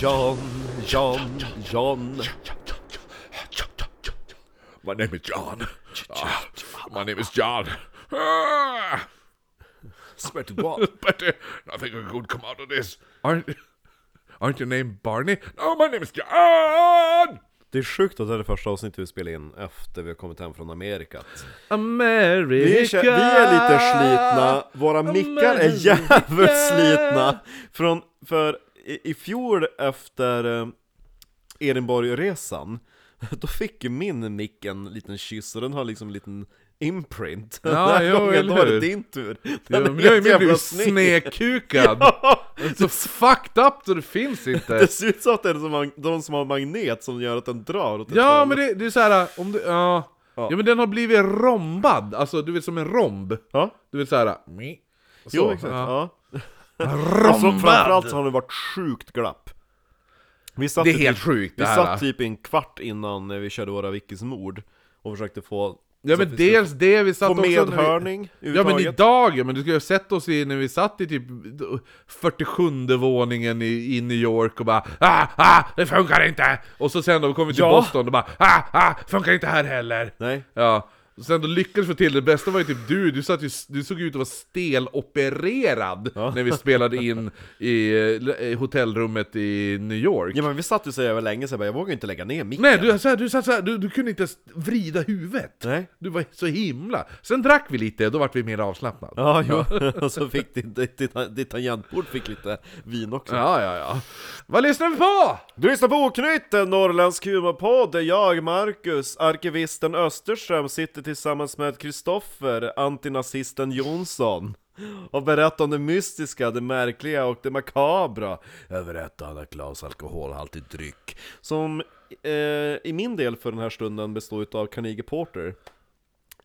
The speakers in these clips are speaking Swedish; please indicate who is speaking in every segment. Speaker 1: John, John, John.
Speaker 2: My name is John. Ah, my name is John. Ah,
Speaker 1: Swear to God.
Speaker 2: but uh, nothing good come out of this. Aren't aren't your name Barney? No, my name is John.
Speaker 1: Det är sjukt att det här är det första avsnittet vi spelar in efter vi har kommit hem från Amerika.
Speaker 2: America.
Speaker 1: Vi, kö- vi är lite slitna, våra mickar är jävligt slitna. Från, för i, i fjol efter eh, Edinburghresan, då fick ju min mick en liten kyss och den har liksom en liten imprint.
Speaker 2: Ja,
Speaker 1: Den här
Speaker 2: jo,
Speaker 1: gången,
Speaker 2: eller
Speaker 1: då var det
Speaker 2: hur?
Speaker 1: din tur. Den
Speaker 2: Ja,
Speaker 1: är
Speaker 2: men jag är
Speaker 1: jävla
Speaker 2: ju blivit
Speaker 1: snygg.
Speaker 2: snedkukad. Så fucked up så det finns
Speaker 1: Det
Speaker 2: inte.
Speaker 1: ser ut som att det är som mag- de som har magnet som gör att den drar åt ett
Speaker 2: Ja
Speaker 1: håll.
Speaker 2: men det, det är så här, äh, om du, ja.
Speaker 1: Ja.
Speaker 2: Ja men den har blivit rombad, alltså du vet som en romb.
Speaker 1: Ja,
Speaker 2: Du vet äh, såhär...
Speaker 1: Mm. jo exakt. Ja. Och så
Speaker 2: Rombad!
Speaker 1: framförallt så har det varit sjukt glapp. Vi satt
Speaker 2: Det är
Speaker 1: ju
Speaker 2: helt
Speaker 1: typ,
Speaker 2: sjukt
Speaker 1: Vi
Speaker 2: det här.
Speaker 1: satt typ en kvart innan eh, vi körde våra Vickis mord och försökte få...
Speaker 2: Ja
Speaker 1: så att
Speaker 2: men
Speaker 1: vi skulle
Speaker 2: dels det, vi satt
Speaker 1: Få
Speaker 2: också... när vi-
Speaker 1: medhörning
Speaker 2: Ja men
Speaker 1: överhuvudtaget.
Speaker 2: idag, ja, men du skulle ju ha sett oss i, när vi satt i typ 47 våningen i, i New York och bara ah, ah, det funkar inte! Och så sen då kom vi till
Speaker 1: Ja.
Speaker 2: Boston och bara ah, ah, funkar inte här heller!
Speaker 1: Nej.
Speaker 2: Ja, och sen då lyckades vi få till det, bästa var ju typ du, du, satt ju, du såg ju ut att vara stelopererad när vi spelade in i, eh, i hotellrummet i New York
Speaker 1: Ja men vi satt ju så jävla länge så jag bara, jag vågar ju inte lägga ner micken.
Speaker 2: Nej, du, så här, du, satt så här, du, du kunde inte ens vrida huvudet!
Speaker 1: Nej.
Speaker 2: Du var så himla... Sen drack vi lite, då vart vi mer avslappnad.
Speaker 1: Ja, jo. och så fick ditt, ditt, ditt, ditt tangentbord fick lite vin också.
Speaker 2: Ja, ja, ja. Vad lyssnar vi på?
Speaker 1: Du lyssnar på Oknytt, en norrländsk humorpodd där jag, Marcus, arkivisten Österström sitter tillsammans med Kristoffer, antinazisten Jonsson och berättar om det mystiska, det märkliga och det makabra över ett annat glas alkoholhaltig dryck som eh, i min del för den här stunden består av Carnegie Porter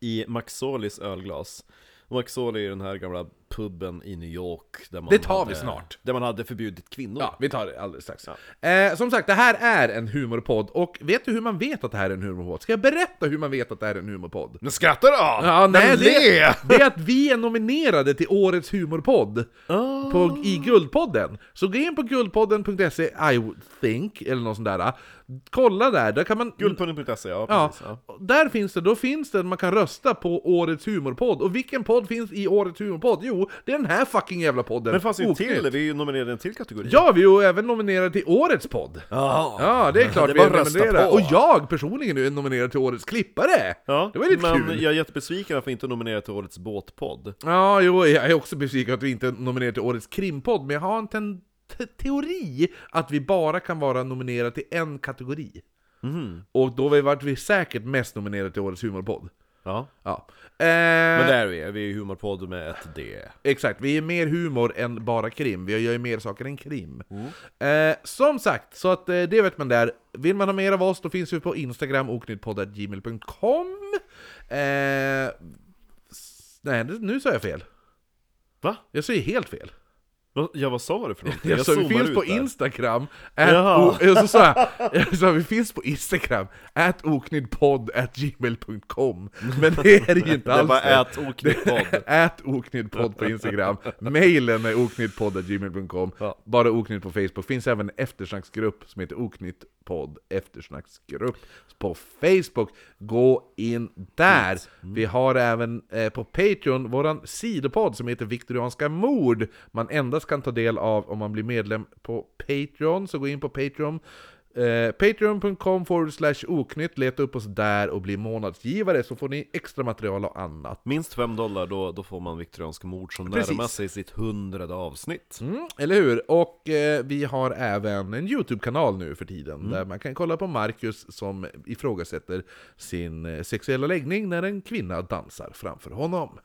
Speaker 1: i Maxolis ölglas. Maxoli är den här gamla puben i New York där man
Speaker 2: Det tar vi
Speaker 1: hade,
Speaker 2: snart.
Speaker 1: Där man hade förbjudit kvinnor.
Speaker 2: Ja, vi tar det alldeles strax. Eh, som sagt, det här är en humorpodd, och vet du hur man vet att det här är en humorpodd? Ska jag berätta hur man vet att det här är en humorpodd?
Speaker 1: Men skrattar du då?
Speaker 2: Ja, nej,
Speaker 1: le!
Speaker 2: det, det är att vi är nominerade till Årets humorpodd på, i Guldpodden. Så gå in på guldpodden.se, I would think, eller något sånt där. Kolla där, där kan man...
Speaker 1: Guldpodden.se, ja
Speaker 2: Ja,
Speaker 1: precis. Ja.
Speaker 2: där finns det, då finns det, man kan rösta på Årets humorpodd. Och vilken podd finns i Årets humorpodd? Jo, det är den här fucking jävla podden!
Speaker 1: Men det fanns ju en till,
Speaker 2: Oknytt.
Speaker 1: vi är ju nominerade i en till kategori.
Speaker 2: Ja, vi är ju även nominerade till Årets podd!
Speaker 1: Jaha.
Speaker 2: Ja, det är klart
Speaker 1: Det
Speaker 2: vi är
Speaker 1: bara rösta
Speaker 2: nominerade.
Speaker 1: på.
Speaker 2: Och jag personligen är nominerad till Årets klippare!
Speaker 1: Ja,
Speaker 2: det var lite
Speaker 1: men
Speaker 2: kul!
Speaker 1: jag är jättebesviken att vi inte är nominerade till årets båtpodd.
Speaker 2: Ja, jo, jag är också besviken att vi inte är nominerade till Årets krimpodd, men jag har en ten- te- teori att vi bara kan vara nominerade till en kategori.
Speaker 1: Mhm.
Speaker 2: Och då har vi varit vi säkert mest nominerade till Årets humorpodd.
Speaker 1: Ja.
Speaker 2: Ja.
Speaker 1: Men
Speaker 2: Eh,
Speaker 1: där är vi, vi är ju humorpodd med ett D.
Speaker 2: Exakt, vi är mer humor än bara krim. Vi gör ju mer saker än krim.
Speaker 1: Mm.
Speaker 2: Eh, som sagt, så att eh, det vet man där. Vill man ha mer av oss, då finns vi på Instagram, oknyttpodd.gmail.com. Eh, s- nej, det- nu sa jag fel.
Speaker 1: Va?
Speaker 2: Jag säger helt fel.
Speaker 1: Va- Ja, vad sa du för någonting?
Speaker 2: Jag, sa vi
Speaker 1: zoomar
Speaker 2: finns
Speaker 1: ut
Speaker 2: på
Speaker 1: där.
Speaker 2: Instagram,
Speaker 1: Jaha.
Speaker 2: at, o, och så sa jag, jag sa vi finns på Instagram, at oknyddpodd, at gmail.com. Men det är det ju inte
Speaker 1: Det är
Speaker 2: alls.
Speaker 1: bara
Speaker 2: det.
Speaker 1: ät oknyttpodd.
Speaker 2: Ät oknyddpodd på Instagram, mailen är oknyttpodd.gmail.com,
Speaker 1: Ja.
Speaker 2: bara oknytt på Facebook, finns även en eftersnacksgrupp som heter oknyttpodd eftersnacksgrupp på Facebook. Gå in där! Vi har även eh, på Patreon våran sidopodd som heter Viktorianska mord, man endast kan ta del av om man blir medlem på Patreon, så gå in på Patreon Eh, Patreon.com forward slash oknytt, leta upp oss där och bli månadsgivare så får ni extra material och annat.
Speaker 1: Minst 5 dollar, då, då får man viktorianska mord som
Speaker 2: Precis.
Speaker 1: närmar sig sitt hundrade avsnitt.
Speaker 2: Mm, eller hur? Och eh, vi har även en YouTube-kanal nu för tiden,
Speaker 1: Mm.
Speaker 2: där man kan kolla på Marcus som ifrågasätter sin eh, sexuella läggning när en kvinna dansar framför honom.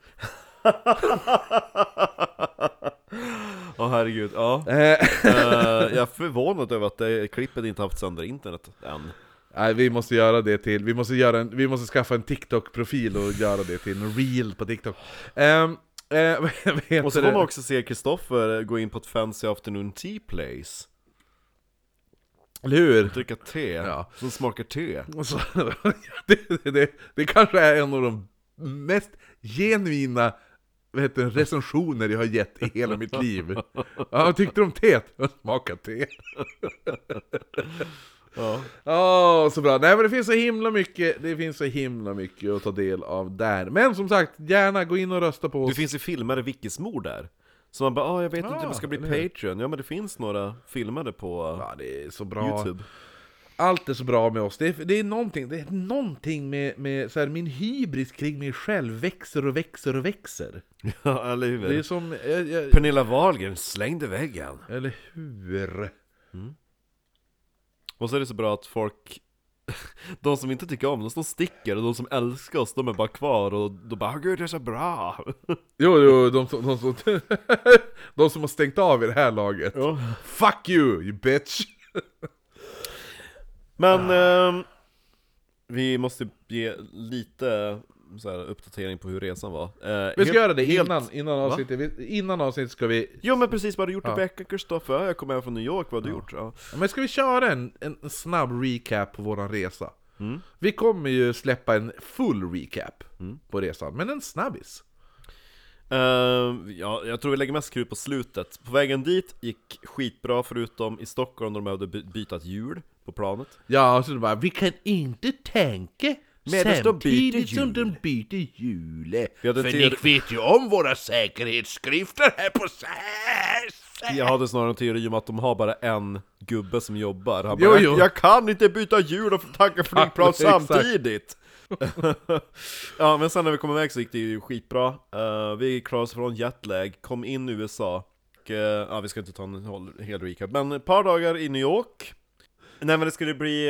Speaker 1: Åh herregud, ja.
Speaker 2: Eh,
Speaker 1: Eh, jag är förvånad över att det klippet inte haft sönder internet än.
Speaker 2: nej, vi måste göra det till, vi måste, göra en, vi måste skaffa en TikTok-profil och göra det till en reel på TikTok. Ehm, eh, vad heter
Speaker 1: Och så får
Speaker 2: det?
Speaker 1: man också se Kristoffer gå in på ett fancy afternoon tea place
Speaker 2: Eller hur?
Speaker 1: Dricka te,
Speaker 2: Ja.
Speaker 1: som smakar te
Speaker 2: Och så, det, det, det kanske är en av de mest genuina vad heter det, recensioner jag har gett i hela mitt liv. Ja, vad tyckte du om teet? Jag smakar te.
Speaker 1: Ja.
Speaker 2: Ja, så bra. Nej men det finns så himla mycket, det finns så himla mycket att ta del av där. Men som sagt, gärna gå in och rösta på
Speaker 1: Det
Speaker 2: oss.
Speaker 1: finns ju filmade wikismor där. Så man bara, ah, jag vet inte om jag ska bli
Speaker 2: eller hur?
Speaker 1: Patreon. Ja men det finns några filmade på eh,
Speaker 2: Ja, det är så bra.
Speaker 1: Youtube.
Speaker 2: Allt är så bra med oss. Det är, det är någonting, det är någonting med, med så här, min hybris kring mig själv växer och växer och växer.
Speaker 1: Ja, eller hur?
Speaker 2: Det är som... Jag, jag,
Speaker 1: Pernilla Wahlgren slängde väggen.
Speaker 2: eller hur?
Speaker 1: Och så är det så bra att folk de som inte tycker om oss, de sticker och de som älskar oss, de är bara kvar och de bara 'Gud, det är så bra'
Speaker 2: Jo, jo, de, som- de, som de som har stängt av i det här laget.
Speaker 1: Ja.
Speaker 2: Fuck you, you bitch!
Speaker 1: Men ehm, vi måste ge lite så här, uppdatering på hur resan var Eh,
Speaker 2: Vi ska
Speaker 1: helt-
Speaker 2: göra det
Speaker 1: helt-
Speaker 2: innan, innan avsnittet. Vi- Innan avsnittet ska vi...
Speaker 1: Jo men precis, vad har du gjort i veckan Kristoffer? Ja, Jag kom hem från New York, vad har du gjort? Ja.
Speaker 2: Ja, Men ska vi köra en, en en snabb recap på våran resa? Vi kommer ju släppa en full recap på resan, men en snabbis.
Speaker 1: Ehm, ja, jag tror vi lägger mest krut på slutet På vägen dit gick skitbra förutom i Stockholm där de behövde by- byta ett hjul på planet
Speaker 2: Ja, så det bara, vi kan inte tänka
Speaker 1: Medan de byter
Speaker 2: samtidigt som de
Speaker 1: hjul."
Speaker 2: byter hjul.
Speaker 1: Vi hade en
Speaker 2: För
Speaker 1: teori-
Speaker 2: ni vet ju om våra säkerhetsskrifter här på SAS!
Speaker 1: Jag hade snarare en teori om att de har bara en gubbe som jobbar Han bara,
Speaker 2: Jo,
Speaker 1: "Jag-
Speaker 2: jo.
Speaker 1: Jag kan inte byta hjul och tanka flygplan
Speaker 2: exakt.
Speaker 1: samtidigt! ja men sen när vi kom iväg så gick det ju skitbra Eh, Vi klarade oss från jetlag, kom in i USA och, eh, Ja vi ska inte ta en hel- hel recap, men ett par dagar i New York Nej men det skulle bli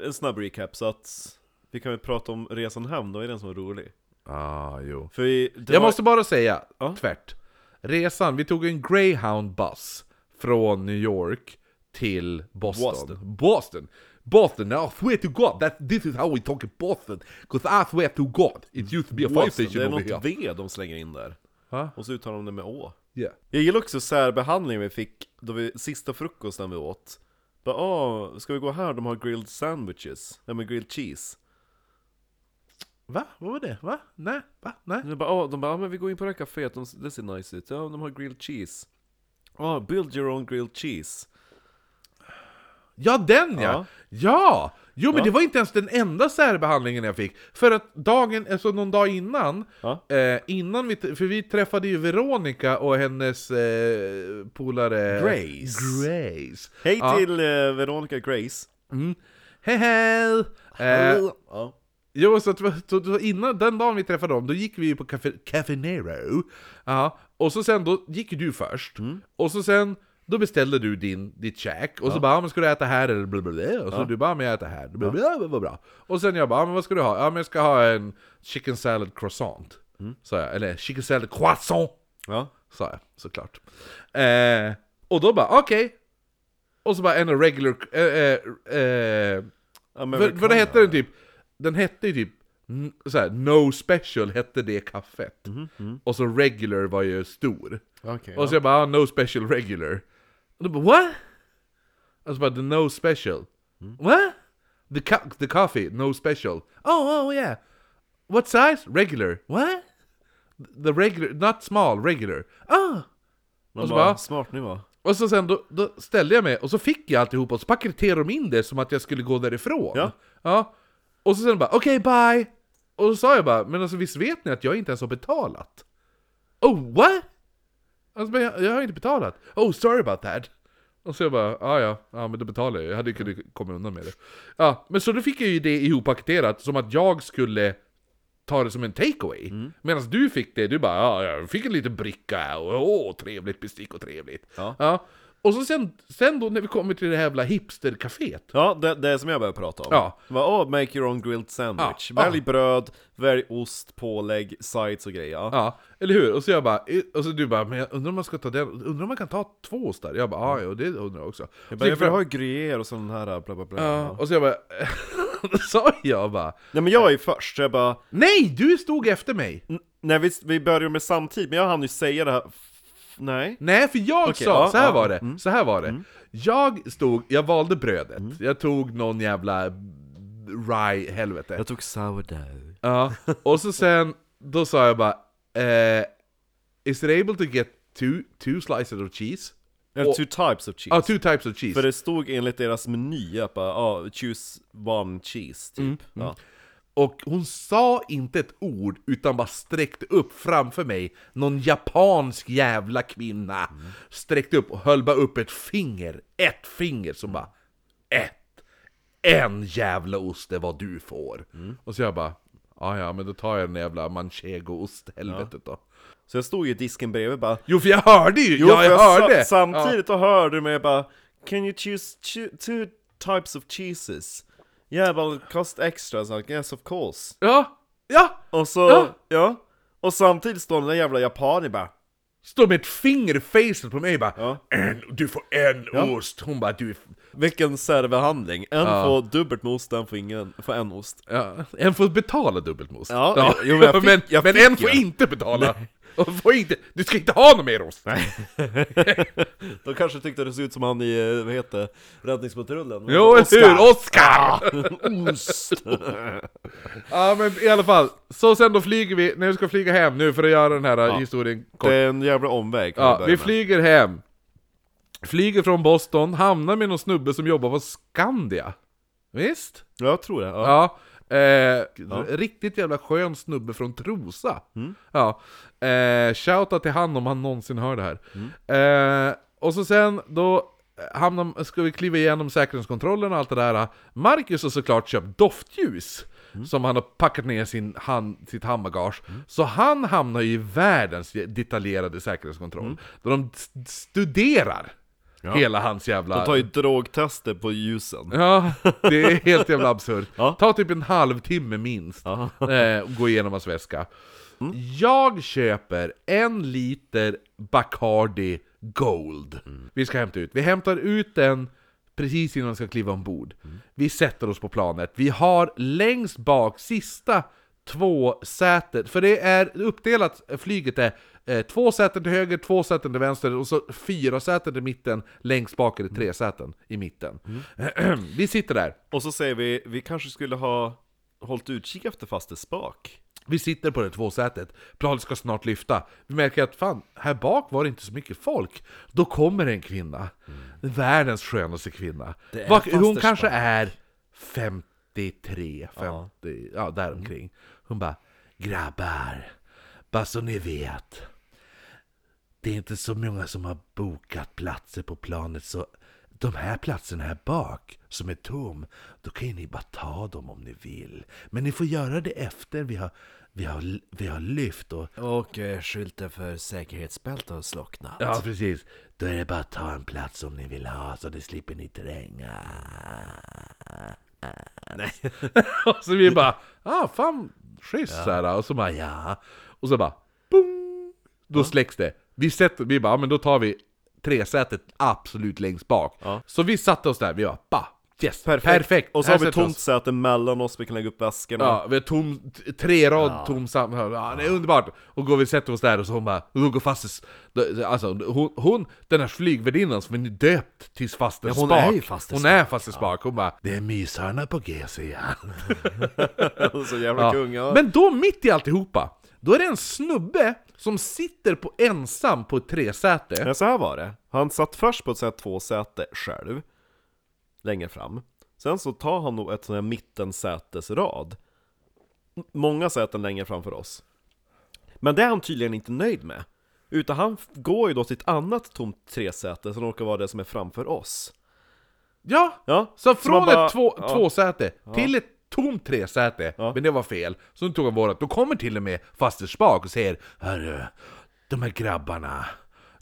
Speaker 1: eh, en snabb recap så att Vi kan väl prata om resan hem, då är den som är rolig
Speaker 2: Ah, jo.
Speaker 1: För vi, det
Speaker 2: Jag
Speaker 1: var-
Speaker 2: måste bara säga,
Speaker 1: Ja.
Speaker 2: tvärt. Resan, vi tog en Greyhound buss från New York till Boston.
Speaker 1: Boston.
Speaker 2: Boston. Boston, now I swear to God, that, this is how we talk in Boston. Cause I swear to God, it used to be a fire
Speaker 1: Boston,
Speaker 2: station
Speaker 1: det är
Speaker 2: over here.
Speaker 1: något V de slänger in där
Speaker 2: Ha?
Speaker 1: Och så uttalar de det med Å
Speaker 2: Yeah.
Speaker 1: Jag gillar också särbehandlingen vi fick då vi, sista frukosten vi åt. Bara, ah, ska vi gå här? De har grilled sandwiches. Nej men grilled cheese.
Speaker 2: Va? Vad var det? Va? Nej? Va? Nej?
Speaker 1: De bara, ah, de bara, ah, men vi går in på det här caféet, de, det ser nice ut. Ja, de har grilled cheese. Ah, build your own grilled cheese.
Speaker 2: Ja, den ja! Ja!
Speaker 1: Ja.
Speaker 2: Jo, men det var inte ens den enda särbehandlingen jag fick. För att dagen, alltså någon dag innan,
Speaker 1: Ja.
Speaker 2: eh, innan vi, t- för vi träffade ju Veronica och hennes eh, polare...
Speaker 1: Grace.
Speaker 2: Grace.
Speaker 1: Hej
Speaker 2: Ja.
Speaker 1: till eh, Veronica Grace.
Speaker 2: Mm. Hej hej! Eh,
Speaker 1: ja.
Speaker 2: jo, så, att, vi- så, så innan, den dagen vi träffade dem, då gick vi ju på Cafe, Cafe Nero. Ja, och så sen, då gick du först. Och så sen, då beställde du din, ditt käk. Och så bara, "Ah, men ska du äta här eller blablabla? Och så du bara, "Ah, men jag äter här. Blablabla, ja. vad bra. Och sen jag bara, "Ah, men vad ska du ha? Ja, men jag ska ha en chicken salad croissant. Sa jag, eller chicken salad croissant.
Speaker 1: ja.
Speaker 2: Sa jag, såklart. Eh, och då bara, okej. Och så bara en regular... Eh, eh, eh,
Speaker 1: Ja, men
Speaker 2: för,
Speaker 1: vi
Speaker 2: för det
Speaker 1: kan-
Speaker 2: hette den typ, den hette ju typ n- så här, No Special hette det kaffet.
Speaker 1: Mhm,
Speaker 2: Och så Regular var ju stor.
Speaker 1: Okej,
Speaker 2: och så jag bara ah, No Special Regular. Och då bara what? Och så bara the No Special.
Speaker 1: Mm.
Speaker 2: What? The, co- the coffee, No Special. Oh, oh yeah. What size? Regular. What? The regular, not small, regular. Ah!
Speaker 1: Man
Speaker 2: och så
Speaker 1: bara,
Speaker 2: bara-
Speaker 1: smart ni var.
Speaker 2: Och så sen då, då ställde jag mig och så fick jag alltihop och så paketerade de in det som att jag skulle gå därifrån.
Speaker 1: Ja.
Speaker 2: ja. Och så sen bara okej bye! Och så sa jag bara men alltså visst vet ni att jag inte ens har betalat? Oh what? Alltså men jag, jag har inte betalat. Oh sorry about that. Och så jag bara ah, ja ja men då betalar jag Jag hade ju kunnat komma undan med det. Ja men så då fick jag ju det ihoppaketerat som att jag skulle ta det som en takeaway.
Speaker 1: Mm.
Speaker 2: Medan du fick det, du bara ja, jag fick en liten bricka och åh trevligt bestick och trevligt.
Speaker 1: Ja.
Speaker 2: Och så sen, sen då när vi kommer till det här jävla hipstercaféet.
Speaker 1: Ja, det, det är som jag började prata om.
Speaker 2: Ja.
Speaker 1: Bara, oh, make your own grilled sandwich.
Speaker 2: Ja.
Speaker 1: Välj bröd, välj ost, pålägg, sides och grejer. Ja.
Speaker 2: Ja, eller hur? Och så jag bara, eh, och så du bara, men jag undrar om man ska ta den, undrar om man kan ta två ostar? Jag bara, ja, jo, det undrar jag också.
Speaker 1: Jag,
Speaker 2: Så
Speaker 1: bara, jag
Speaker 2: gick
Speaker 1: vill
Speaker 2: fram-
Speaker 1: ha gruyère och sån här bla bla bla.
Speaker 2: ja, och så jag bara, då sa jag bara,
Speaker 1: Nej men jag är ju först, så jag bara
Speaker 2: nej, du stod efter mig!
Speaker 1: N- Nej vi, vi började med samtidigt, men jag hann ju säga det här f- Nej?
Speaker 2: Nej, för jag
Speaker 1: Okej,
Speaker 2: sa,
Speaker 1: ja,
Speaker 2: så här
Speaker 1: ja, mm.
Speaker 2: var det, så här var det. Jag stod, jag valde brödet, jag tog någon jävla rye helvete.
Speaker 1: tog sourdough
Speaker 2: Ja, och så sen, då sa jag bara eh, is it able to get two, two slices of cheese?
Speaker 1: Eller
Speaker 2: Och-
Speaker 1: two types of cheese.
Speaker 2: Ah, two types of cheese.
Speaker 1: För det stod enligt deras meny att bara, ah, choose one cheese, typ. Ja.
Speaker 2: Och hon sa inte ett ord utan bara sträckte upp framför mig Någon japansk jävla kvinna Sträckte upp och höll bara upp ett finger Ett finger som bara Ett En jävla ost är vad du får
Speaker 1: Mm.
Speaker 2: Och så jag bara "Ja, ja men då tar jag den jävla manchego-ost helvetet då
Speaker 1: Så jag stod ju i disken bredvid och bara,
Speaker 2: Jo för jag hörde ju! ja,
Speaker 1: för
Speaker 2: jag,
Speaker 1: sa-
Speaker 2: hörde!
Speaker 1: Samtidigt då hörde du mig bara Can you choose cho- two types of cheeses? Yeah, well it cost extra, så jag, yes of course
Speaker 2: Ja, ja, ja.
Speaker 1: Och så,
Speaker 2: Ja.
Speaker 1: ja, Och samtidigt står den där jävla japanen bara
Speaker 2: Står med ett finger i facet på mig bara
Speaker 1: Ja.
Speaker 2: en, Du får en ost! Hon bara du är
Speaker 1: Vilken särbehandling, en får dubbelt med ost, en får ingen, får en ost
Speaker 2: Ja, en får betala dubbelt mos.
Speaker 1: Ja, jo, men jag fick-
Speaker 2: men,
Speaker 1: jag
Speaker 2: men
Speaker 1: fick
Speaker 2: en får
Speaker 1: ju.
Speaker 2: inte betala. Och får inte, du ska inte ha någon mer ost!
Speaker 1: De kanske tyckte det såg ut som han i, eh, vad heter det, Räddningspatrullen
Speaker 2: Jo, eller
Speaker 1: Oscar.
Speaker 2: hur? Oskar!
Speaker 1: Ost!
Speaker 2: Ja, men i alla fall. Så sen då flyger vi, när vi ska flyga hem nu för att göra den här eh, historien kort.
Speaker 1: Det är en jävla omväg kan jag
Speaker 2: Ja,
Speaker 1: börja
Speaker 2: vi
Speaker 1: med.
Speaker 2: flyger hem. Flyger från Boston, hamnar med någon snubbe som jobbar på Skandia. Visst?
Speaker 1: Ja, Jag tror det, ja.
Speaker 2: Ja. Eh, Riktigt jävla skön snubbe från Trosa.
Speaker 1: Mm.
Speaker 2: Ja. Eh, shoutout till han om han någonsin hör det här.
Speaker 1: Mm.
Speaker 2: Eh, och så sen då eh, hamnar, ska vi kliva igenom säkerhetskontrollen och allt det där. Marcus har såklart köpt doftljus.
Speaker 1: Mm.
Speaker 2: Som han har packat ner sin hand, sitt handbagage. Så han hamnar ju i världens detaljerade säkerhetskontroll.
Speaker 1: Mm.
Speaker 2: Där de st- studerar hela hans jävla...
Speaker 1: De tar ju drogtester på ljusen
Speaker 2: Ja, det är helt jävla absurt.
Speaker 1: Ja.
Speaker 2: Ta typ en halvtimme minst,
Speaker 1: Ja.
Speaker 2: eh, och gå igenom hans väska. Jag köper en liter Bacardi Gold. Vi ska hämta ut. Vi hämtar ut den precis innan vi ska kliva ombord. Vi sätter oss på planet. Vi har längst bak, sista två sätet, för det är uppdelat, flyget är eh, två säten till höger, två säten till vänster och så fyra säten till mitten, längst bak är det tre säten i mitten. Vi sitter där.
Speaker 1: Och så säger vi, vi kanske skulle ha hållit utkik efter faste spak.
Speaker 2: Vi sitter på det tvåsätet, planet ska snart lyfta. Vi märker att fan, här bak var det inte så mycket folk. Då kommer en kvinna. Världens skönaste kvinna.
Speaker 1: Mm. Det är
Speaker 2: Vad-
Speaker 1: fast
Speaker 2: hon
Speaker 1: det
Speaker 2: kanske är 53, 50, ja, däromkring. Hon bara, grabbar, bara så ni vet. Det är inte så många som har bokat platser på planet så de här platserna här bak som är tom, då kan ju ni bara ta dem om ni vill. Men ni får göra det efter vi har, vi har, vi har lyft och...
Speaker 1: Och eh, skylten för säkerhetsbälte har slocknat.
Speaker 2: Ja, precis. Då är det bara att ta en plats om ni vill ha så det slipper ni tränga.
Speaker 1: Nej.
Speaker 2: så vi bara, ah fan, schysst så här. Och så bara, ja. Och så bara, boom! Då släcks det. Vi, sätter, vi bara, "Ja, men då tar vi tresätet absolut längst bak.
Speaker 1: Ja.
Speaker 2: Så vi satte oss där, vi bara, bah! Yes, perfekt!
Speaker 1: Och så
Speaker 2: Här
Speaker 1: har vi
Speaker 2: sätter
Speaker 1: tomt
Speaker 2: oss.
Speaker 1: säte mellan oss, vi kan lägga upp väskorna.
Speaker 2: Ja, vi har tom, t- tre rad tom samtal. Ja, det är underbart! Och går vi och sätter oss där och så hon bara, hon går fast i s- då- Alltså hon, hon den här flygvärdinnan som är döpt till faster
Speaker 1: hon
Speaker 2: Spak.
Speaker 1: är ju faster
Speaker 2: Hon
Speaker 1: Spak.
Speaker 2: är faster Spak. Hon bara, det är myshörna på G säger han.
Speaker 1: så jävla kungar.
Speaker 2: Men då mitt i alltihopa, då är det en snubbe som sitter på ensam på ett tresäte.
Speaker 1: Men så här var det. Han satt först på ett sånt här tvåsäte själv. Längre fram. Sen så tar han nog ett sånt här mittensätesrad. M- Många säten längre framför oss. Men det är han tydligen inte nöjd med. Utan han f- går ju då till ett annat tomt tresäte som råkar vara det som är framför oss.
Speaker 2: Ja!
Speaker 1: Ja,
Speaker 2: Så från
Speaker 1: man bara-
Speaker 2: ett två,
Speaker 1: ja.
Speaker 2: tvåsäte till ett tomt tresäte, men det var fel. Så nu tog han vårat. Då kommer till och med faster Spak och säger Hörru, de här grabbarna,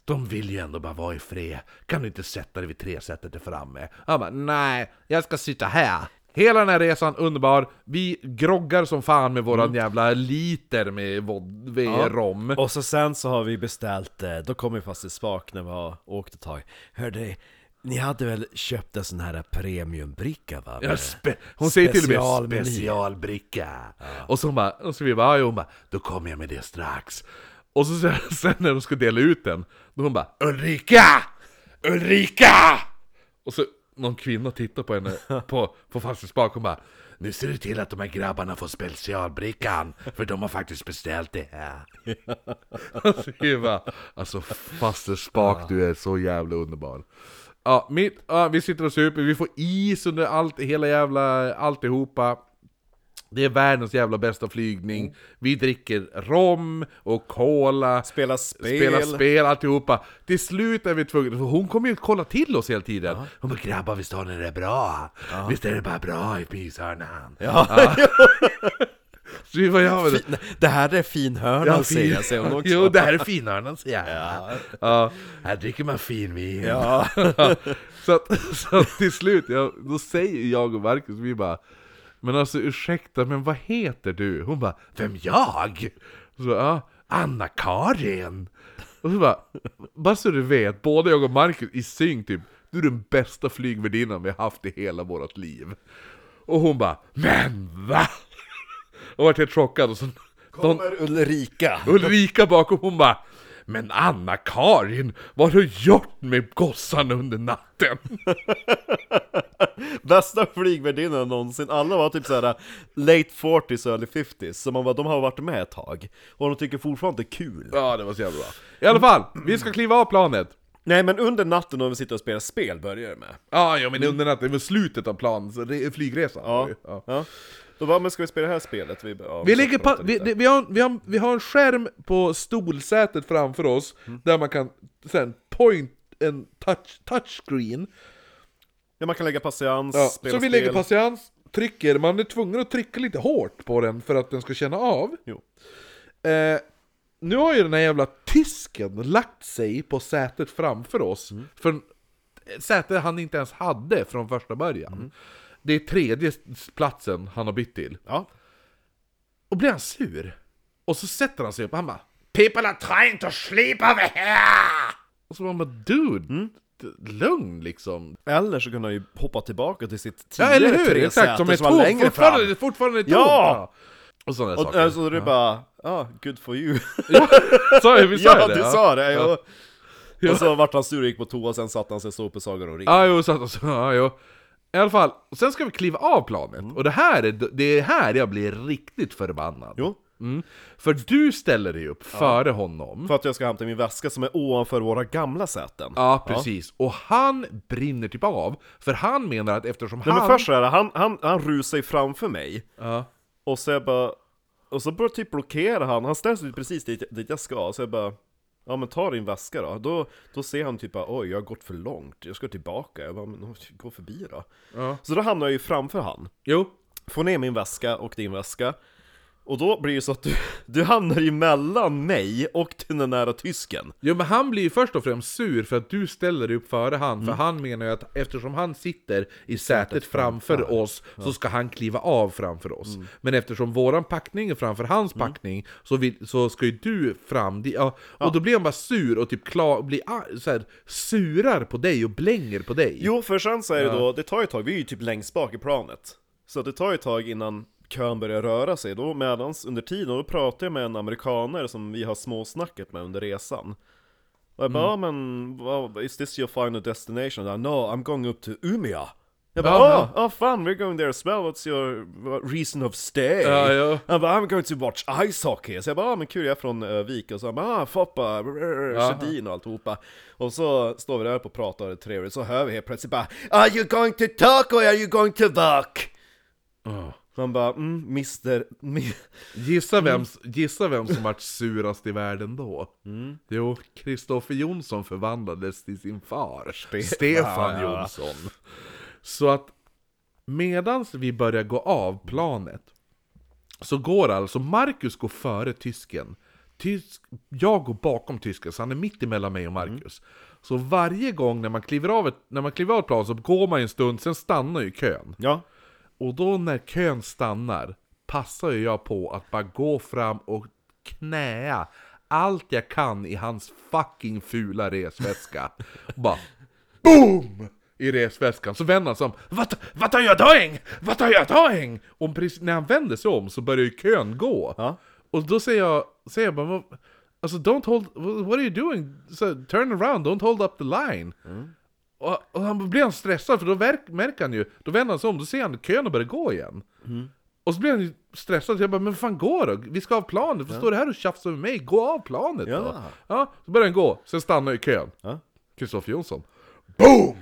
Speaker 2: de vill ju ändå bara vara i fred. Kan du inte sätta dig vid tresätet där framme? Han bara, nej, jag ska sitta här. Hela den här resan, underbar. Vi groggar som fan med
Speaker 1: Mm.
Speaker 2: våran jävla liter med vod- med rom.
Speaker 1: Och så sen så har vi beställt, eh, då kom vi fast i spak när vi har åkt ett tag Hörde ni hade väl köpt en sån här premiumbricka va?
Speaker 2: Ja, spe- hon säger till och
Speaker 1: Specialmeny.
Speaker 2: med specialbricka. Och så hon bara, och så vi bara, ja, hon bara, då kommer jag med det strax. Och så sen, sen när de ska dela ut den, då hon bara Ulrika! Ulrika! Och så någon kvinna tittar på henne på, på farstors balkon bara Nu ser du till att de här grabbarna får specialbrickan För de har faktiskt beställt det här Alltså, jag bara, alltså faster Spak, du är så jävla underbar. Ja, mitt, ja, vi sitter och super, vi får is under allt, hela jävla alltihopa. Det är världens jävla bästa flygning. Vi dricker rom och cola.
Speaker 1: Spela spel.
Speaker 2: Spela spel, alltihopa. Till slut är vi tvungna, för hon kommer ju att kolla till oss hela tiden. Hon bara 'Grabbar visst har ni det bra? Visst är det bara bra i pyshörnan?'
Speaker 1: Ja.
Speaker 2: Så vi bara, ja, men-
Speaker 3: Fin- Det här är finhörnan
Speaker 2: fin-
Speaker 3: säger jag, säger hon också.
Speaker 2: Jo, det här är finhörnan säger jag. Ja. Här dricker man finvin.
Speaker 3: Ja.
Speaker 2: så, att, så att till slut, jag, då säger jag och Marcus, vi bara Men alltså ursäkta, men vad heter du? Hon bara, vem jag? Så ja, Anna-Karin Och så bara, bara så du vet, både jag och Marcus i synk typ Du är den bästa flygvärdinnan vi har haft i hela vårt liv Och hon bara, men va? Och vart helt chockad och så någon,
Speaker 3: Ulrika.
Speaker 2: Ulrika bakom, hon bara Men Anna-Karin, vad har du gjort med gossan under natten?
Speaker 1: Bästa flygvärdinnan någonsin, alla var typ såhär late 40s, early 50s, så man bara, de har varit med ett tag, och de tycker fortfarande det är kul.
Speaker 2: Ja, det var så jävla bra. I alla fall, vi ska kliva av planet.
Speaker 1: Nej men under natten när vi sitter och spelar spel börjar det med.
Speaker 2: Ja, ja men under natten, det var slutet av plan, så re- flygresan.
Speaker 1: Ja.
Speaker 2: Ja.
Speaker 1: Ja. Då bara, men ska vi spela det här spelet? Vi, bara, ja,
Speaker 2: Vi,
Speaker 1: så
Speaker 2: ligger
Speaker 1: pratar
Speaker 2: på,
Speaker 1: lite.
Speaker 2: vi, det- vi, har, vi, har, vi har en skärm på stolsätet framför oss, där man kan sen point en touch, touchscreen.
Speaker 1: Ja, man kan lägga patiens,
Speaker 2: Ja.
Speaker 1: spela
Speaker 2: Så vi
Speaker 1: spel.
Speaker 2: lägger patiens, trycker, man är tvungen att trycka lite hårt på den för att den ska känna av.
Speaker 1: Jo.
Speaker 2: Eh, nu har ju den här jävla tysken lagt sig på sätet framför oss.
Speaker 1: Mm.
Speaker 2: För sätet han inte ens hade från första början.
Speaker 1: Mm.
Speaker 2: Det är tredje platsen han har bytt till.
Speaker 1: Ja.
Speaker 2: Och blir han sur. Och så sätter han sig upp och han bara People are trying to sleep over here! Och så man bara dude,
Speaker 1: Mm.
Speaker 2: d- lugn liksom.
Speaker 1: Eller så kunde han ju hoppa tillbaka till sitt
Speaker 2: Ja
Speaker 1: tidigare
Speaker 2: eller hur?
Speaker 1: tre
Speaker 2: Exakt, som
Speaker 1: säte
Speaker 2: är
Speaker 1: som var
Speaker 2: två.
Speaker 1: längre fram.
Speaker 2: Fortfarande, det är fortfarande tomt!
Speaker 1: Ja!
Speaker 2: Och sådana
Speaker 1: Och
Speaker 2: saker.
Speaker 1: äh, så är det bara, ja, ah, good for you.
Speaker 2: Sa jag, vi sa
Speaker 1: ja,
Speaker 2: det?
Speaker 1: du
Speaker 2: ja.
Speaker 1: sa det! Ja.
Speaker 2: Ja.
Speaker 1: Och så vart han sur och gick på toa, sen satte han sig så upp i Sagan och ring.
Speaker 2: Ja, jo, satt och så, ja, jo. I alla fall, och sen ska vi kliva av planet,
Speaker 1: Mm.
Speaker 2: och det här är, det är här jag blir riktigt förbannad.
Speaker 1: Jo,
Speaker 2: Mm. För du ställer dig upp före honom.
Speaker 1: för att jag ska hämta min väska som är ovanför våra gamla säten.
Speaker 2: Ja, precis. Och han brinner typ av, för han menar att eftersom
Speaker 1: Nej,
Speaker 2: han...
Speaker 1: men först så här, han, han, han rusar ju framför mig,
Speaker 2: Ja.
Speaker 1: och så jag bara... Och så börjar typ blockera han, han ställer sig precis dit, dit jag ska, så jag bara... Ja men ta din väska då, då, då ser han typ bara, oj jag har gått för långt, jag ska tillbaka, jag bara, men gå förbi då.
Speaker 2: Ja.
Speaker 1: Så då hamnar jag ju framför han.
Speaker 2: Jo.
Speaker 1: Får ner min väska och din väska Och då blir det så att du, du hamnar ju mellan mig och till den nära tysken
Speaker 2: Jo men han blir ju först och främst sur för att du ställer dig upp före han, för han menar ju att eftersom han sitter i Mm. sätet framför oss så ska han Mm. kliva av framför oss. Men eftersom våran packning är framför hans packning så, vill, så ska ju du fram di- ja, Och då blir han bara sur och typ klar, blir ar- så här, surar på dig och blänger på dig.
Speaker 1: Jo för sen så är det då, det tar ju ett tag, vi är ju typ längst bak i planet Så det tar ju ett tag innan kön börjar röra sig Då medans under tiden, då pratar jag med en amerikanare som vi har småsnacket med under resan Och jag bara,
Speaker 2: Mm.
Speaker 1: ja men, vad- is this your final destination? Han bara, no, I'm going up to Umeå jag bara,
Speaker 2: Ja,
Speaker 1: oh, oh fun, we're going there as well, what's your uh, reason of stay?
Speaker 2: Ja, ja.
Speaker 1: Han bara, "Ah, I'm going to watch ice hockey. Så jag bara, ah, men kul, jag är från uh, Vik. Och så han bara, ah, Foppa, Sjödin och alltihopa. Och så står vi där och pratar och det är trevligt, så hör vi helt plötsligt bara, Are you going to talk or are you going to walk?
Speaker 2: Ja.
Speaker 1: Så han bara, mm, mister... mi- Mm.
Speaker 2: Gissa, vem, gissa vem som vart surast i världen då?
Speaker 1: Mm.
Speaker 2: Jo, Kristoffer Jonsson förvandlades till sin far, Stefan
Speaker 1: Ja.
Speaker 2: Jonsson. Så att medans vi börjar gå av planet så går alltså Marcus går före tysken. Tysk, jag går bakom tysken, så han är mitt emellan mig och
Speaker 1: Mm.
Speaker 2: Marcus. Så varje gång när man kliver av ett, när man kliver av ett plan så går man ju en stund, sen stannar ju kön.
Speaker 1: Ja.
Speaker 2: Och då när kön stannar passar ju jag på att bara gå fram och knäa allt jag kan i hans fucking fula resväska. Och bara BOOM! I resväskan. Så vänder han sig om. What, what are you doing? What are you doing? Och precis, när han vänder sig om så börjar ju kön gå.
Speaker 1: Ja.
Speaker 2: Och då säger jag, säger jag bara, "Vad- alltså don't hold, what are you doing? So, turn around, don't hold up the line. Och, och han blir han stressad, för då verk, märker han ju, då vänder han sig om, då ser han kön och börjar gå igen. Och så blir han ju stressad, så jag bara 'Men fan gå då! Vi ska av planet, varför står du här och tjafsar med mig? Gå av planet då!'
Speaker 1: Ja.
Speaker 2: Ja, så börjar han gå, sen stannar ju kön.
Speaker 1: Ja.
Speaker 2: Kristoffer Jonsson. BOOM!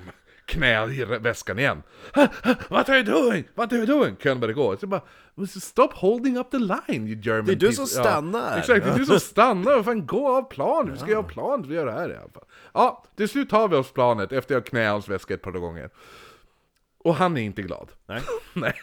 Speaker 2: Knä i re- väskan igen. "Ha, ha, What are you doing? What are you doing? Kön börjar gå. Så jag bara, "Men Stop holding up the line you German
Speaker 1: Det är du
Speaker 2: piece."
Speaker 1: som
Speaker 2: Ja,
Speaker 1: stannar.
Speaker 2: exakt, det är du som stannar. Vad Fan, gå av planet. Vi ska ju av planet. Vi gör det här i alla fall. Ja, till slut tar vi oss planet efter jag knäat hans väska ett par gånger. Och han är inte glad.
Speaker 1: Nej.
Speaker 2: Nej.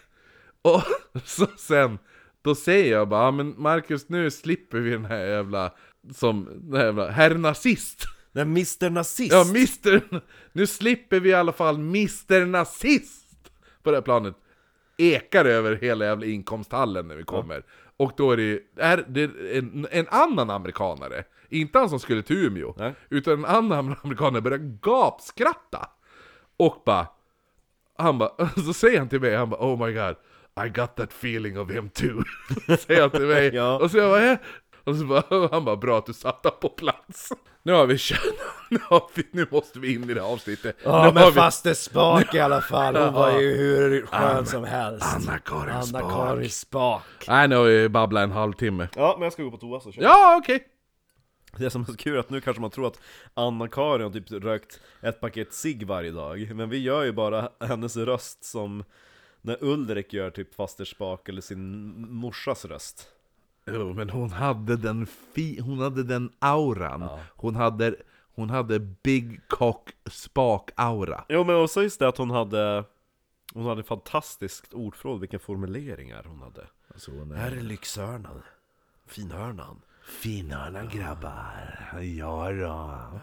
Speaker 2: Och så sen, då säger jag bara, "Ja, men Marcus nu slipper vi den här jävla, som, den här jävla, herr nazist.
Speaker 1: Nej, Mr Nazist!
Speaker 2: Ja, Mr... Nu slipper vi i alla fall Mr Nazist! På det här planet. Ekar över hela jävla inkomsthallen när vi kommer. Och då är det ju är det en, en annan amerikanare. Inte han som skulle till Umeå.
Speaker 1: Nej.
Speaker 2: Utan en annan amerikanare börjar gapskratta. Och bara... Han bara, så säger han till mig, han bara Oh my god, I got that feeling of him too. säger han till mig.
Speaker 1: Ja.
Speaker 2: Och så jag bara, "Eh?" och så bara, han bara, bra att du satt där på plats. Nu har vi kört, nu, har vi, nu måste vi in i det här avsnittet.
Speaker 1: Ja,
Speaker 2: nu har
Speaker 1: men
Speaker 2: vi
Speaker 1: faster Spak i alla fall, hon var ju hur skön som helst.
Speaker 2: Anna-Karin Spak.
Speaker 1: Anna-Karin Spak.
Speaker 2: Nej, nu har vi babblat en halvtimme.
Speaker 1: Ja, men jag ska gå på toa så kör
Speaker 2: Ja, okej.
Speaker 1: Det som är så kul är att nu kanske man tror att Anna-Karin har typ rökt ett paket cigg varje dag Men vi gör ju bara hennes röst som när Ulrik gör typ faster Spak eller sin morsas röst
Speaker 2: Jo, men hon hade den, fi, hon hade den auran. Hon hade... Hon hade Big Cock Spak-aura.
Speaker 1: Jo men också just det att hon hade Hon hade fantastiskt ordförråd, vilka formuleringar hon hade
Speaker 2: Alltså hon är-
Speaker 1: Här är lyxhörnan Finhörnan
Speaker 2: Finhörna grabbar. Ja då. alltså-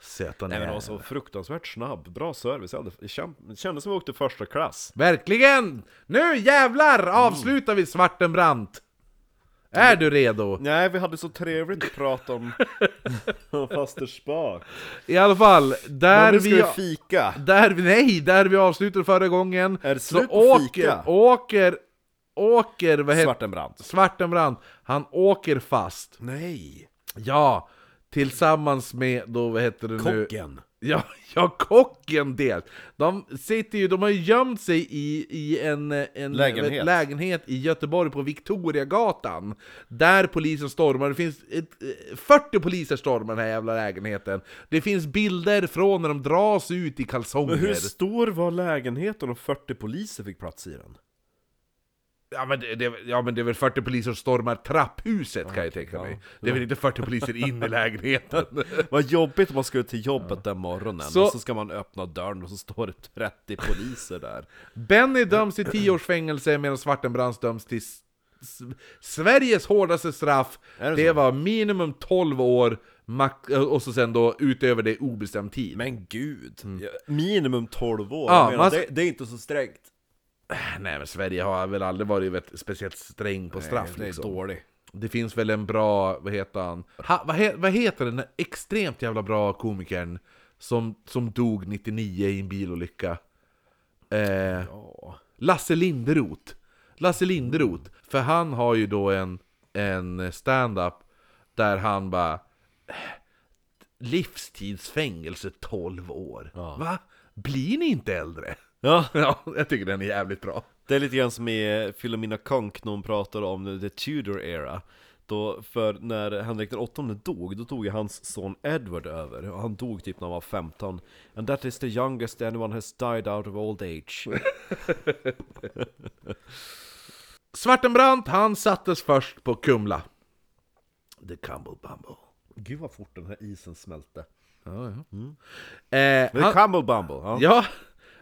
Speaker 2: Söta
Speaker 1: Nej men
Speaker 2: ni är.
Speaker 1: hon var så fruktansvärt snabb, bra service, jag hade, det känd- det kändes som att vi åkte första klass
Speaker 2: Verkligen! Nu jävlar avslutar vi Svartenbrandt! Är du redo?
Speaker 1: Nej vi hade så trevligt att prata om, om faster Spak
Speaker 2: I alla fall, där
Speaker 1: Men nu ska
Speaker 2: vi...
Speaker 1: vi fika!
Speaker 2: Där vi, nej, där vi avslutade förra gången
Speaker 1: Är det
Speaker 2: så
Speaker 1: slut på
Speaker 2: åker,
Speaker 1: fika?
Speaker 2: åker, åker, vad heter
Speaker 1: Svartenbrandt.
Speaker 2: Svartenbrandt, han åker fast.
Speaker 1: Nej!
Speaker 2: Ja, tillsammans med då, vad heter det nu?
Speaker 1: Kocken!
Speaker 2: Ja, ja, kocken del. De sitter ju, de har ju gömt sig i, i en, en
Speaker 1: Lägenhet.
Speaker 2: lägenhet i Göteborg på Victoriagatan. Där polisen stormar, det finns ett, eh, 40 poliser stormar den här jävla lägenheten. Det finns bilder från när de dras ut i kalsonger.
Speaker 1: Men hur stor var lägenheten om 40 poliser fick plats i den?
Speaker 2: Ja men, det, det, ja men det är väl 40 poliser som stormar trapphuset kan jag tänka mig. Det är väl inte 40 poliser in i lägenheten.
Speaker 1: Vad jobbigt om man skulle till jobbet den morgonen,
Speaker 2: Så-
Speaker 1: och så ska man öppna dörren och så står det 30 poliser där.
Speaker 2: Benny döms till 10 års fängelse medan Svartenbrands döms till s- s- Sveriges hårdaste straff.
Speaker 1: Är
Speaker 2: Det,
Speaker 1: det så?
Speaker 2: var minimum 12 år, max, eh, och så sen då utöver det obestämd tid.
Speaker 1: Men gud! Ja, Minimum 12 år,
Speaker 2: Ja,
Speaker 1: Jag menar,
Speaker 2: man-
Speaker 1: det, det är inte så strängt.
Speaker 2: Nej men Sverige har väl aldrig varit vet, speciellt sträng på straff
Speaker 1: det är
Speaker 2: liksom.
Speaker 1: dåligt.
Speaker 2: Det finns väl en bra, vad heter han? Ha, vad, he, vad heter den här extremt jävla bra komikern som, som dog 99 i en bilolycka? Eh,
Speaker 1: Ja.
Speaker 2: Lasse Linderoth. Lasse Linderoth. För han har ju då en, en stand-up där han bara... "Eh, Livstidsfängelse 12 år. Va? Blir ni inte äldre?
Speaker 1: ja,
Speaker 2: Ja, jag tycker den är jävligt bra.
Speaker 1: det är lite grann som i eh, Philomena Konk när hon pratar om the Tudor era. Då, för när Henrik den åttonde dog, då tog ju hans son Edward över. Och han dog typ när han var 15. And that is the youngest anyone has died out of old age.
Speaker 2: Svartenbrandt, han sattes först på Kumla. The Cumble Bumble.
Speaker 1: Gud vad fort den här isen smälte.
Speaker 2: Ja, ja. Eh,
Speaker 1: Men
Speaker 2: han-
Speaker 1: det är Cumble Bumble, ja.
Speaker 2: Ja,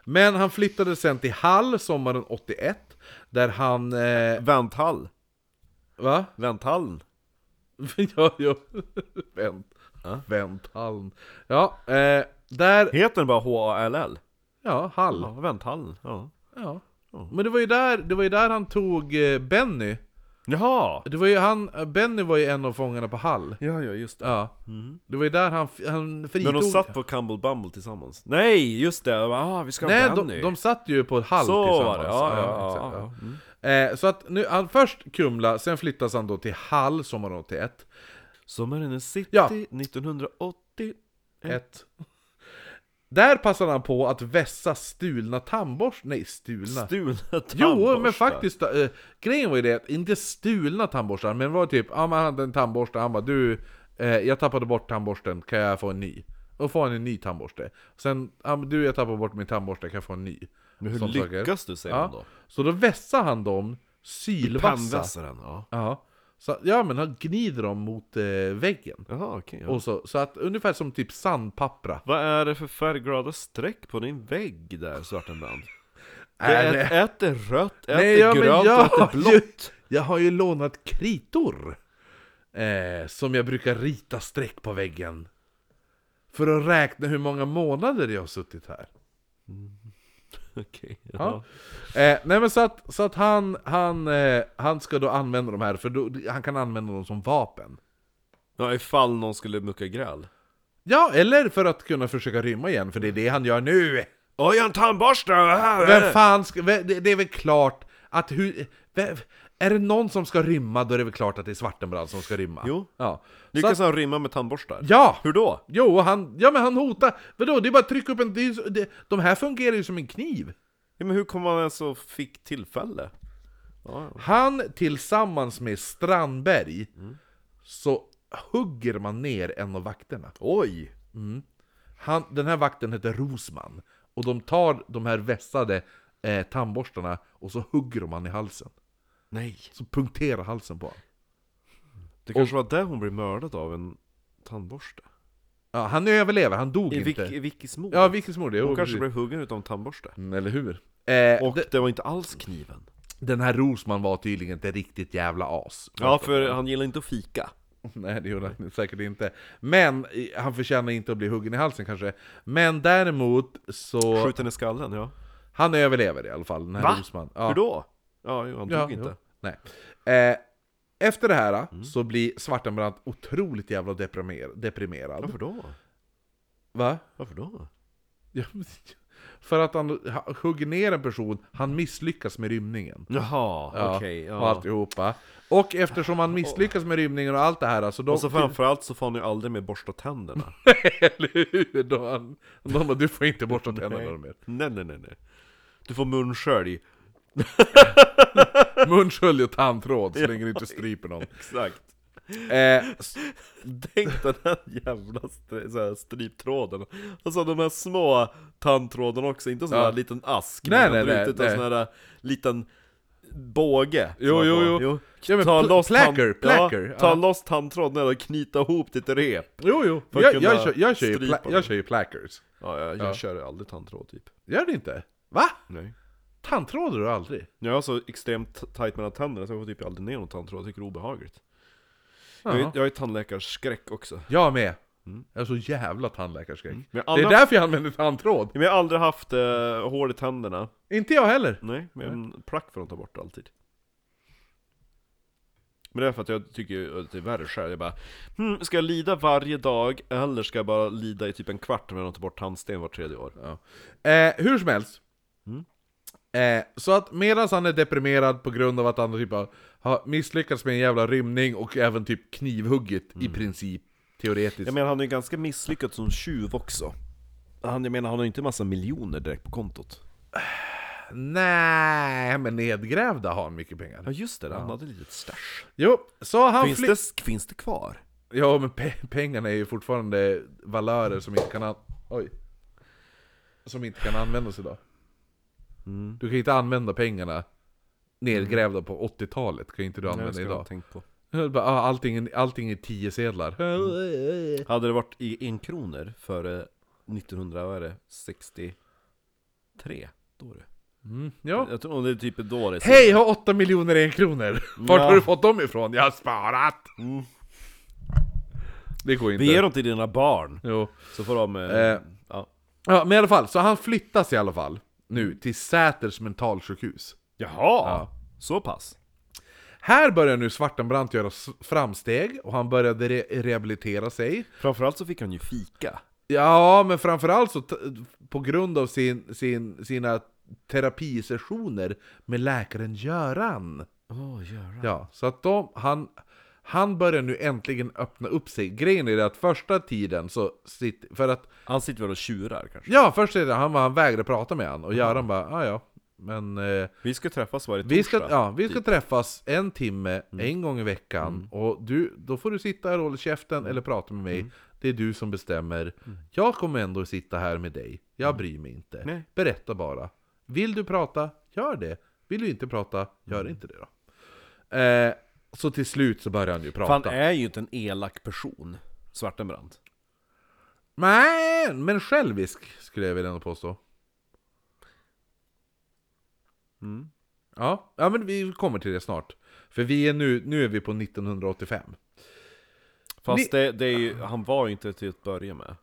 Speaker 2: men han flyttade sen till Hall sommaren 81 Där han... Eh,
Speaker 1: Vänthall.
Speaker 2: va?
Speaker 1: Vänthallen.
Speaker 2: ja, ja. Vänt. Vänt Hall. Ja, eh, där...
Speaker 1: Heter den bara H-A-L-L?
Speaker 2: Ja, Hall.
Speaker 1: Ja, Vänthallen. Ja.
Speaker 2: Ja. Men det var ju där, det var ju där han tog eh, Benny.
Speaker 1: Jaha!
Speaker 2: Det var ju han, eh, Benny var ju en av fångarna på Hall.
Speaker 1: Ja, ja, just det.
Speaker 2: Ja. Det var ju där han, f- han
Speaker 1: När
Speaker 2: fritog...
Speaker 1: de satt på Cumble Bumble tillsammans. Nej, just det! Ah, vi ska
Speaker 2: Nej,
Speaker 1: ha
Speaker 2: de,
Speaker 1: Benny.
Speaker 2: de satt ju på Hall
Speaker 1: Så
Speaker 2: tillsammans.
Speaker 1: var det, ja, ja,
Speaker 2: exakt,
Speaker 1: ja. Mm.
Speaker 2: Eh, så att nu, han, först Kumla, sen flyttas han då till Hall sommaren 81.
Speaker 1: Sommaren i city
Speaker 2: Ja.
Speaker 1: Mm. 1980.
Speaker 2: Ett. Där passade han på att vässa stulna tandborstar, nej stulna
Speaker 1: Stulna
Speaker 2: Jo,
Speaker 1: tandborstar.
Speaker 2: men faktiskt, eh, grejen var ju det att inte stulna tandborstar, men var typ, ja man hade en tandborste, han bara du, eh, jag tappade bort tandborsten, kan jag få en ny? Och får han en ny tandborste. Sen, ja, men du jag tappade bort min tandborste, kan jag få en ny?
Speaker 1: Men hur
Speaker 2: Sånt saker.
Speaker 1: lyckas du säger man
Speaker 2: ja.
Speaker 1: då?
Speaker 2: Så då vässar han dem, sylvassa.
Speaker 1: Pannvässaren, ja.
Speaker 2: Ja. Så, ja men han gnider dem mot eh, väggen.
Speaker 1: Jaha, okej. ja.
Speaker 2: Och så, så att ungefär som typ sandpappra.
Speaker 1: Vad är det för färgglada streck på din vägg där, Svartenband? Det
Speaker 2: Är
Speaker 1: är
Speaker 2: det-
Speaker 1: ett, ett är rött, ett
Speaker 2: Nej, ja,
Speaker 1: är
Speaker 2: men
Speaker 1: grönt
Speaker 2: jag
Speaker 1: och ett är
Speaker 2: har ju-
Speaker 1: blått.
Speaker 2: Jag har ju lånat kritor. Eh, som jag brukar rita streck på väggen. För att räkna hur många månader jag har suttit här.
Speaker 1: Okej, ja.
Speaker 2: Ja. Eh, nej men så att, så att han, han, eh, han ska då använda de här, för då, han kan använda dem som vapen.
Speaker 1: ja, ifall någon skulle mucka gräl.
Speaker 2: Ja, eller för att kunna försöka rymma igen, för det är det han gör nu!
Speaker 1: Oj, jag har en tandborste! Här,
Speaker 2: Vem fan ska, vem- det det är väl klart att hur, vem, är det någon som ska rymma, då är det väl klart att det är Svartenbrand som ska rymma.
Speaker 1: Jo.
Speaker 2: Ja. Så att,
Speaker 1: Lyckas han rymma med tandborstar?
Speaker 2: ja!
Speaker 1: Hur då?
Speaker 2: Jo, han, ja men han hotar. Vadå, det är bara att trycka upp en... Det, är ju så- det, de här fungerar ju som en kniv.
Speaker 1: Ja, men hur kom han ens och fick tillfälle?
Speaker 2: Han tillsammans med Strandberg,
Speaker 1: Mm.
Speaker 2: så hugger man ner en av vakterna. Mm.
Speaker 1: Oj!
Speaker 2: Han, den här vakten heter Rosman. Och de tar de här vässade eh, tandborstarna och så hugger de han i halsen.
Speaker 1: Nej!
Speaker 2: Så punkterar halsen på honom.
Speaker 1: Det kanske var där hon blev mördad av en tandborste?
Speaker 2: Ja, han överlever, han dog
Speaker 1: I,
Speaker 2: inte.
Speaker 1: Vic, i Vickis mor?
Speaker 2: Ja, Vickis mor, det
Speaker 1: hon
Speaker 2: är
Speaker 1: kanske blev huggen utav en tandborste?
Speaker 2: Mm, Eller hur? Eh,
Speaker 1: Och
Speaker 2: de,
Speaker 1: det var inte alls kniven?
Speaker 2: den här Rosman var tydligen inte riktigt jävla as.
Speaker 1: Ja, för han gillar inte att fika.
Speaker 2: Nej, det gjorde han säkert inte. Men eh, han förtjänar inte att bli huggen i halsen kanske. Men däremot så...
Speaker 1: Skjuten i skallen, ja.
Speaker 2: Han överlever i alla fall, den här
Speaker 1: Va?
Speaker 2: Rosman. Ja.
Speaker 1: Hur då? Ja, jo, han
Speaker 2: Ja,
Speaker 1: dog inte. Mm.
Speaker 2: Jo. Nej. Eh, efter det här så blir Svartenbrandt otroligt jävla deprimer- deprimerad.
Speaker 1: Varför då?
Speaker 2: Va?
Speaker 1: Varför då?
Speaker 2: Ja, men- För att han ha- hugger ner en person, han misslyckas med rymningen.
Speaker 1: Jaha,
Speaker 2: Ja,
Speaker 1: okej. ja.
Speaker 2: Och alltihopa. Och eftersom han misslyckas med rymningen och allt det här, alltså då...
Speaker 1: Och så framförallt så får han ju aldrig mer borsta tänderna.
Speaker 2: Eller hur? Då han, de bara, du får inte borsta tänderna mer.
Speaker 1: nej, nej, nej, nej. Du får munskölj.
Speaker 2: Munskölj och tandtråd så länge du inte stryper någon.
Speaker 1: Exakt.
Speaker 2: Eh, s-
Speaker 1: Tänk den här jävla st- så här striptråden. Alltså de här små tandtråden också, inte en sån
Speaker 2: Ja.
Speaker 1: här liten ask.
Speaker 2: Nej,
Speaker 1: man kan
Speaker 2: nej,
Speaker 1: dra ut,
Speaker 2: nej,
Speaker 1: Utan
Speaker 2: nej.
Speaker 1: sån här äh, liten båge.
Speaker 2: Jo,
Speaker 1: som man
Speaker 2: jo,
Speaker 1: får.
Speaker 2: jo. Ja, men
Speaker 1: ta
Speaker 2: pl-
Speaker 1: loss
Speaker 2: placker,
Speaker 1: tand-
Speaker 2: placker,
Speaker 1: Ja, ta
Speaker 2: ja.
Speaker 1: loss tandtråden och knyta ihop ditt rep.
Speaker 2: jo, jo.
Speaker 1: För att
Speaker 2: Jag,
Speaker 1: kunna
Speaker 2: jag, kör, jag, kör ju
Speaker 1: strypa
Speaker 2: pla-
Speaker 1: dem.
Speaker 2: jag kör ju plackers.
Speaker 1: Ja, jag, jag
Speaker 2: Ja.
Speaker 1: kör aldrig tandtråd typ.
Speaker 2: Gör det inte? Va?
Speaker 1: Nej.
Speaker 2: Tandtrådar du aldrig?
Speaker 1: Jag har så extremt tajt mellan tänderna så jag får typ aldrig ner någon tandtråd, jag tycker det är obehagligt. Jag,
Speaker 2: Jaha.
Speaker 1: är- jag är tandläkarskräck också.
Speaker 2: Jag med. Mm. Jag är så jävla tandläkarskräck.
Speaker 1: Mm. Men
Speaker 2: Det är
Speaker 1: alla-
Speaker 2: därför jag använder tandtråd.
Speaker 1: Men jag har aldrig haft eh, hål i tänderna.
Speaker 2: Inte jag heller.
Speaker 1: Nej, men en plack får de ta bort alltid. Men det är för att jag tycker ju att det är värre själv. Jag bara, hmm, ska jag lida varje dag eller ska jag bara lida i typ en kvart om jag tar bort tandsten vart tredje år?
Speaker 2: Ja. Eh, hur som helst.
Speaker 1: Mm.
Speaker 2: Eh, så att medan han är deprimerad på grund av att han typ har- har misslyckats med en jävla rymning och även typ knivhugget
Speaker 1: Mm.
Speaker 2: i princip, teoretiskt.
Speaker 1: Jag menar han är ju ganska misslyckad som tjuv också. Han, jag menar han har ju inte massa miljoner direkt på kontot.
Speaker 2: Nej, men nedgrävda har han mycket pengar.
Speaker 1: Ja just det, han hade lite stash.
Speaker 2: Jo, så han
Speaker 1: Finns
Speaker 2: fly-
Speaker 1: det, finns det kvar?
Speaker 2: Ja, men pe- pengarna är ju fortfarande valörer som inte kan an- Oj. Som inte kan användas idag.
Speaker 1: Mm.
Speaker 2: Du kan inte använda pengarna nedgrävda på 80-talet, kan inte du
Speaker 1: Nej, det
Speaker 2: använda
Speaker 1: ska jag ha
Speaker 2: idag.
Speaker 1: tänkt på.
Speaker 2: Bara, ah, Allting, allting är 10 sedlar.
Speaker 1: Mm.
Speaker 2: Mm.
Speaker 1: Hade det varit i en kronor före 1963, då är det.
Speaker 2: Mm, ja.
Speaker 1: Jag tror det är typ då det är
Speaker 2: Hej, jag har 8 miljoner en kronor! Vart
Speaker 1: Ja.
Speaker 2: har du fått dem ifrån? Jag har sparat!
Speaker 1: Mm.
Speaker 2: Det går inte.
Speaker 1: Vi ger dem till dina barn,
Speaker 2: Jo.
Speaker 1: så får de... Eh,
Speaker 2: Eh.
Speaker 1: Ja.
Speaker 2: Ja, men i alla fall, så han flyttas i alla fall nu till Säters mentalsjukhus.
Speaker 1: Jaha!
Speaker 2: Ja.
Speaker 1: Så pass?
Speaker 2: Här börjar nu Svartenbrandt göra s- framsteg och han började re- rehabilitera sig.
Speaker 1: Framförallt så fick han ju fika.
Speaker 2: Ja, men framförallt så t- på grund av sin, sin, sina terapisessioner med läkaren Göran.
Speaker 1: Åh, oh,
Speaker 2: Ja, så att de, han, Han börjar nu äntligen öppna upp sig. Grejen är det att första tiden så sitter... För att
Speaker 1: Han sitter väl och tjurar kanske?
Speaker 2: Ja, först är det han, han vägrade prata med han och Göran bara ah, ja, men eh,
Speaker 1: Vi ska träffas varje torsdag. typ. Mm.
Speaker 2: vi, ska, ja, vi ska träffas en timme en gång i veckan och du, då får du sitta här och hålla käften eller prata med
Speaker 1: Mm.
Speaker 2: mig. Det är du som bestämmer. Jag kommer ändå sitta här med dig. Jag bryr mig inte.
Speaker 1: Mm. Nej.
Speaker 2: Berätta bara. Vill du prata? Gör det. Vill du inte prata? Gör
Speaker 1: Mm.
Speaker 2: inte det då. Eh, så till slut så börjar han ju
Speaker 1: För han
Speaker 2: prata.
Speaker 1: är ju inte en elak person, Svartenbrandt.
Speaker 2: Nej, men självisk skulle jag vilja ändå påstå. Mm. Ja, ja, men vi kommer till det snart. För vi är nu, nu är vi på 1985.
Speaker 1: Fast
Speaker 2: Ni-
Speaker 1: det, det är ju, han var ju inte till att börja med.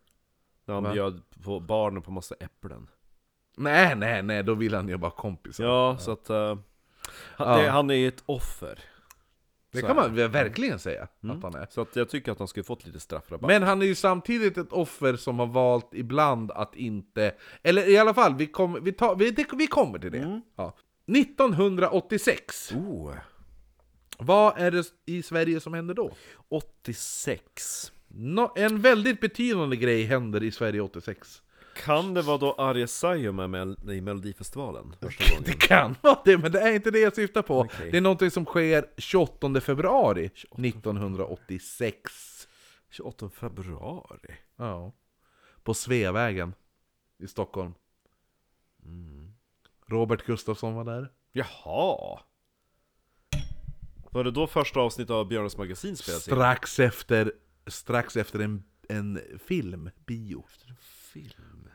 Speaker 1: När han
Speaker 2: Va?
Speaker 1: bjöd på barnen på massa äpplen.
Speaker 2: Nej, nej, nej, då vill han ju bara kompisar.
Speaker 1: Ja, så att... eh, han, det,
Speaker 2: Ja.
Speaker 1: han är ju ett offer.
Speaker 2: det
Speaker 1: så
Speaker 2: kan
Speaker 1: är Mm.
Speaker 2: man verkligen säga att han är.
Speaker 1: Så att jag tycker att han skulle fått lite straffrabatt.
Speaker 2: Men han är ju samtidigt ett offer som har valt ibland att inte... Eller i alla fall, vi, kom, vi, tar, vi, det, vi kommer till det.
Speaker 1: Mm.
Speaker 2: Ja. 1986.
Speaker 1: oh,
Speaker 2: Vad är det i Sverige som händer då?
Speaker 1: 86.
Speaker 2: Nå- en väldigt betydande grej händer i Sverige 86.
Speaker 1: Kan det vara då Arje Saijo med Mel- i Melodifestivalen? första gången?
Speaker 2: Det kan vara det, men det är inte det jag syftar på.
Speaker 1: Okej.
Speaker 2: Det är någonting som sker 28 februari 1986.
Speaker 1: 28 februari?
Speaker 2: Ja. På Sveavägen i Stockholm.
Speaker 1: Mm.
Speaker 2: Robert Gustafsson var där.
Speaker 1: Jaha! Var det då första avsnittet av Björnes magasin spelades in?
Speaker 2: Strax efter, strax efter en, en film, bio.
Speaker 1: Film.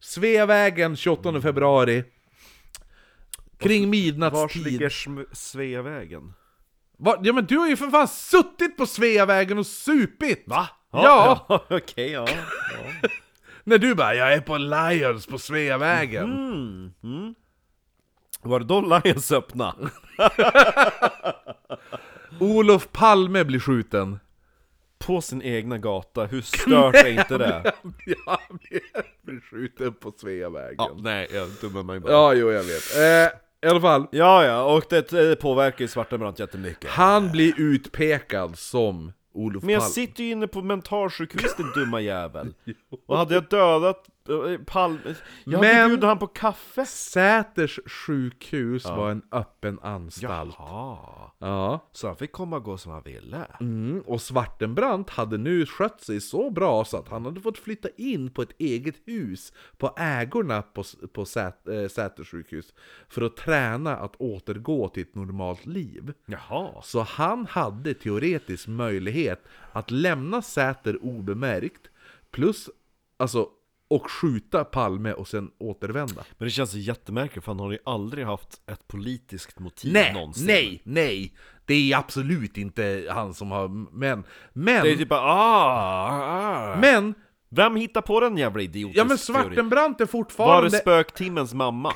Speaker 2: Sveavägen 28 februari. Kring
Speaker 1: Vars
Speaker 2: midnattstid.
Speaker 1: ligger Sm- Sveavägen?
Speaker 2: Va? Ja men du har ju för fan suttit på Sveavägen och supit!
Speaker 1: Va?
Speaker 2: Ja.
Speaker 1: Okej, ja. ja.
Speaker 2: När du bara 'Jag är på Lions på Sveavägen'
Speaker 1: Var det då Lions öppna?
Speaker 2: Olof Palme blir skjuten
Speaker 1: På sin egna gata, hur stört är inte det?
Speaker 2: Ja, han blir skjuten på
Speaker 1: Ja,
Speaker 2: Sveavägen
Speaker 1: nej, jag dummar mig bara. Ja,
Speaker 2: Ja, jo jag vet eh, I alla fall,
Speaker 1: ja, och det, det påverkar ju Svartenbrandt jättemycket.
Speaker 2: han blir utpekad som Olof
Speaker 1: Men jag
Speaker 2: Palme
Speaker 1: sitter ju inne på mentalsjukhus din dumma jävel! Och hade jag dödat eh, Palme... Jag
Speaker 2: Men-
Speaker 1: Men... bjudit han på kaffe!
Speaker 2: Säters sjukhus var en öppen anstalt
Speaker 1: Jaha.
Speaker 2: Ja.
Speaker 1: Så han fick komma och gå som han ville?
Speaker 2: Mm, och Svartenbrandt hade nu skött sig så bra så att han hade fått flytta in på ett eget hus på ägorna på, S- på Sät, eh, Säters sjukhus för att träna att återgå till ett normalt liv.
Speaker 1: Jaha.
Speaker 2: Så han hade teoretisk möjlighet att lämna Säter obemärkt plus, alltså, och skjuta Palme och sen återvända.
Speaker 1: Men det känns ju jättemärkligt för han har ju aldrig haft ett politiskt motiv
Speaker 2: Nej,
Speaker 1: någonsin.
Speaker 2: nej, nej! Det är absolut inte han som har... Men, men,
Speaker 1: Det är typ bara, ah, ah.
Speaker 2: men!
Speaker 1: Vem hittar på den jävla idiotiska
Speaker 2: Ja
Speaker 1: teorin?
Speaker 2: men Svartenbrandt är
Speaker 1: Var det
Speaker 2: fortfarande...
Speaker 1: spöktimmens mamma?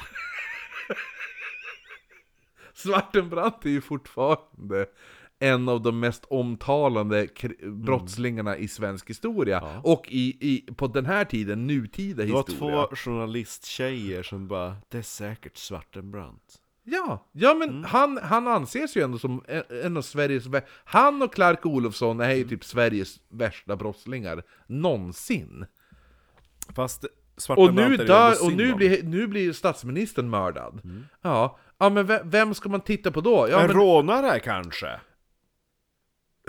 Speaker 2: Svartenbrandt är ju fortfarande en av de mest omtalande kr- brottslingarna i svensk historia. Och i, i, på den här tiden, nutida
Speaker 1: Det var
Speaker 2: historia.
Speaker 1: två journalisttjejer som bara, det är säkert Svartenbrandt.
Speaker 2: Ja, ja men han, han anses ju ändå som en, en av Sveriges... vä- Han och Clark Olofsson är ju typ Sveriges värsta brottslingar någonsin.
Speaker 1: Fast
Speaker 2: Och
Speaker 1: Svartenbrandt
Speaker 2: nu,
Speaker 1: är det
Speaker 2: dör,
Speaker 1: ändå
Speaker 2: och
Speaker 1: synd
Speaker 2: nu
Speaker 1: om.
Speaker 2: blir, nu blir statsministern mördad. Mm. Ja. ja, men ve- vem ska man titta på då? Ja,
Speaker 1: En
Speaker 2: men,
Speaker 1: rånare kanske?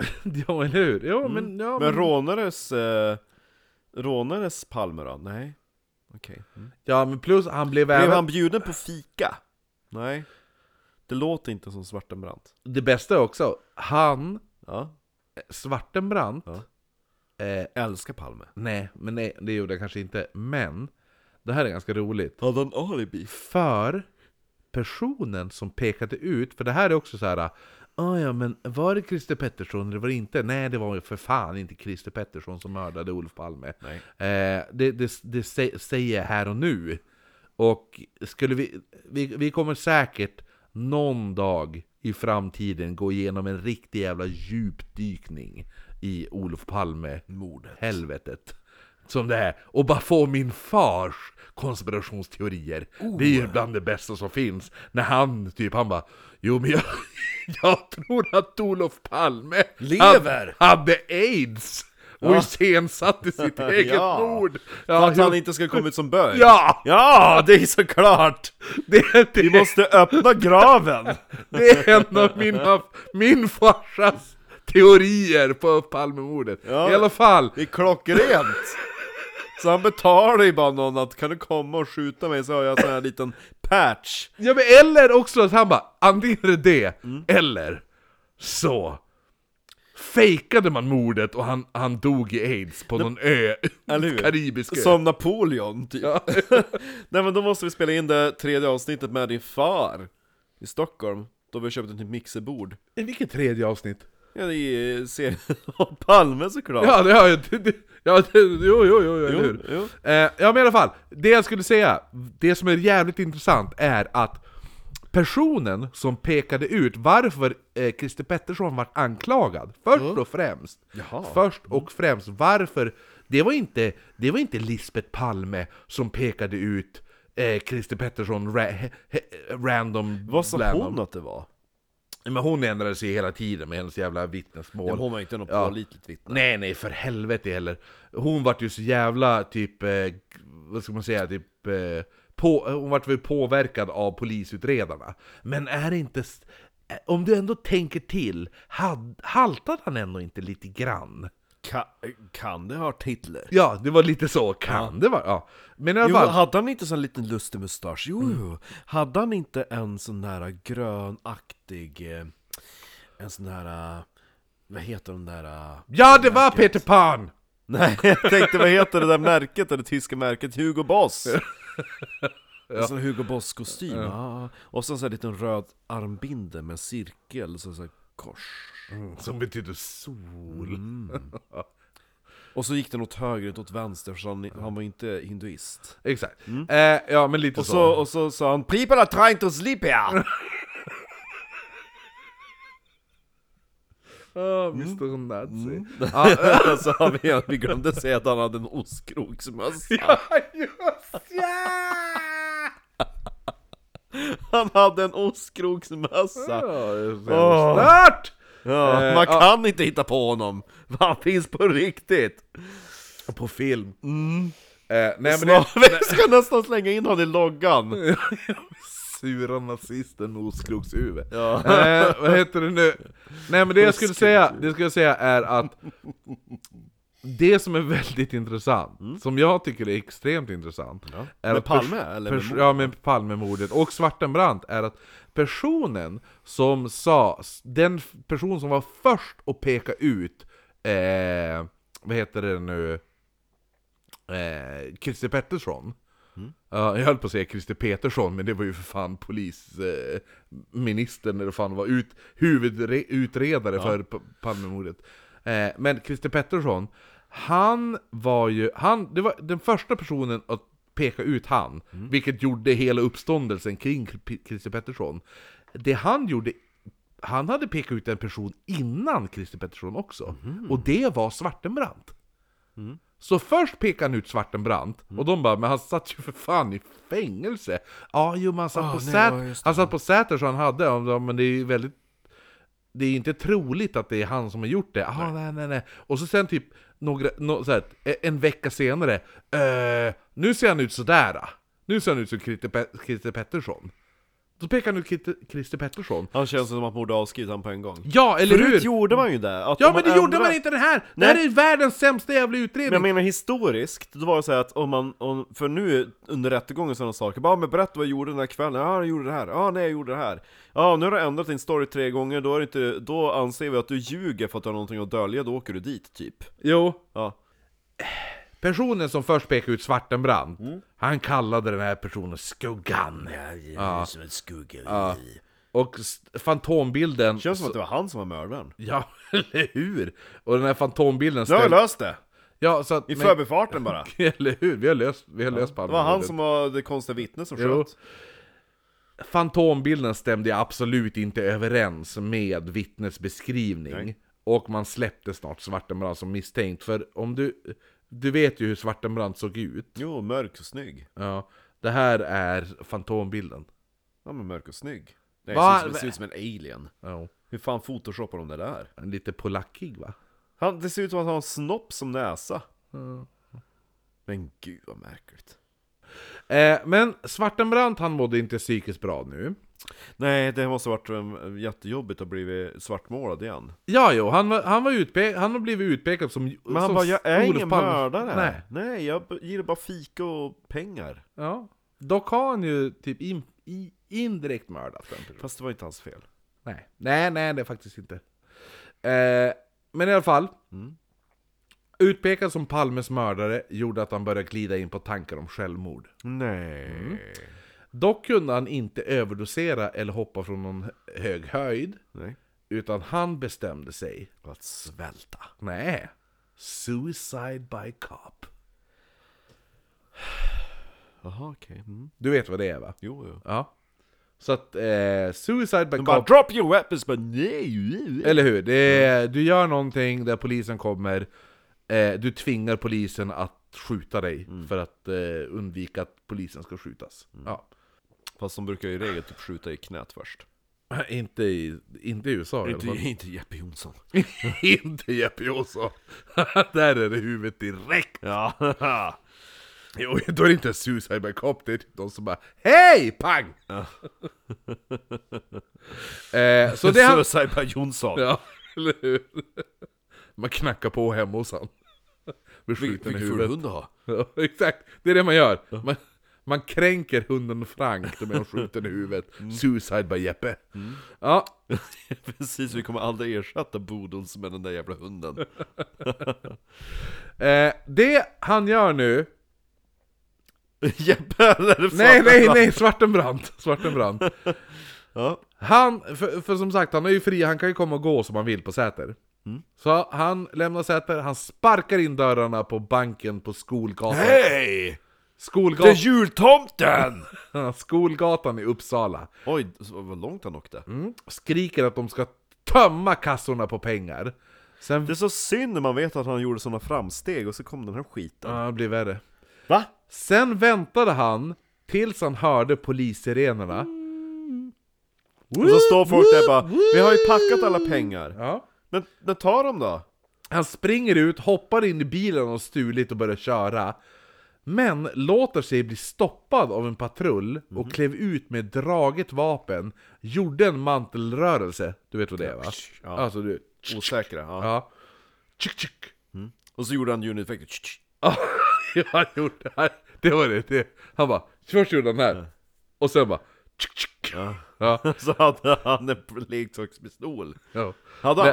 Speaker 2: ja eller hur? Ja, Mm. men, ja,
Speaker 1: Men rånares... Eh, rånares Palme då? Nej. Okej.
Speaker 2: Ja men plus han blev
Speaker 1: Blev
Speaker 2: även...
Speaker 1: han bjuden på fika? Nej. Det låter inte som Svartenbrandt.
Speaker 2: Det bästa är också, han,
Speaker 1: Ja.
Speaker 2: Svartenbrandt eh,
Speaker 1: Älskar Palme.
Speaker 2: Nej, men nej, det gjorde jag kanske inte Men, det här är ganska roligt
Speaker 1: Hade han alibi?
Speaker 2: För personen som pekade ut För det här är också så här. "Ah, ja men var det Christer Pettersson eller var det inte? Nej det var ju för fan inte Christer Pettersson som mördade Olof Palme
Speaker 1: Nej.
Speaker 2: Eh, det, det, det sä- säger jag här och nu. Och skulle vi, vi, vi kommer säkert någon dag i framtiden gå igenom en riktig jävla djupdykning i Olof Palme. Mordet. Helvetet. som det är och bara få min fars konspirationsteorier. Det är ju
Speaker 1: Oh.
Speaker 2: bland det bästa som finns. När han typ, han bara Jo men jag, jag tror att Olof Palme
Speaker 3: Lever.
Speaker 2: Hade, hade aids! Och iscensatte sitt eget
Speaker 1: Ja.
Speaker 2: mord!
Speaker 1: För att han
Speaker 2: jo-
Speaker 1: inte ska komma ut som bög?
Speaker 2: ja!
Speaker 1: Ja, det är såklart!
Speaker 2: Det, det,
Speaker 1: Vi måste öppna graven!
Speaker 2: Det är en av mina, min farsas teorier på Palmemordet.
Speaker 1: Ja.
Speaker 2: I alla fall,
Speaker 1: Det är klockrent! Så han betalar ju bara någon att kan du komma och skjuta mig så har jag en sån här liten patch
Speaker 2: ja, men eller också att han bara, antingen är det det, eller så fejkade man mordet och han, han dog i aids på någon ö,
Speaker 1: Eller hur?
Speaker 2: karibisk ö.
Speaker 1: Som Napoleon typ Nej men då måste vi spela in det tredje avsnittet med din far I Stockholm, då vi köpte ett nytt typ mixerbord
Speaker 2: I vilket tredje avsnitt?
Speaker 1: Ja det är serien om Palme såklart
Speaker 2: Ja, det har jag. Det, det, ja, det, jo, jo, jo, jo, eller
Speaker 1: Jo,
Speaker 2: hur?
Speaker 1: jo.
Speaker 2: Eh, ja, men i alla fall. Det jag skulle säga, det som är jävligt intressant är att personen som pekade ut varför eh, Christer Pettersson var anklagad, först
Speaker 1: Mm.
Speaker 2: och främst. Först och främst varför, det var inte, det var inte Lisbeth Palme som pekade ut eh, Christer Pettersson ra, he, he, random
Speaker 1: Vad sa
Speaker 2: bland dem.
Speaker 1: hon att det var?
Speaker 2: Men hon ändrade sig hela tiden med hennes jävla vittnesmål.
Speaker 1: Hon var inte något
Speaker 2: Ja.
Speaker 1: pålitligt vittne
Speaker 2: Nej, nej, för helvete heller. Hon vart ju så jävla typ, eh, vad ska man säga, typ... Eh, på, hon vart väl påverkad av polisutredarna. Men är det inte... s- eh, Om du ändå tänker till, had, haltade han ändå inte lite grann?
Speaker 1: Ka- Kan det ha Hitler?
Speaker 2: Ja, det var lite så, kan det vara? Ja. Men i alla
Speaker 1: Jo,
Speaker 2: fall...
Speaker 1: hade han inte sån liten lustig mustasch? Jo, jo. Hade han inte en sån där grönaktig... eh, En sån där... eh, Vad heter de där... eh,
Speaker 2: ja, det var Peter Pan!
Speaker 1: Nej, jag tänkte vad heter det där märket, det där tyska märket? Hugo Boss! En sån Hugo Boss-kostym, ja. Och sen så här liten röd armbindel med en cirkel, så så här kors.
Speaker 2: Som betyder sol. Mm.
Speaker 1: Och så gick den åt höger, inte åt vänster, för han, han var ju inte hinduist.
Speaker 2: Exakt. Eh, ja, men lite
Speaker 1: Och så, och så sa han 'People are trying to sleep here!'
Speaker 2: Ah, Mr Nazi.
Speaker 1: så har vi, vi glömde säga att han hade en ostkroksmössa.
Speaker 2: Ja, just ja!
Speaker 1: Han hade en ostkroksmössa.
Speaker 2: Ja, det är så
Speaker 1: Åh.
Speaker 2: jävla stört!
Speaker 1: Ja,
Speaker 2: Eh,
Speaker 1: man
Speaker 2: ja.
Speaker 1: kan inte hitta på honom. Han finns på riktigt.
Speaker 2: På film. Eh, nej men det
Speaker 1: Snart, vi ska nästan slänga in honom i loggan.
Speaker 2: sura nazisten med oskrokshuvud.
Speaker 1: Ja.
Speaker 2: Eh, vad heter det nu? Nej men det jag skulle säga, det jag skulle säga är att det som är väldigt intressant, som jag tycker är extremt intressant, är
Speaker 1: Mm. Med
Speaker 2: att
Speaker 1: Palme,
Speaker 2: pers-
Speaker 1: eller med
Speaker 2: pers-
Speaker 1: mordet?
Speaker 2: Ja, med Palmemordet och Svartenbrandt är att personen som sa, den f- person som var först att peka ut, eh, vad heter det nu, eh, Christer Pettersson. Ja, jag höll på att säga Christer Petersson, men det var ju för fan polisministern, eh, ministern, eller fan var ut, huvudutredare för P- Palmemordet. Eh, men Christer Pettersson, han var ju, han, det var den första personen att peka ut han, vilket gjorde hela uppståndelsen kring P- Christer Pettersson. Det han gjorde, han hade pekat ut en person innan Christer Pettersson också,
Speaker 1: Mhm.
Speaker 2: och det var Svartenbrandt.
Speaker 1: Mm.
Speaker 2: Så först pekade han ut Svartenbrandt, och de bara 'Men han satt ju för fan i fängelse' Ja, jo men han satt,
Speaker 1: Ah,
Speaker 2: på,
Speaker 1: nej, ja,
Speaker 2: säter,
Speaker 1: just det.
Speaker 2: han satt på Säter så han hade, ja, men det är ju väldigt det är inte troligt att det är han som har gjort det. Ah, nej. nej, nej, Och så sen typ några, nå så här, e, en vecka senare. Eh, nu ser han ut sådär. ah. Nu ser han ut som Christer, Pe- Christer Pettersson. Då pekar han ut Christer, Christer Pettersson.
Speaker 1: Han känns som att man borde ha avskrivit honom på en gång.
Speaker 2: Ja, eller
Speaker 1: Förut
Speaker 2: hur?
Speaker 1: gjorde man ju det. att
Speaker 2: Ja,
Speaker 1: om
Speaker 2: men det
Speaker 1: ändrar-
Speaker 2: gjorde man inte det här! Det
Speaker 1: Nej.
Speaker 2: här är världens sämsta jävla
Speaker 1: Men jag
Speaker 2: utredning!
Speaker 1: menar historiskt, då var det så här att om man, om, för nu under rättegången och sådana saker, bara men berätta vad jag gjorde den här kvällen, ja jag gjorde det här, ja nej jag gjorde det här. Ja nu har du ändrat din story tre gånger, då, är det inte, då anser vi att du ljuger för att du har någonting att dölja, då åker du dit typ.
Speaker 2: Jo,
Speaker 1: Ja.
Speaker 2: personen som först pekade ut Svartenbrandt,
Speaker 1: Mm.
Speaker 2: han kallade den här personen Skuggan.
Speaker 3: Ja, som en skugga.
Speaker 2: Och s- fantombilden...
Speaker 1: Känns som att det var han som var mördaren.
Speaker 2: Ja, eller hur? Och den här fantombilden
Speaker 1: Nu har jag
Speaker 2: ställde...
Speaker 1: löst det!
Speaker 2: Ja, så att,
Speaker 1: I
Speaker 2: men-
Speaker 1: förbifarten bara.
Speaker 2: Eller hur? Vi har löst, vi har löst
Speaker 1: Det var han som var det konstiga vittnet som
Speaker 2: Jo.
Speaker 1: sköt.
Speaker 2: Fantombilden stämde absolut inte överens med vittnets beskrivning. Och man släppte snart Svartenbrandt som misstänkt. För om du... Du vet ju hur Svartenbrandt såg ut.
Speaker 1: Jo, mörk och snygg.
Speaker 2: Ja. Det här är Fantombilden.
Speaker 1: Ja men mörk och snygg. Det
Speaker 2: Va?
Speaker 1: ser, ut som, ser ut som en alien.
Speaker 2: Ja.
Speaker 1: Hur fan photoshoppar de det där?
Speaker 2: Lite polackig va?
Speaker 1: Han, det ser ut som att han har en snopp som näsa. Mm. Men gud vad märkligt.
Speaker 2: Eh, men Svartenbrandt han mådde inte psykiskt bra nu.
Speaker 1: Nej, det måste ha varit um, jättejobbigt att bli svartmålad igen.
Speaker 2: Ja, jo, han, var, han, var utpe- han har blivit utpekad som...
Speaker 1: Men han
Speaker 2: som
Speaker 1: bara, jag är
Speaker 2: Olof
Speaker 1: ingen
Speaker 2: Palme."
Speaker 1: mördare.
Speaker 2: Nej.
Speaker 1: Nej. Nej, jag b- gillar bara fika och pengar.
Speaker 2: Ja. Dock har han ju typ in, i, indirekt mördat den personen.
Speaker 1: Fast det var inte hans fel.
Speaker 2: Nej, nej, nej det är faktiskt inte. Eh, men i alla fall.
Speaker 1: Mm.
Speaker 2: Utpekad som Palmes mördare gjorde att han började glida in på tankar om självmord.
Speaker 1: Nej.
Speaker 2: Dock kunde han inte överdosera eller hoppa från någon hög höjd.
Speaker 1: Nej.
Speaker 2: Utan han bestämde sig.
Speaker 1: Att svälta.
Speaker 2: Nej. Suicide by cop.
Speaker 1: Jaha, okej. Mm.
Speaker 2: Du vet vad det är va?
Speaker 1: Jo, jo.
Speaker 2: Ja. Så att eh, suicide by
Speaker 1: De bara,
Speaker 2: cop
Speaker 1: drop your weapons, but nej.
Speaker 2: Eller hur? Det är,
Speaker 1: Mm.
Speaker 2: Du gör någonting där polisen kommer, eh, du tvingar polisen att skjuta dig
Speaker 1: Mm.
Speaker 2: för att eh, undvika att polisen ska skjutas. Ja.
Speaker 1: Fast de brukar ju i regel typ skjuta i knät först.
Speaker 2: Inte, i, inte i USA i alla
Speaker 1: Inte,
Speaker 2: fall.
Speaker 1: inte Jeppe Jonsson.
Speaker 2: inte Jeppe Jonsson. där är det huvudet direkt.
Speaker 1: Ja.
Speaker 2: Jo, då är det inte suicide by cop, det är typ de som bara Hej! Pang! eh, så det han,
Speaker 1: Suicide by Jonsson.
Speaker 2: Ja, eller hur? Man knackar på hemma hos han. Blir skjuten i
Speaker 1: Vilken ful
Speaker 2: huvudet.
Speaker 1: hund du har.
Speaker 2: Ja, exakt, det är det man gör. Man, man kränker hunden Frank, de är skjuten i huvudet. Suicide by Jeppe. Ja,
Speaker 1: Precis, vi kommer aldrig ersätta Bodils med den där jävla hunden.
Speaker 2: eh, det han gör nu...
Speaker 1: Jeppe eller
Speaker 2: Nej,
Speaker 1: Svartenbrandt?
Speaker 2: nej, nej, Svartenbrandt! Svartenbrandt.
Speaker 1: Ja.
Speaker 2: Han, för, för som sagt, han är ju fri, han kan ju komma och gå som han vill på Säter.
Speaker 1: Mm.
Speaker 2: Så han lämnar Säter, han sparkar in dörrarna på banken på Skolgatan.
Speaker 1: Hej! Det är
Speaker 2: Skolgatan,
Speaker 1: jultomten!
Speaker 2: Skolgatan i Uppsala.
Speaker 1: Oj, så- vad långt han åkte.
Speaker 2: Mm. Skriker att de ska tömma kassorna på pengar. Sen...
Speaker 1: Det är så synd när man vet att han gjorde sådana framsteg och så kom den här skiten.
Speaker 2: Ja, det blir värre.
Speaker 1: Va?
Speaker 2: Sen väntade han tills han hörde polissirenerna.
Speaker 1: Mm. Och så står folk där bara, vi har ju packat alla pengar.
Speaker 2: Ja.
Speaker 1: Men, men tar de då?
Speaker 2: Han springer ut, hoppar in i bilen och stulit och börjar köra. Men låter sig bli stoppad av en patrull
Speaker 1: Mhm.
Speaker 2: och klev ut med draget vapen. Gjorde en mantelrörelse, du vet vad det är va?
Speaker 1: Ja.
Speaker 2: Alltså du...
Speaker 1: Osäkra, ja.
Speaker 2: Ja. Tjuk, tjuk.
Speaker 1: Och så gjorde han ljudeffekter. Tsch, tsch.
Speaker 2: Ja, han gjorde det här. Det var det. det. Han bara, först gjorde han här. Och sen bara... Tjuk, tjuk. Ja.
Speaker 1: Så hade han en leksakspistol.
Speaker 2: Ja.
Speaker 1: Hade han?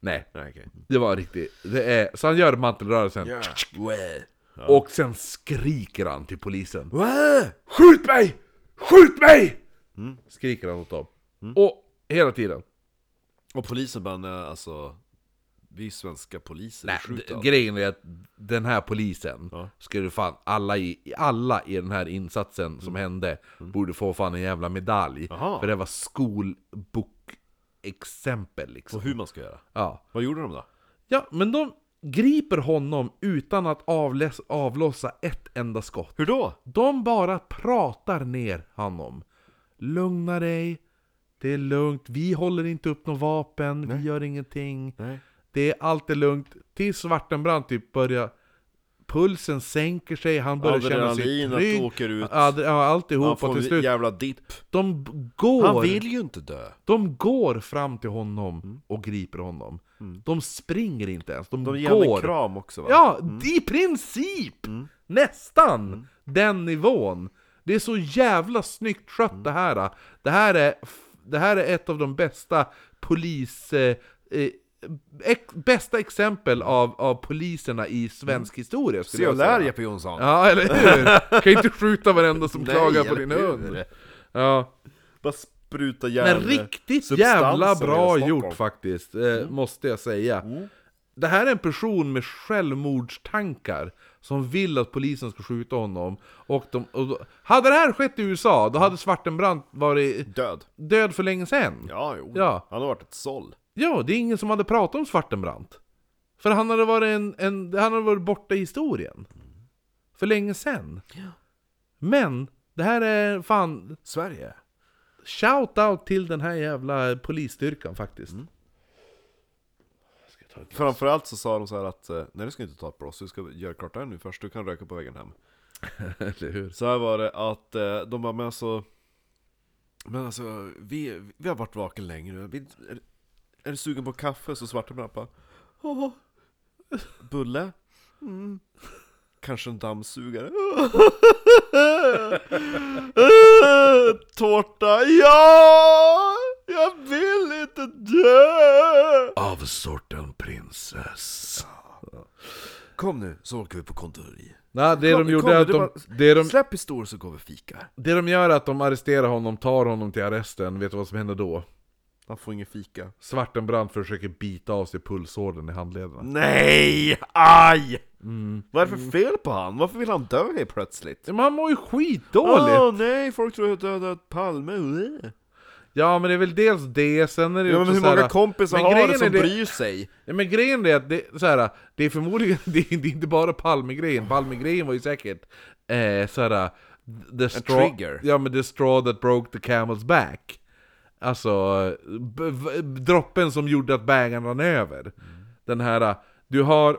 Speaker 2: Nej, nej,
Speaker 1: Nej, okej.
Speaker 2: det var riktigt. Det är, så han gör mantelrörelsen,
Speaker 1: Well.
Speaker 2: och sen skriker han till polisen.
Speaker 1: Well.
Speaker 2: Skjut mig! Skjut mig! Mm, Skriker han åt dem. Mm. Och hela tiden.
Speaker 1: Och polisen bara, nej, alltså, vi är svenska poliser,
Speaker 2: Nej,
Speaker 1: vi skjuter
Speaker 2: d-
Speaker 1: aldrig.
Speaker 2: grejen är att den här polisen,
Speaker 1: Ja.
Speaker 2: skulle fan, alla i, i- alla i den här insatsen som hände, borde få fan en jävla medalj.
Speaker 1: Jaha.
Speaker 2: För det var skolbokexempel liksom.
Speaker 1: Och hur man ska göra?
Speaker 2: Ja.
Speaker 1: Vad gjorde de då?
Speaker 2: Ja, men de griper honom utan att avläs- avlossa ett enda skott.
Speaker 1: Hur då?
Speaker 2: De bara pratar ner honom. Lugna dig, det är lugnt, vi håller inte upp något vapen, vi gör ingenting.
Speaker 1: Nej.
Speaker 2: Det är allt är lugnt. Tills Svartenbrandt typ börjar... Pulsen sänker sig, han börjar känna sig
Speaker 1: Adrenalinet
Speaker 2: trygg.
Speaker 1: åker ut.
Speaker 2: Adre- Ja,
Speaker 1: Han
Speaker 2: alltihop.
Speaker 1: får
Speaker 2: Och till
Speaker 1: en
Speaker 2: slut,
Speaker 1: jävla dipp.
Speaker 2: de b- går...
Speaker 1: Han vill ju inte dö.
Speaker 2: De går fram till honom och griper honom. De springer inte ens, de,
Speaker 1: Mm. De ger honom
Speaker 2: går.
Speaker 1: en kram också va? Mm.
Speaker 2: Ja, i princip! Nästan! Den nivån. Det är så jävla snyggt skött
Speaker 1: Mm.
Speaker 2: det här. Det här, är, f- det här är ett av de bästa polis... Eh, eh, ex, bästa exempel av, av poliserna i svensk historia skulle
Speaker 1: Mm. Se och
Speaker 2: jag säga.
Speaker 1: lär Jeppe Jonsson.
Speaker 2: Ja, eller hur? kan inte skjuta varenda som
Speaker 1: Nej,
Speaker 2: klagar på
Speaker 1: eller
Speaker 2: din
Speaker 1: hur?
Speaker 2: hund. Ja.
Speaker 1: Bara spruta järn.
Speaker 2: Men riktigt
Speaker 1: substanser
Speaker 2: jävla
Speaker 1: över
Speaker 2: bra
Speaker 1: Stockholm.
Speaker 2: gjort faktiskt, eh, måste jag säga. Det här är en person med självmordstankar som vill att polisen ska skjuta honom. Och de, och då, hade det här skett i USA, då hade Svartenbrandt varit
Speaker 1: Död.
Speaker 2: död för länge sedan. Ja.
Speaker 1: Ja, jo.
Speaker 2: Ja.
Speaker 1: Han har varit ett såll.
Speaker 2: det är ingen som hade pratat om Svartenbrandt. För han hade varit, en, en, han hade varit borta i historien. För länge sen. Men, det här är fan...
Speaker 1: Sverige?
Speaker 2: Shout out till den här jävla polisstyrkan faktiskt. Ska jag ta ett-
Speaker 1: Framförallt så sa de så här att eh, Nej du ska inte ta ett blås, du ska göra klart det här nu först, du kan röka på vägen hem
Speaker 2: Eller hur?
Speaker 1: Så här var det att eh, de bara, men alltså Men alltså, vi, vi har varit vaken länge nu, vi, är, är du sugen på kaffe? Så Svartenbrandt bara "Ja." Bulle? Mm. Kanske en dammsugare? Tårta? Ja! Jag vill inte dö!
Speaker 2: Av sorten prinsess.
Speaker 1: Kom nu, så åker vi på konditori
Speaker 2: Nej, det
Speaker 1: Kom-
Speaker 2: de gjorde
Speaker 1: kom,
Speaker 2: är att
Speaker 1: det
Speaker 2: de,
Speaker 1: var-
Speaker 2: det de,
Speaker 1: Släpp pistol så går vi och fikar
Speaker 2: det de gör är att de arresterar honom, tar honom till arresten. Vet du vad som händer då?
Speaker 1: Han får ingen fika
Speaker 2: Svartenbrandt försöker bita av sig pulsådern i handlederna.
Speaker 1: Nej! Aj! Vad är det för fel på han? Varför vill han dö helt plötsligt?
Speaker 2: Men han mår ju skitdåligt!
Speaker 1: Åh nej, folk tror jag dödat Palme Ugh.
Speaker 2: Ja men det är väl dels det, sen är det
Speaker 1: Ja
Speaker 2: också
Speaker 1: men hur
Speaker 2: så här-
Speaker 1: många kompisar
Speaker 2: men
Speaker 1: har
Speaker 2: grejen
Speaker 1: du som
Speaker 2: är det-
Speaker 1: bryr sig?
Speaker 2: Ja, men grejen är att det, så här, det är förmodligen, det är, det är inte bara Palmegrejen, Palmegrejen var ju säkert eh, så här, the straw,
Speaker 1: trigger.
Speaker 2: Ja men the straw that broke the camel's back. Alltså, b- v- droppen som gjorde att bägaren rann över. Den här, du har,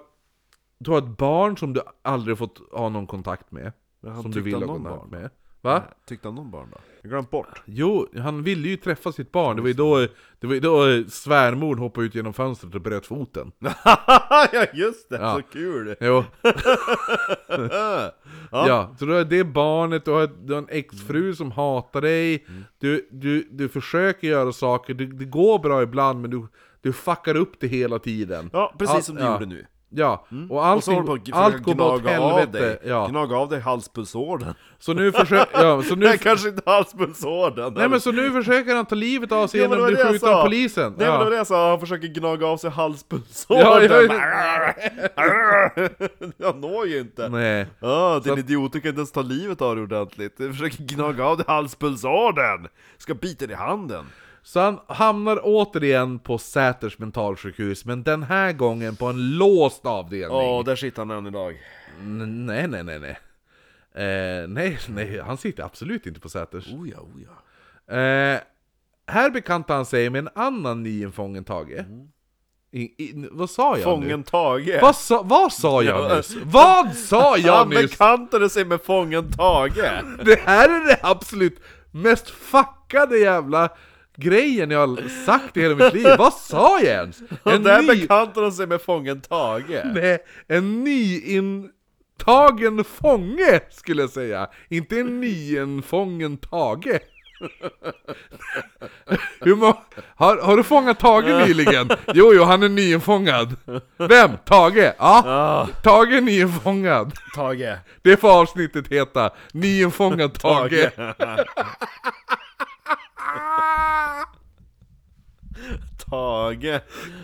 Speaker 2: du har ett barn som du aldrig fått ha någon kontakt med.
Speaker 1: Men han
Speaker 2: Som du
Speaker 1: tyckte
Speaker 2: vill ha
Speaker 1: han om
Speaker 2: kontakt
Speaker 1: barn.
Speaker 2: med. Va?
Speaker 1: Tyckte han om barn då? Jag glömt bort
Speaker 2: Jo, han ville ju träffa sitt barn. Det var ju då, det var ju då svärmor hoppade ut genom fönstret och bröt foten.
Speaker 1: Ja just det,
Speaker 2: Ja.
Speaker 1: så kul!
Speaker 2: Jo. ja, så du har det barnet, du har, du har en
Speaker 1: Mm.
Speaker 2: exfru som hatar dig, du, du, du försöker göra saker, du, det går bra ibland men du, du fuckar upp det hela tiden.
Speaker 1: Ja, precis
Speaker 2: Allt-
Speaker 1: som du
Speaker 2: ja.
Speaker 1: gjorde nu
Speaker 2: Ja, och
Speaker 1: Och så
Speaker 2: allting,
Speaker 1: håller du på att g-
Speaker 2: allt
Speaker 1: försöka
Speaker 2: går bara åt
Speaker 1: gnaga av
Speaker 2: helvete.
Speaker 1: dig,
Speaker 2: Ja.
Speaker 1: gnaga av dig halspulsådern
Speaker 2: Så nu försöker... Ja, så nu,
Speaker 1: Nej kanske inte halspulsådern
Speaker 2: nej men så nu försöker han ta livet av sig
Speaker 1: Ja, men
Speaker 2: genom
Speaker 1: det
Speaker 2: att
Speaker 1: var
Speaker 2: bli
Speaker 1: det jag
Speaker 2: skjuten
Speaker 1: sa.
Speaker 2: av polisen.
Speaker 1: Nej men det var
Speaker 2: Ja.
Speaker 1: det jag sa, han försöker gnaga av sig halspulsådern
Speaker 2: Ja, jag-
Speaker 1: Han når ju inte!
Speaker 2: Nej.
Speaker 1: Ja, din idiot, du kan inte ens ta livet av dig ordentligt. Du försöker gnaga av dig halspulsådern! Ska bita dig i handen.
Speaker 2: Så han hamnar återigen på Säters mentalsjukhus, men den här gången på en låst avdelning.
Speaker 1: Ja, där sitter han än idag.
Speaker 2: N- Nej, nej, nej, nej. Eh, nej, nej, han sitter absolut inte på Säters.
Speaker 1: Oh ja, oh ja. Mm.
Speaker 2: Eh, här bekantar han sig med en annan nyinfången Tage. I, i, vad sa jag nu?
Speaker 1: Mm. Fången Tage.
Speaker 2: Vad sa, vad sa jag
Speaker 1: Ja. eh,
Speaker 2: nyss? Vad sa jag
Speaker 1: Han
Speaker 2: nyss?
Speaker 1: bekantade sig med Fången Tage!
Speaker 2: Det här är det absolut mest fuckade jävla grejen jag har sagt i hela mitt liv. Vad sa jag ens?
Speaker 1: Och
Speaker 2: En
Speaker 1: där
Speaker 2: ny-
Speaker 1: bekantade han sig med Fången Tage.
Speaker 2: med en nyintagen fånge skulle jag säga. Inte en nyinfången Tage. Hur må- har, har du fångat Tage nyligen? Jo, jo, han är nyinfångad. Vem? Tage? Ja, Tage är nyinfångad.
Speaker 1: Tage.
Speaker 2: Det får avsnittet heta. Nyinfångad Tage.
Speaker 1: Tage.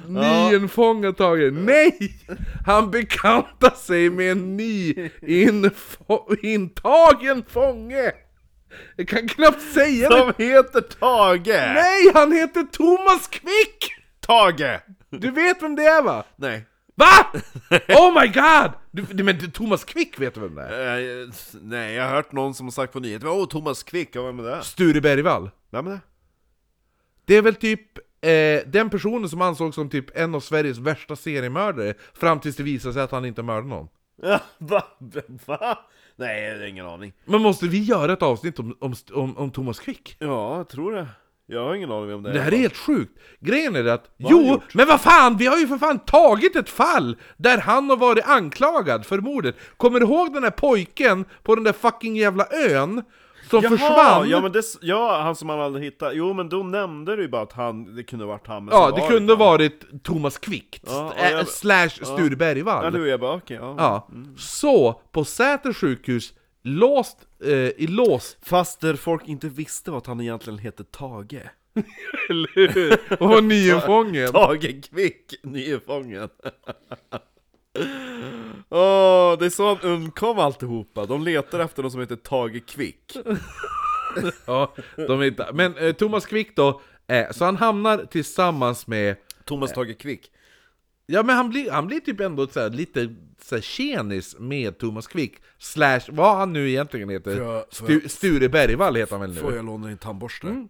Speaker 2: Nyinfångad Tage. Nej! Han bekantar sig med en ny info- intagen fånge! Jag kan knappt säga det!
Speaker 1: De heter Tage!
Speaker 2: Nej, han heter Thomas Quick!
Speaker 1: Tage!
Speaker 2: Du vet vem det är va?
Speaker 1: Nej.
Speaker 2: Va? Oh my god! Du, du, men du, Thomas Quick vet du vem det är?
Speaker 1: Eh, nej, jag har hört någon som har sagt på nyheterna Åh, Thomas Quick, ja, vem är det?
Speaker 2: Sture Bergvall.
Speaker 1: Vem är det?
Speaker 2: Det är väl typ eh, den personen som ansågs som typ en av Sveriges värsta seriemördare fram tills det visade sig att han inte mördade någon.
Speaker 1: Ja, va? va? Nej, jag har ingen aning.
Speaker 2: Men måste vi göra ett avsnitt om, om, om, om Thomas Quick?
Speaker 1: Ja, jag tror det. Jag har ingen aning om det
Speaker 2: Det här är helt sjukt! Grejen är det att,
Speaker 1: har
Speaker 2: jo,
Speaker 1: han gjort?
Speaker 2: men vad fan, vi har ju för fan tagit ett fall där han har varit anklagad för mordet. Kommer du ihåg den där pojken på den där fucking jävla ön? Som
Speaker 1: Jaha,
Speaker 2: försvann?
Speaker 1: Ja, men det, s- ja, han som man aldrig hittade. Jo, men då nämnde du ju bara att han, det kunde varit han. men
Speaker 2: Ja,
Speaker 1: så
Speaker 2: det
Speaker 1: var
Speaker 2: kunde
Speaker 1: inte han.
Speaker 2: varit Thomas Quick,
Speaker 1: Ja, och
Speaker 2: eh,
Speaker 1: jag-
Speaker 2: slash Sture Bergvall.
Speaker 1: Ja, Mm. nu är jag bara, okej, ja.
Speaker 2: Ja. Så, på Säters sjukhus, låst, eh, i låst,
Speaker 1: Fast där folk inte visste vad han egentligen hette Tage.
Speaker 2: eller hur? Och var nyinfången.
Speaker 1: Tage Quick, nyfången. Åh, det är så han undkom alltihopa. De letar efter någon som heter Tage Quick.
Speaker 2: Ja, de är inte... Men eh, Thomas Quick då, eh, så han hamnar tillsammans med
Speaker 1: Thomas Tage Quick.
Speaker 2: Ja men han blir, han blir typ ändå så här, lite så här, tjenis med Thomas Quick Slash, vad han nu egentligen heter
Speaker 3: Får jag- får
Speaker 2: Stu, Sture Bergvall heter han väl nu?
Speaker 3: Får jag låna din tandborste?
Speaker 1: Mm.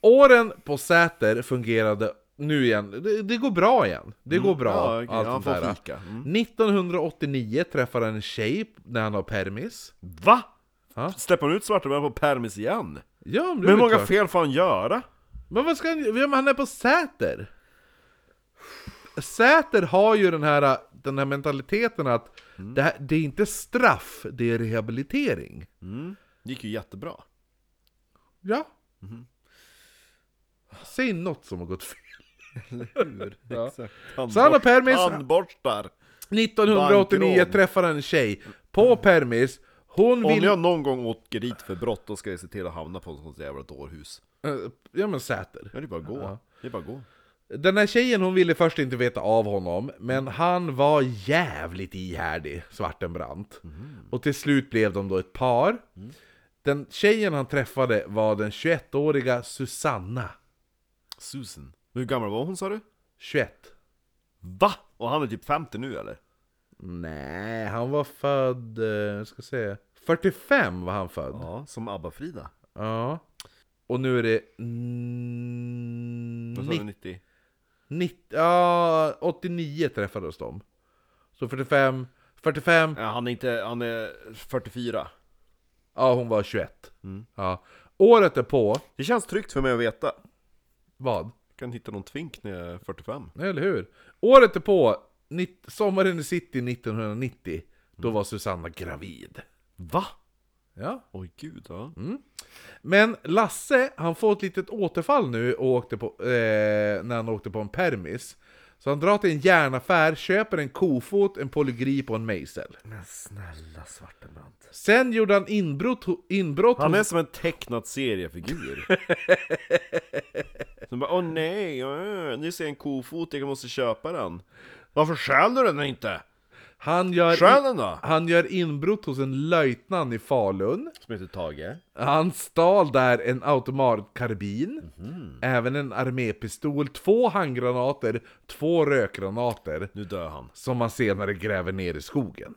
Speaker 2: Åren på Säter fungerade nu igen, det, det går bra igen. Det går bra.
Speaker 1: ja, okej,
Speaker 2: allt
Speaker 1: han
Speaker 2: sånt
Speaker 1: får
Speaker 2: där.
Speaker 1: fika.
Speaker 2: 1989 träffar han en tjej när han har permis.
Speaker 1: Va?
Speaker 2: Ja.
Speaker 1: Släpper han ut Svartenberg på permis igen?
Speaker 2: Ja, men
Speaker 1: Men
Speaker 2: det är
Speaker 1: hur
Speaker 2: väl
Speaker 1: många
Speaker 2: klart.
Speaker 1: fel får han göra?
Speaker 2: Men vad ska han ja, men Han är på Säter! Säter har ju den här, den här mentaliteten att
Speaker 1: Mm.
Speaker 2: det, här, det är inte straff, det är rehabilitering.
Speaker 1: Det gick ju jättebra.
Speaker 2: Ja.
Speaker 1: Mm-hmm.
Speaker 2: Säg något som har gått fel. Ja.
Speaker 1: Exakt.
Speaker 2: Så han har permis.
Speaker 1: Tandborstar!
Speaker 2: 1989
Speaker 1: Bankrån.
Speaker 2: träffar han en tjej på permis. Hon
Speaker 1: Om
Speaker 2: vill...
Speaker 1: jag någon gång åker dit för brott, då ska jag se till att hamna på ett sånt jävla dårhus.
Speaker 2: Eh, Ja men Säter.
Speaker 1: Ja, det är bara att gå. Det är bara att gå.
Speaker 2: Den här tjejen hon ville först inte veta av honom, men han var jävligt ihärdig, Svartenbrandt.
Speaker 1: Mm.
Speaker 2: Och till slut blev de då ett par. Den tjejen han träffade var den 21-åriga Susanna.
Speaker 1: Susan. Hur gammal var hon sa du?
Speaker 2: 21.
Speaker 1: Va? Och han är typ 50 nu eller?
Speaker 2: Nej, han var född... eh, Jag ska se. 45 var han född. Ja.
Speaker 1: Ja, som ABBA-Frida.
Speaker 2: Och nu är det... Mm,
Speaker 1: Vad sa du, 90?
Speaker 2: 90, ja, 89 träffades de. Så 45, 45,
Speaker 1: Ja, han är inte, han är 44.
Speaker 2: ja hon var 21.
Speaker 1: Mm.
Speaker 2: Ja. Året är på,
Speaker 1: Det känns tryggt för mig att veta.
Speaker 2: vad?
Speaker 1: Jag kan hitta någon tvink när jag är 45.
Speaker 2: Eller hur? Året är på, nitt- sommaren i city 1990,
Speaker 1: Mm.
Speaker 2: då var Susanna gravid.
Speaker 1: Va?
Speaker 2: Ja.
Speaker 1: Oj gud, ja.
Speaker 2: Mm. Men Lasse, han får ett litet återfall nu och åkte på, eh, när han åkte på en permis. Så han drar till en järnaffär, köper en kofot, en polygrip och en mejsel.
Speaker 1: Men snälla Svartenbrandt.
Speaker 2: Sen gjorde han inbrott, ho- inbrott
Speaker 1: Han
Speaker 2: hos-
Speaker 1: är som en tecknad seriefigur. Som bara, åh nej, äh, nu ser jag en kofot, jag måste köpa den. Varför stjäl du den inte?
Speaker 2: Han gör...
Speaker 1: Stjäl den då!
Speaker 2: Han gör inbrott hos en löjtnant i Falun.
Speaker 1: Som heter Tage.
Speaker 2: Han stal där en automatkarbin, även en armépistol, två handgranater, två rökgranater,
Speaker 1: Nu dör han.
Speaker 2: som man senare gräver ner i skogen.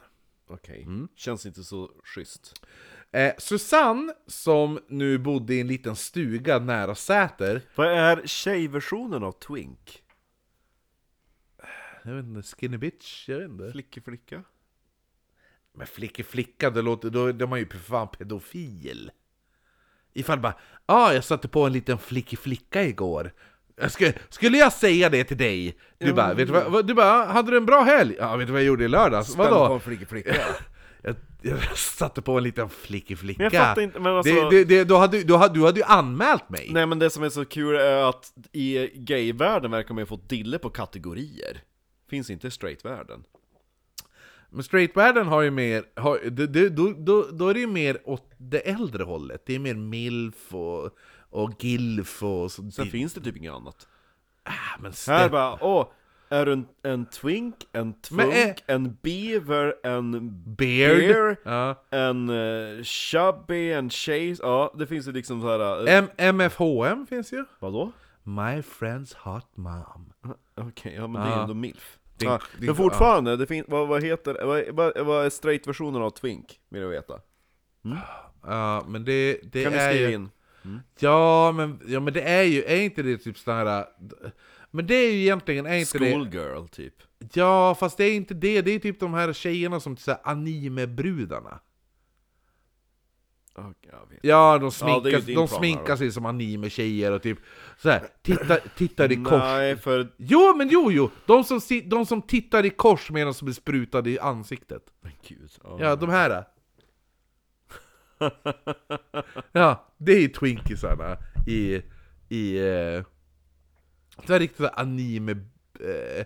Speaker 1: Okej. Känns inte så schysst.
Speaker 2: Eh, Susanne, som nu bodde i en liten stuga nära Säter,
Speaker 1: Vad är tjejversionen av twink?
Speaker 2: jag vet inte, skinny bitch, jag vet inte.
Speaker 1: Flickeflicka?
Speaker 2: Men flicka flicka, det låter, då, då är man ju för fan pedofil. Ifall bara, ja ah, jag satte på en liten flickig flicka igår. Jag skulle, skulle jag säga det till dig? Du bara, vet du vad, vad- du bara, hade du en bra helg? Ja, vet du vad jag gjorde i lördags? Vadå?
Speaker 1: Flicka, flicka.
Speaker 2: Jag, jag satte på en liten flickig flicka.
Speaker 1: Men jag fattar inte, men alltså-
Speaker 2: det, det, det, då hade, då hade, du hade ju anmält mig.
Speaker 1: Nej men det som är så kul är att i gayvärlden verkar man ju få dille på kategorier. Finns inte i straightvärlden.
Speaker 2: Men straightvärlden har ju mer, har, det, det, då, då, då är det ju mer åt det äldre hållet. Det är mer milf och, och gilf och så.
Speaker 1: Sen finns det typ inget annat.
Speaker 2: Ah, men
Speaker 1: Här
Speaker 2: ställ-
Speaker 1: bara, åh, är du en, en twink, en
Speaker 2: Men eh,
Speaker 1: twunk,
Speaker 2: är-
Speaker 1: en beaver, en
Speaker 2: Beard.
Speaker 1: Beer.
Speaker 2: Ja.
Speaker 1: en uh, chubby, en chase, ja det finns ju liksom så här. eh,
Speaker 2: M- MFHM finns ju.
Speaker 1: vadå?
Speaker 2: My friends hot mom.
Speaker 1: Okej, ja men det är ju ändå milf.
Speaker 2: Din-
Speaker 1: ja,
Speaker 2: din-
Speaker 1: men fortfarande, det finns, vad, vad heter, vad, vad, vad är straight-versionen av twink? Vill jag veta.
Speaker 2: Ja, men det, det
Speaker 1: Kan ni
Speaker 2: är
Speaker 1: skriva
Speaker 2: ju...
Speaker 1: in?
Speaker 2: Ja men, ja, men det är ju, är inte det typ sån här... Men det är ju egentligen, är inte det...
Speaker 1: Schoolgirl typ.
Speaker 2: Ja, fast det är inte det. Det är typ de här tjejerna som så här anime-brudarna.
Speaker 1: Ja, jag vet.
Speaker 2: Ja, de
Speaker 1: Ja, det är ju
Speaker 2: sminkas,
Speaker 1: din
Speaker 2: de
Speaker 1: plan
Speaker 2: sminkar
Speaker 1: här
Speaker 2: sig som anime-tjejer och typ så här, tittar, tittar i kors.
Speaker 1: Nej, för...
Speaker 2: Jo, men jo, jo! De som, si- de som tittar i kors medan de blir sprutade i ansiktet.
Speaker 1: Men gud.
Speaker 2: Ja, de här. ja, det är ju twinkisarna i... i eh, det är riktigt så här anime... Eh,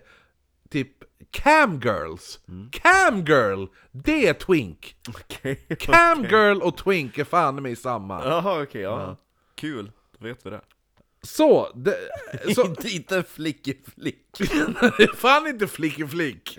Speaker 2: typ camgirls! Camgirl! Det är twink!
Speaker 1: Okej.
Speaker 2: Camgirl och twink är fan i samma.
Speaker 1: Jaha, okej, ja. Kul. Då vet vi det.
Speaker 2: Så! Det, så
Speaker 1: Inte, inte flickig flick.
Speaker 2: det är fan inte flick i flick!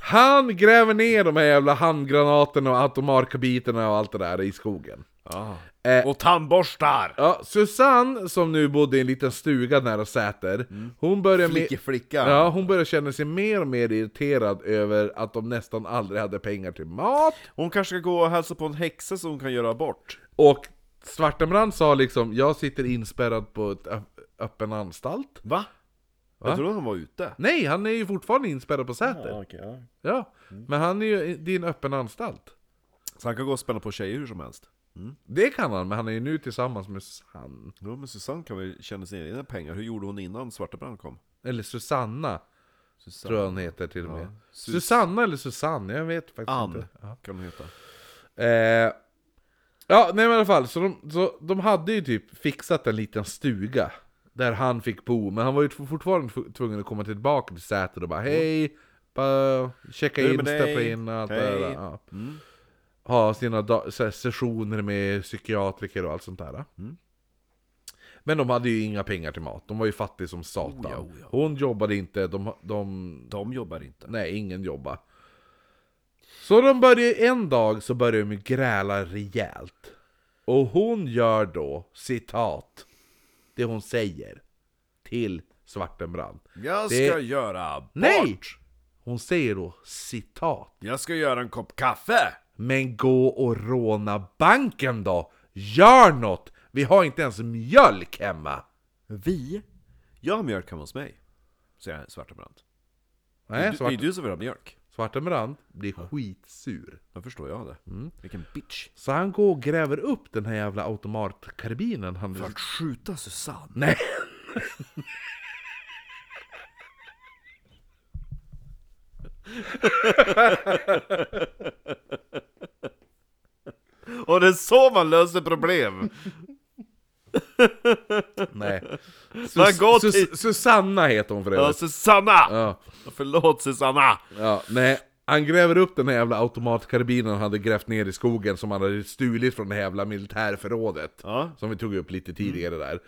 Speaker 2: Han gräver ner de här jävla handgranaterna och automatkarbiterna och allt det där i skogen.
Speaker 1: Ja.
Speaker 2: Eh,
Speaker 1: Och tandborstar!
Speaker 2: Ja, Susanne, som nu bodde i en liten stuga nära Säter,
Speaker 1: Mm.
Speaker 2: hon började med...
Speaker 4: Flicke flicka.
Speaker 2: Ja, hon började känna sig mer och mer irriterad över att de nästan aldrig hade pengar till mat.
Speaker 1: Hon kanske ska gå och hälsa på en häxa som hon kan göra abort.
Speaker 2: Och Svartenbrand sa liksom, jag sitter inspärrad på ett ö- öppen anstalt.
Speaker 1: Va? Jag trodde han var ute.
Speaker 2: Nej, han är ju fortfarande inspärrad på
Speaker 1: Ah,
Speaker 2: Säter. Ja,
Speaker 1: Mm.
Speaker 2: men han är ju, det är en öppen anstalt.
Speaker 1: Så han kan gå och spänna på tjejer hur som helst.
Speaker 2: Det kan han, men han är ju nu tillsammans med Susanne.
Speaker 1: Ja men Susanne kan väl tjäna sina egna pengar, hur gjorde hon innan Svartebrand kom?
Speaker 2: Eller Susanna, tror jag hon heter till och med.
Speaker 1: Sus-
Speaker 2: Susanna eller Susanne, jag vet faktiskt
Speaker 1: Ann
Speaker 2: inte.
Speaker 1: kan hon heta.
Speaker 2: Eh, ja, nej men i alla fall, så de, så de hade ju typ fixat en liten stuga där han fick bo, men han var ju t- fortfarande f- tvungen att komma tillbaka till Säter och bara hej, bara checka
Speaker 1: Hur är det
Speaker 2: in,
Speaker 1: med
Speaker 2: steppa
Speaker 1: dig?
Speaker 2: in och allt
Speaker 1: Hej. Mm.
Speaker 2: det där. Ja. Ha sina da- så här, sessioner med psykiatriker och allt sånt där.
Speaker 1: Mm.
Speaker 2: Men de hade ju inga pengar till mat, de var ju fattiga som satan.
Speaker 1: Oh,
Speaker 2: Hon jobbade inte, de, de,
Speaker 1: De jobbar inte.
Speaker 2: Nej, ingen jobba. Så de börjar en dag så börjar de gräla rejält. Och hon gör då, citat, det hon säger till Svartenbrand.
Speaker 1: Jag ska
Speaker 2: Det-
Speaker 1: göra abort!
Speaker 2: Nej! Hon säger då, citat,
Speaker 1: Jag ska göra en kopp kaffe!
Speaker 2: men gå och råna banken då! Gör något! Vi har inte ens mjölk hemma!
Speaker 1: Vi? Jag har mjölk hemma hos mig. Säger Svartebrand. Det
Speaker 2: Nej,
Speaker 1: är
Speaker 2: Svart,
Speaker 1: ju du som vill ha mjölk.
Speaker 2: Svartenbrand blir skitsur.
Speaker 1: Då förstår jag det. Vilken bitch.
Speaker 2: Så han går och gräver upp den här jävla automatkarbinen han
Speaker 1: För att skjuta Susanne?
Speaker 2: Nej!
Speaker 1: Och det är så man löser problem!
Speaker 2: Nej.
Speaker 1: Man går
Speaker 2: Sus-
Speaker 1: till-
Speaker 2: Sus- Susanna heter hon för
Speaker 1: Ja,
Speaker 2: övrigt.
Speaker 1: Susanna!
Speaker 2: Ja,
Speaker 1: Förlåt Susanna!
Speaker 2: ja, nej. Han gräver upp den här jävla automatkarbinen han hade grävt ner i skogen som han hade stulit från det här jävla militärförrådet.
Speaker 1: Ja. Mm.
Speaker 2: Som vi tog upp lite tidigare där.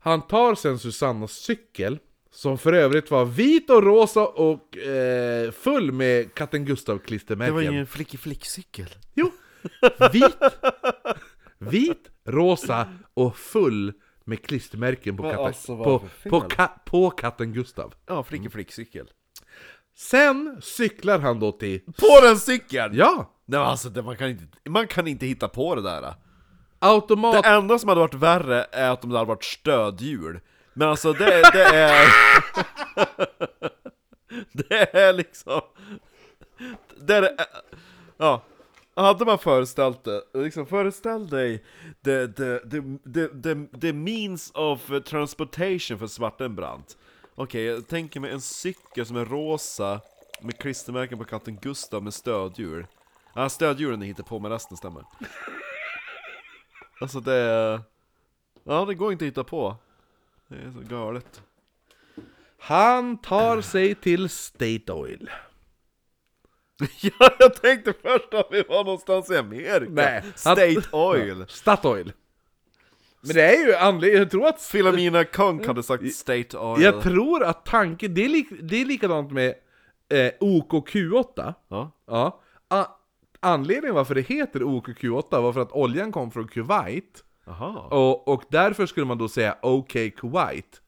Speaker 2: Han tar sen Susannas cykel, som för övrigt var vit och rosa och eh, full med katten Gustav-klistermärken.
Speaker 1: flickig flickcykel.
Speaker 2: Jo! Vit, vit, rosa och full med klistermärken på,
Speaker 1: Vad-
Speaker 2: katten,
Speaker 1: alltså, vad
Speaker 2: på,
Speaker 1: för fel?
Speaker 2: på, ka, på katten Gustav.
Speaker 1: Ja, flickig flickcykel.
Speaker 2: Sen cyklar han då till...
Speaker 1: På den cykeln!
Speaker 2: Ja!
Speaker 1: Nej men alltså, det, man kan, inte, man kan inte hitta på det där.
Speaker 2: Automat...
Speaker 1: Det enda som hade varit värre är att de hade varit stödhjul. Men alltså det, det är... det är liksom... Det är... Ja. Hade man föreställt det, liksom föreställ dig the, the, the, the, the, the means of transportation för Svartenbrandt. Okej, jag tänker mig en cykel som är rosa med klistermärken på katten Gustav med stödhjul. Ja, stödhjulen ni hittar på men resten stämmer. Alltså det är... Ja, det går inte att hitta på. Det är så galet.
Speaker 2: Han tar sig till State Oil.
Speaker 1: ja, jag tänkte först att vi var någonstans i Amerika.
Speaker 2: Nej, han-
Speaker 1: State Oil.
Speaker 2: Statoil. Men det är ju anledningen... Jag tror att...
Speaker 1: Philomena Kunk hade sagt State Oil.
Speaker 2: Jag tror att tanken... Det är, lik, det är likadant med eh, OKQ8.
Speaker 1: ja.
Speaker 2: Ja. A, anledningen varför det heter OKQ8 var för att oljan kom från Kuwait.
Speaker 1: Aha.
Speaker 2: Och, och därför skulle man då säga OK Kuwait.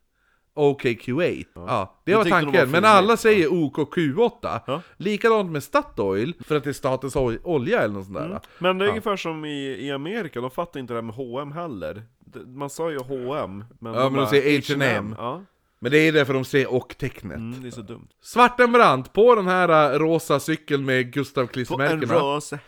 Speaker 2: OK Q8. Ja. det
Speaker 1: Jag
Speaker 2: var
Speaker 1: tyckte de var
Speaker 2: tanken. Men
Speaker 1: fina.
Speaker 2: alla säger OK Q8.
Speaker 1: Ja.
Speaker 2: Likadant med Statoil, för att det är statens ol- olja eller något sånt där.
Speaker 1: Mm. Men det är ungefär som i, i Amerika, de fattar inte det här med H&M heller. Det- Man sa ju H&M men
Speaker 2: Ja, men de
Speaker 1: bara,
Speaker 2: säger H&M.
Speaker 1: Ja,
Speaker 2: Men det är därför de säger och-tecknet.
Speaker 1: mm, det är så dumt.
Speaker 2: Svartenbrandt på den här äh, rosa cykeln med Gustav
Speaker 1: På en
Speaker 2: Klistermärkena.
Speaker 1: rosa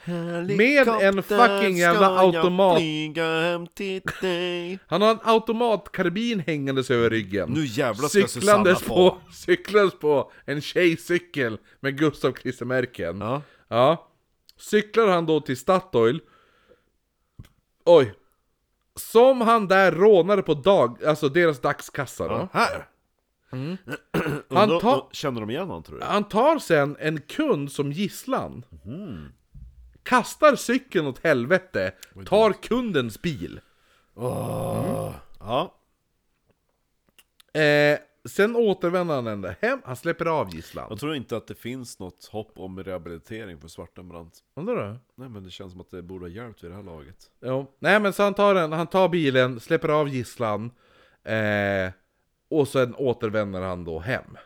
Speaker 2: Med en fucking jävla automat.
Speaker 1: ska jag flyga hem till dig.
Speaker 2: Han har en automatkarbin hängandes över ryggen.
Speaker 1: Nu jävlar ska
Speaker 2: cyklandes
Speaker 1: Susanna
Speaker 2: på,
Speaker 1: på.
Speaker 2: cyklandes på en tjejcykel med Gustav Klistermärken.
Speaker 1: Ja.
Speaker 2: Ja. Cyklar han då till Statoil. Oj. Som han där rånade på dag, alltså deras dagskassa då.
Speaker 1: Här!
Speaker 2: Mm. Han
Speaker 1: Undra-
Speaker 2: tar-
Speaker 1: Känner de igen honom tror du?
Speaker 2: Han tar sen en kund som gisslan.
Speaker 1: Mhm.
Speaker 2: Kastar cykeln åt helvete. Tar Ah. kundens bil.
Speaker 1: Ja.
Speaker 2: Eh, Sen återvänder han ända hem, han släpper av gisslan.
Speaker 1: Jag tror inte att det finns något hopp om rehabilitering för Svartenbrandt.
Speaker 2: Undrar du?
Speaker 1: Nej men det känns som att det borde ha hjälpt vid det här laget.
Speaker 2: Jo. Nej men så han tar, den, han tar bilen, släpper av gisslan. Eh, och sen återvänder han då hem.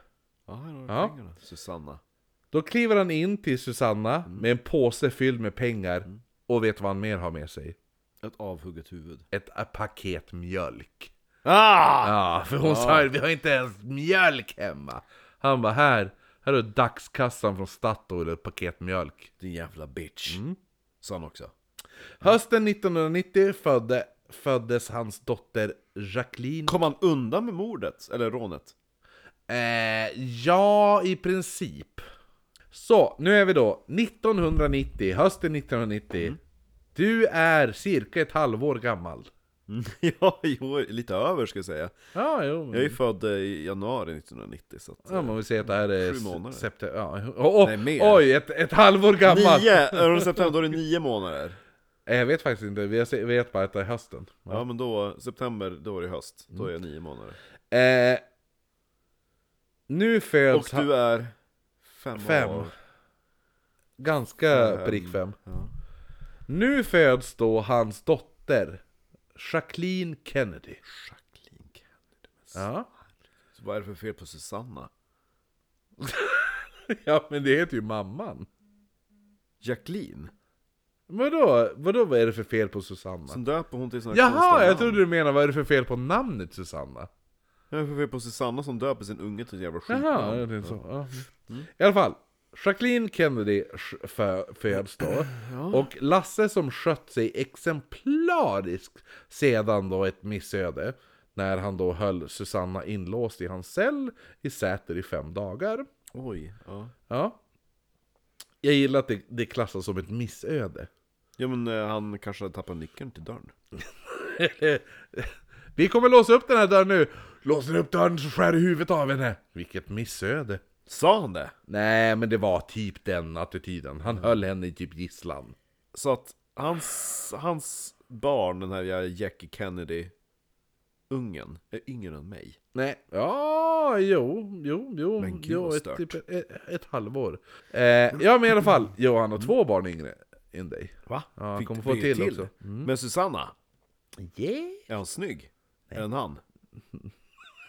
Speaker 1: Ja, här har du
Speaker 2: Ja.
Speaker 1: pengarna. Susanna.
Speaker 2: Då kliver han in till Susanna
Speaker 1: Mm.
Speaker 2: med en påse fylld med pengar. Och vet vad han mer har med sig?
Speaker 1: Ett avhugget huvud.
Speaker 2: Ett eh, paket mjölk.
Speaker 1: Ah!
Speaker 2: Ja, för hon sa ju vi har inte ens mjölk hemma. Han bara här, här är dagskassan från Statoil, ett paket mjölk.
Speaker 1: Din jävla bitch. Mm. Sa han också. Mm.
Speaker 2: Hösten 1990 födde, föddes hans dotter Jacqueline.
Speaker 1: Kom han undan med mordet? Eller rånet?
Speaker 2: Eh, ja, i princip. Så, nu är vi då 1990, hösten 1990. Du är cirka ett halvår gammal.
Speaker 1: ja, jo, lite över ska jag säga.
Speaker 2: Ja, jo. men-
Speaker 1: Jag är ju född eh, i januari 1990 så att...
Speaker 2: Ja, man vill säga att det här är
Speaker 1: Sju månader.
Speaker 2: september. Ja. Oh, oh,
Speaker 1: Nej, mer.
Speaker 2: oj, ett, ett halvår gammal!
Speaker 1: Nio! Är det september då är det nio månader.
Speaker 2: Eh, Jag vet faktiskt inte, vi vet bara att det är hösten.
Speaker 1: Ja men då, september, då är det höst. Då är jag nio månader.
Speaker 2: Eh, nu
Speaker 1: Och
Speaker 2: föds han
Speaker 1: du är fem,
Speaker 2: Mm. Fem.
Speaker 1: år.
Speaker 2: ganska prick fem. Nu föds då hans dotter, Jacqueline Kennedy.
Speaker 1: Jacqueline Kennedy.
Speaker 2: Ja.
Speaker 1: Så vad är det för fel på Susanna?
Speaker 2: ja, men det heter ju mamman.
Speaker 1: Jacqueline?
Speaker 2: Vadå, vadå vad är det för fel på Susanna?
Speaker 1: Som döper hon till såna här
Speaker 2: Jaha,
Speaker 1: konstiga
Speaker 2: jag
Speaker 1: namn.
Speaker 2: trodde du menade vad är det för fel på namnet Susanna?
Speaker 1: Vad är det för fel på Susanna som döper sin unge till ett jävla skitnamn?
Speaker 2: Jaha, jag tänkte så. Ja. Mm. I alla fall, Jacqueline Kennedy sch- fö- föds då. Och Lasse som skött sig exemplariskt sedan då ett missöde. När han då höll Susanna inlåst i hans cell i Säter i fem dagar.
Speaker 1: Oj, ja.
Speaker 2: Ja. Jag gillar att det, det klassas som ett missöde.
Speaker 1: Ja men eh, han kanske hade tappat nyckeln till dörren.
Speaker 2: Vi kommer låsa upp den här dörren nu! Låser upp dörren så skär du huvudet av henne! Vilket missöde!
Speaker 1: Sa han det?
Speaker 2: Nej, men det var typ den attityden. Han höll henne i typ gisslan.
Speaker 1: Så att hans, hans barn, den här jävla Jackie Kennedy, ungen, är yngre än mig.
Speaker 2: Nej. Ja, jo, jo, jo.
Speaker 1: Men gud,
Speaker 2: jo
Speaker 1: vad
Speaker 2: ett,
Speaker 1: stört.
Speaker 2: typ ett, ett halvår. Eh, ja, men i alla fall. Jo, han har två barn yngre än dig.
Speaker 1: Va?
Speaker 2: Ja, han kommer få till också.
Speaker 1: Men Susanna,
Speaker 2: Yeah!
Speaker 1: är hon snygg? Är den han?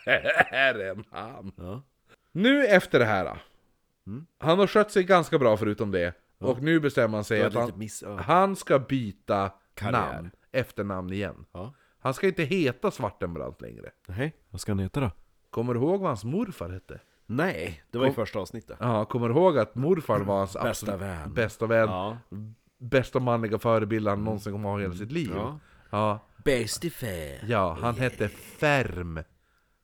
Speaker 2: Här är en han.
Speaker 1: Ja. Mm.
Speaker 2: Nu efter det här. då. Han har skött sig ganska bra förutom det. Och nu bestämmer han sig
Speaker 1: Jag
Speaker 2: att
Speaker 1: hade
Speaker 2: han,
Speaker 1: lite missöde.
Speaker 2: han ska byta
Speaker 1: Karriär.
Speaker 2: namn, efternamn igen.
Speaker 1: Ja.
Speaker 2: Han ska inte heta Svartenbrandt längre.
Speaker 1: Nej, vad ska han heta då?
Speaker 2: Kommer du ihåg vad hans morfar hette?
Speaker 1: Nej, det var i första avsnittet.
Speaker 2: Ja, kommer du ihåg att morfar var hans absolut
Speaker 1: vän.
Speaker 2: bästa vän?
Speaker 1: Ja.
Speaker 2: Bästa manliga förebild han någonsin kommer ha i hela sitt liv. Ja,
Speaker 1: Ja.
Speaker 2: ja,
Speaker 3: Bäst i fär.
Speaker 2: han hette Ferm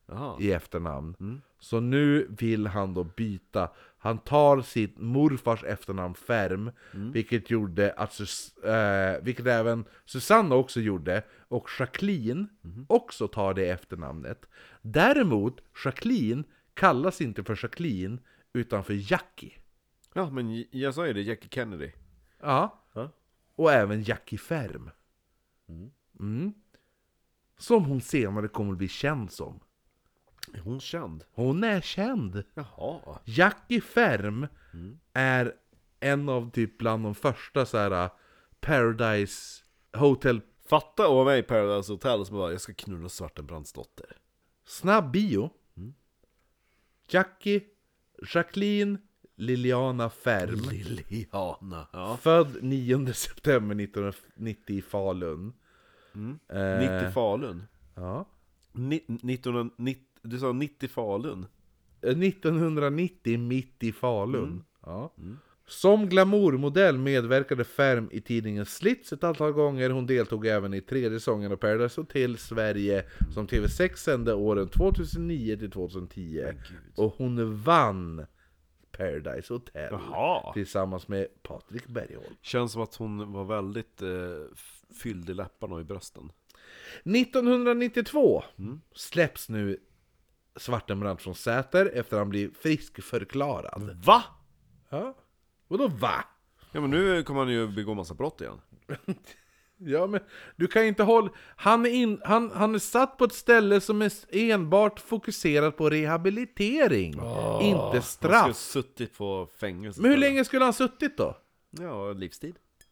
Speaker 1: Jaha.
Speaker 2: i efternamn. Så nu vill han då byta. Han tar sitt morfars efternamn Ferm, vilket gjorde att Sus- eh, vilket även Susanna också gjorde, och Jacqueline också tar det efternamnet. Däremot, Jacqueline kallas inte för Jacqueline, utan för Jackie.
Speaker 1: Ja, men j- jag sa ju det, Jackie Kennedy.
Speaker 2: Ja.
Speaker 1: Ja.
Speaker 2: Och även Jackie Ferm. Mm. Som hon senare kommer att bli känd som.
Speaker 1: Är hon känd?
Speaker 2: Hon är känd!
Speaker 1: Jaha.
Speaker 2: Jackie Ferm är en av typ bland de första så här äh, Paradise Hotel
Speaker 1: Fatta och mig i Paradise Hotel som bara, jag ska knulla Svartenbrandts dotter.
Speaker 2: snabb bio. Jackie, Jacqueline, Liliana Ferm.
Speaker 1: Liliana. Ja.
Speaker 2: Född 9 september 1990 i Falun.
Speaker 1: 90 Falun.
Speaker 2: Ja.
Speaker 1: Ni- 1990, du sa 90 Falun?
Speaker 2: 1990 Eh, mitt i Falun. Ja. Som glamourmodell medverkade Ferm i tidningen Slits ett antal gånger. Hon deltog även i tredje säsongen av Paradise Hotel Sverige som TV6 sände åren 2009 till 2010. Och hon vann Paradise Hotel
Speaker 1: Jaha.
Speaker 2: tillsammans med Patrik Bergholm.
Speaker 1: Känns som att hon var väldigt eh, f- fylld i läpparna och i brösten.
Speaker 2: 1992 släpps nu Svartenbrandt från Säter efter att han blir friskförklarad.
Speaker 1: Va?
Speaker 2: Ja. Vadå va?
Speaker 1: Ja men nu kommer han ju begå massa brott igen.
Speaker 2: Ja men du kan ju inte hålla... Han är, in, han, han är satt på ett ställe som är s- enbart fokuserat på rehabilitering. inte
Speaker 1: Han skulle
Speaker 2: straff.
Speaker 1: suttit på fängelse
Speaker 2: Men hur länge skulle han suttit då?
Speaker 1: Ja, livstid Eh,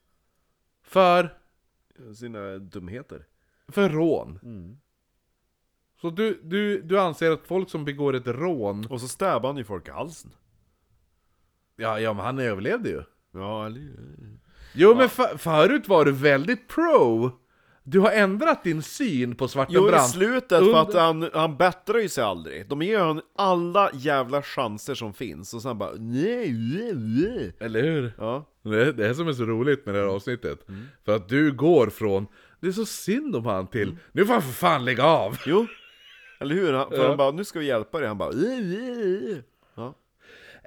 Speaker 2: För,
Speaker 1: Sina dumheter
Speaker 2: för rån. Så du, du, du anser att folk som begår ett rån...
Speaker 1: Och så stäbbar han ju folk i halsen
Speaker 2: Ja, ja men han överlevde ju.
Speaker 1: Ja, eller
Speaker 2: Jo men för, förut var du väldigt pro. Du har ändrat din syn på Svarte
Speaker 1: Jo, i
Speaker 2: Brant.
Speaker 1: slutet, för
Speaker 2: Under-
Speaker 1: att han, han bättrar ju sig aldrig De ger honom alla jävla chanser som finns Och sen bara nej, nej, nej.
Speaker 2: Eller hur?
Speaker 1: Ja,
Speaker 2: Det, det är som är så roligt med det
Speaker 1: Mm.
Speaker 2: här avsnittet. För att du går från Det är så synd om han till
Speaker 1: Mm.
Speaker 2: Nu får han för fan lägga av!
Speaker 1: jo Eller hur? Han, för han bara, nu ska vi hjälpa dig Han bara nej, nej, nej. Ja,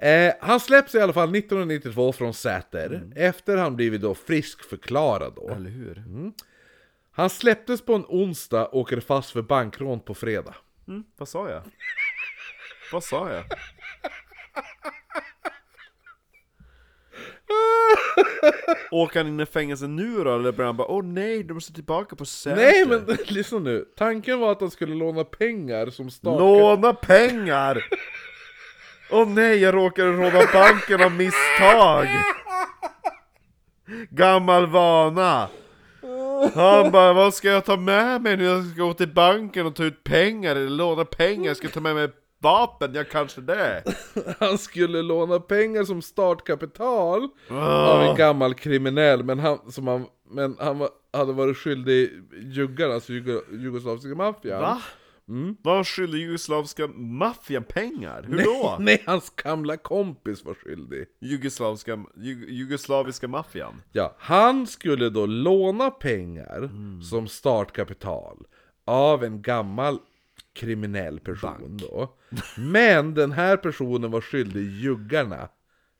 Speaker 2: Eh, han släpps i alla fall 1992 från Säter. Efter han blivit då friskförklarad då.
Speaker 1: Mm. eller hur?
Speaker 2: Han släpptes på en onsdag och åker fast för bankrån på fredag.
Speaker 1: Vad sa jag? Vad sa jag? Åker han in i fängelse nu då? Eller börjar han bara åh nej, de måste tillbaka på Säter?
Speaker 2: Nej men lyssna nu. Tanken var att han skulle låna pengar som starkade...
Speaker 1: Låna pengar! Åh nej, jag råkade råna banken av misstag! Gammal vana! Han bara, vad ska jag ta med mig nu? Jag ska gå till banken och ta ut pengar, eller låna pengar, jag ska ta med mig vapen, jag kanske det!
Speaker 2: Han skulle låna pengar som startkapital av en gammal kriminell, men han, som han, men han var, hade varit skyldig juggarna, alltså jugo, jugoslaviska maffian.
Speaker 1: Va?
Speaker 2: Mm.
Speaker 1: Var skyller jugoslaviska maffian pengar? Hur då?
Speaker 2: Nej, hans gamla kompis var skyldig.
Speaker 1: Jugoslaviska, jug, jugoslaviska maffian?
Speaker 2: Ja, han skulle då låna pengar som startkapital av en gammal kriminell person då. Men den här personen var skyldig juggarna.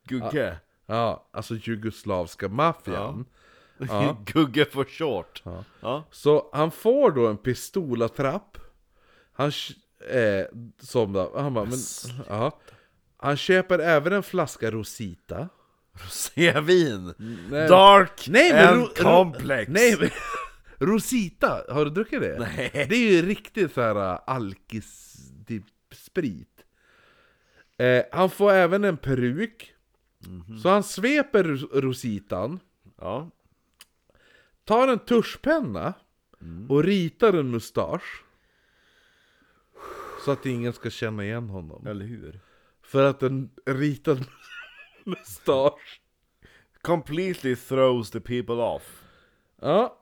Speaker 1: Gugge?
Speaker 2: Ja, alltså jugoslavska maffian.
Speaker 1: Gugge for short! Ja.
Speaker 2: Så han får då en pistolattrapp Han sh- eh, som då, han bara, men, ja. Han köper även en flaska Rosita
Speaker 1: Rosévin! Dark and
Speaker 2: Ro- Ro-
Speaker 1: complex!
Speaker 2: Nej men, Rosita, har du druckit det?
Speaker 1: Nej.
Speaker 2: Det är ju riktigt såhär äh, alkis, typ sprit eh, Han får även en peruk Så han sveper Ros- Rositan
Speaker 1: Ja.
Speaker 2: Tar en tuschpenna
Speaker 1: Mm.
Speaker 2: och ritar en mustasch. Så att ingen ska känna igen honom.
Speaker 1: Eller hur?
Speaker 2: För att en ritad mustasch.
Speaker 1: Completely throws the people off.
Speaker 2: Ja.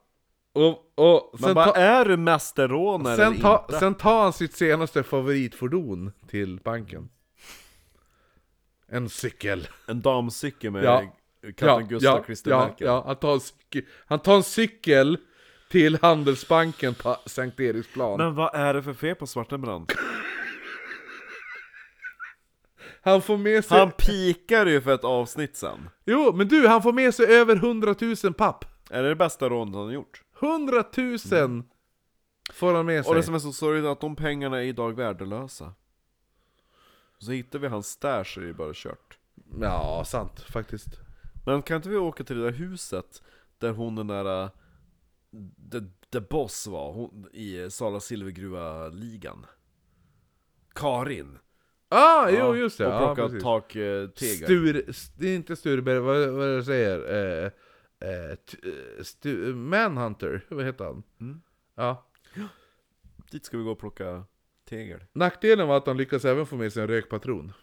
Speaker 2: Och, och
Speaker 1: Man
Speaker 2: sen,
Speaker 1: bara,
Speaker 2: ta,
Speaker 1: är du mästerrånare
Speaker 2: sen,
Speaker 1: eller
Speaker 2: ta,
Speaker 1: inte?
Speaker 2: sen tar han sitt senaste favoritfordon till banken. En cykel.
Speaker 1: En damcykel med
Speaker 2: Ja.
Speaker 1: Kapten Gustav
Speaker 2: ja,
Speaker 1: Kristermärken.
Speaker 2: ja, han tar en cykel. Han tar en cykel till Handelsbanken på Sankt Eriksplan.
Speaker 1: Men vad är det för fel på Svartenbrandt?
Speaker 2: han får med sig...
Speaker 1: Han pikar ju för ett avsnitt sen.
Speaker 2: Jo, men du, han får med sig över 100 000 papp.
Speaker 1: Är det det bästa rånet han har gjort?
Speaker 2: 100 000 får han med sig.
Speaker 1: Och det som är så sorgligt är att de pengarna är idag värdelösa. Så hittar vi hans stash är det bara kört.
Speaker 2: Ja, sant faktiskt.
Speaker 1: Men kan inte vi åka till det där huset där hon den där... äh, The, the Boss var, hon, i eh, Sala Silvergruva-ligan. Karin!
Speaker 2: Ah, jo just det.
Speaker 1: Och
Speaker 2: Ja,
Speaker 1: plocka äh, taktegar.
Speaker 2: precis. Stur, s- det är inte Stureberg, vad, vad är det jag säger? Eh, eh, t, eh, stu, Manhunter, vad heter han?
Speaker 1: Mm.
Speaker 2: Ja.
Speaker 1: Dit ska vi gå och plocka tegel.
Speaker 2: Nackdelen var att han lyckades även få med sig en rökpatron.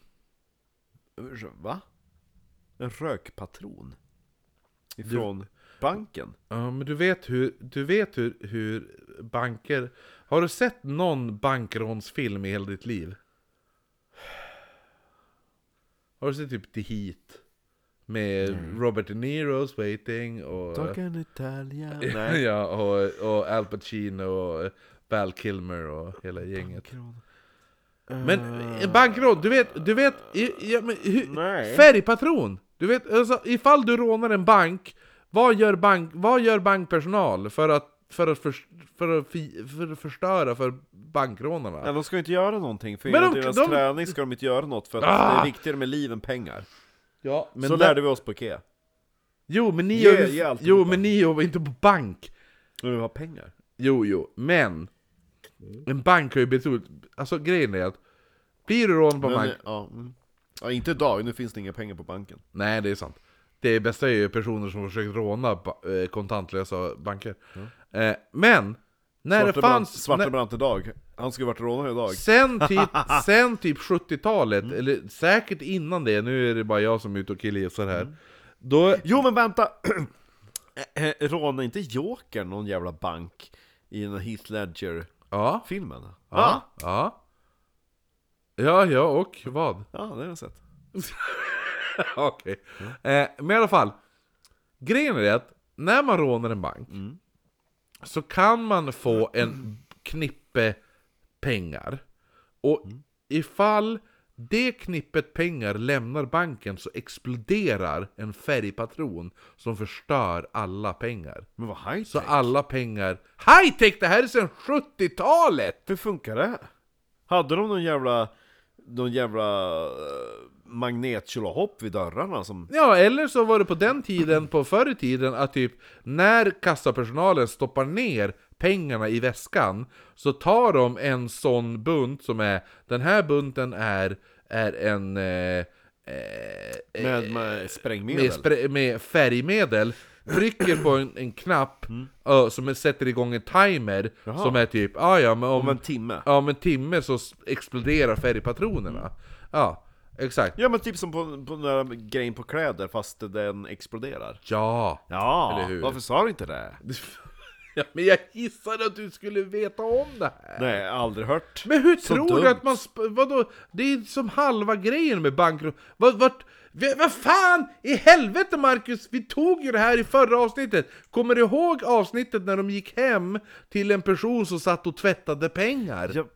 Speaker 1: Va? En rökpatron? Ifrån banken?
Speaker 2: Ja, men du vet hur, du vet hur, hur banker... Har du sett någon bankrånsfilm i hela ditt liv? Har du sett typ The Heat? Med Robert De Niro's Waiting och...
Speaker 1: Talking Italian. Nej.
Speaker 2: ja, och, och Al Pacino och Val Kilmer och hela gänget. Men eh, bankrån, du vet, du vet, i- ja, men, hur,
Speaker 1: Nej.
Speaker 2: färgpatron! Du vet, alltså, ifall du rånar en bank, vad gör, bank, vad gör bankpersonal för att, för att, för, för att, fi- för att förstöra för bankrånarna?
Speaker 1: Nej, de ska ju inte göra någonting, för
Speaker 2: Men
Speaker 1: enligt
Speaker 2: de-
Speaker 1: deras
Speaker 2: de-
Speaker 1: träning ska de inte göra något, för att det är
Speaker 2: Ah!
Speaker 1: viktigare med liv än pengar.
Speaker 2: Ja, men
Speaker 1: Så
Speaker 2: där-
Speaker 1: lärde vi oss på Ikea.
Speaker 2: Jo men ni
Speaker 1: Ge-
Speaker 2: jobbar
Speaker 1: ge allt
Speaker 2: jo,
Speaker 1: på
Speaker 2: men ni jobbar inte på bank.
Speaker 1: Men vi har pengar.
Speaker 2: Jo, jo, men
Speaker 1: Mm.
Speaker 2: en bank har ju betydligt... Alltså grejen är att blir du rånad på en
Speaker 1: Men,
Speaker 2: bank...
Speaker 1: eh, ja, mm. ja, inte idag, nu finns det inga pengar på banken.
Speaker 2: Nej, det är sant. Det bästa är ju personer som försöker råna ba- eh, kontantlösa banker. Eh, men, när
Speaker 1: Mm. Svarte,
Speaker 2: det
Speaker 1: brant,
Speaker 2: fanns...
Speaker 1: svarte
Speaker 2: när-
Speaker 1: brant idag. Han skulle varit rånare idag.
Speaker 2: Sen typ, sen typ 70-talet,
Speaker 1: Mm.
Speaker 2: eller säkert innan det, nu är det bara jag som är ute och killgissar här.
Speaker 1: Mm.
Speaker 2: Då,
Speaker 1: Jo men vänta! Rånade inte Joker någon jävla bank i den här Heath Ledger-filmen?
Speaker 2: ja,
Speaker 1: Ah,
Speaker 2: ja, ja. Ja, ja, och vad?
Speaker 1: ja, det har jag sett.
Speaker 2: Okej. Eh, men i alla fall. Grejen är att när man rånar en bank så kan man få en knippe pengar. Och ifall det knippet pengar lämnar banken så exploderar en färgpatron som förstör alla pengar.
Speaker 1: Men vad high
Speaker 2: Så alla pengar... High-tech! Det här är sedan 70-talet!
Speaker 1: Hur funkar det? Hade de någon jävla, någon jävla uh, magnetkilohopp vid dörrarna som...
Speaker 2: Ja, eller så var det på den tiden, på förr i tiden, att typ när kassapersonalen stoppar ner pengarna i väskan så tar de en sån bunt som är, den här bunten är, är en... Eh, eh,
Speaker 1: Med, med sprängmedel?
Speaker 2: med, spr- med färgmedel trycker på en, en knapp
Speaker 1: Mm.
Speaker 2: ö, som sätter igång en timer som är typ ah, ja, men om,
Speaker 1: Om en timme?
Speaker 2: ja, om en timme så s- exploderar färgpatronerna. Ja, exakt.
Speaker 1: Mm. Ja men typ som på, på den där grejen på kläder fast den exploderar.
Speaker 2: Ja!
Speaker 1: Ja,
Speaker 2: Eller hur?
Speaker 1: varför sa du inte det?
Speaker 2: Ja, men jag gissade att du skulle veta om det här.
Speaker 1: Nej, jag har aldrig hört.
Speaker 2: Men hur
Speaker 1: Så
Speaker 2: tror
Speaker 1: dumt.
Speaker 2: du att man... sp- Vadå? Det är som halva grejen med bankrån. Vad, vart, v- vad fan i helvete Marcus? Vi tog ju det här i förra avsnittet. Kommer du ihåg avsnittet när de gick hem till en person som satt och tvättade pengar?
Speaker 1: Jag,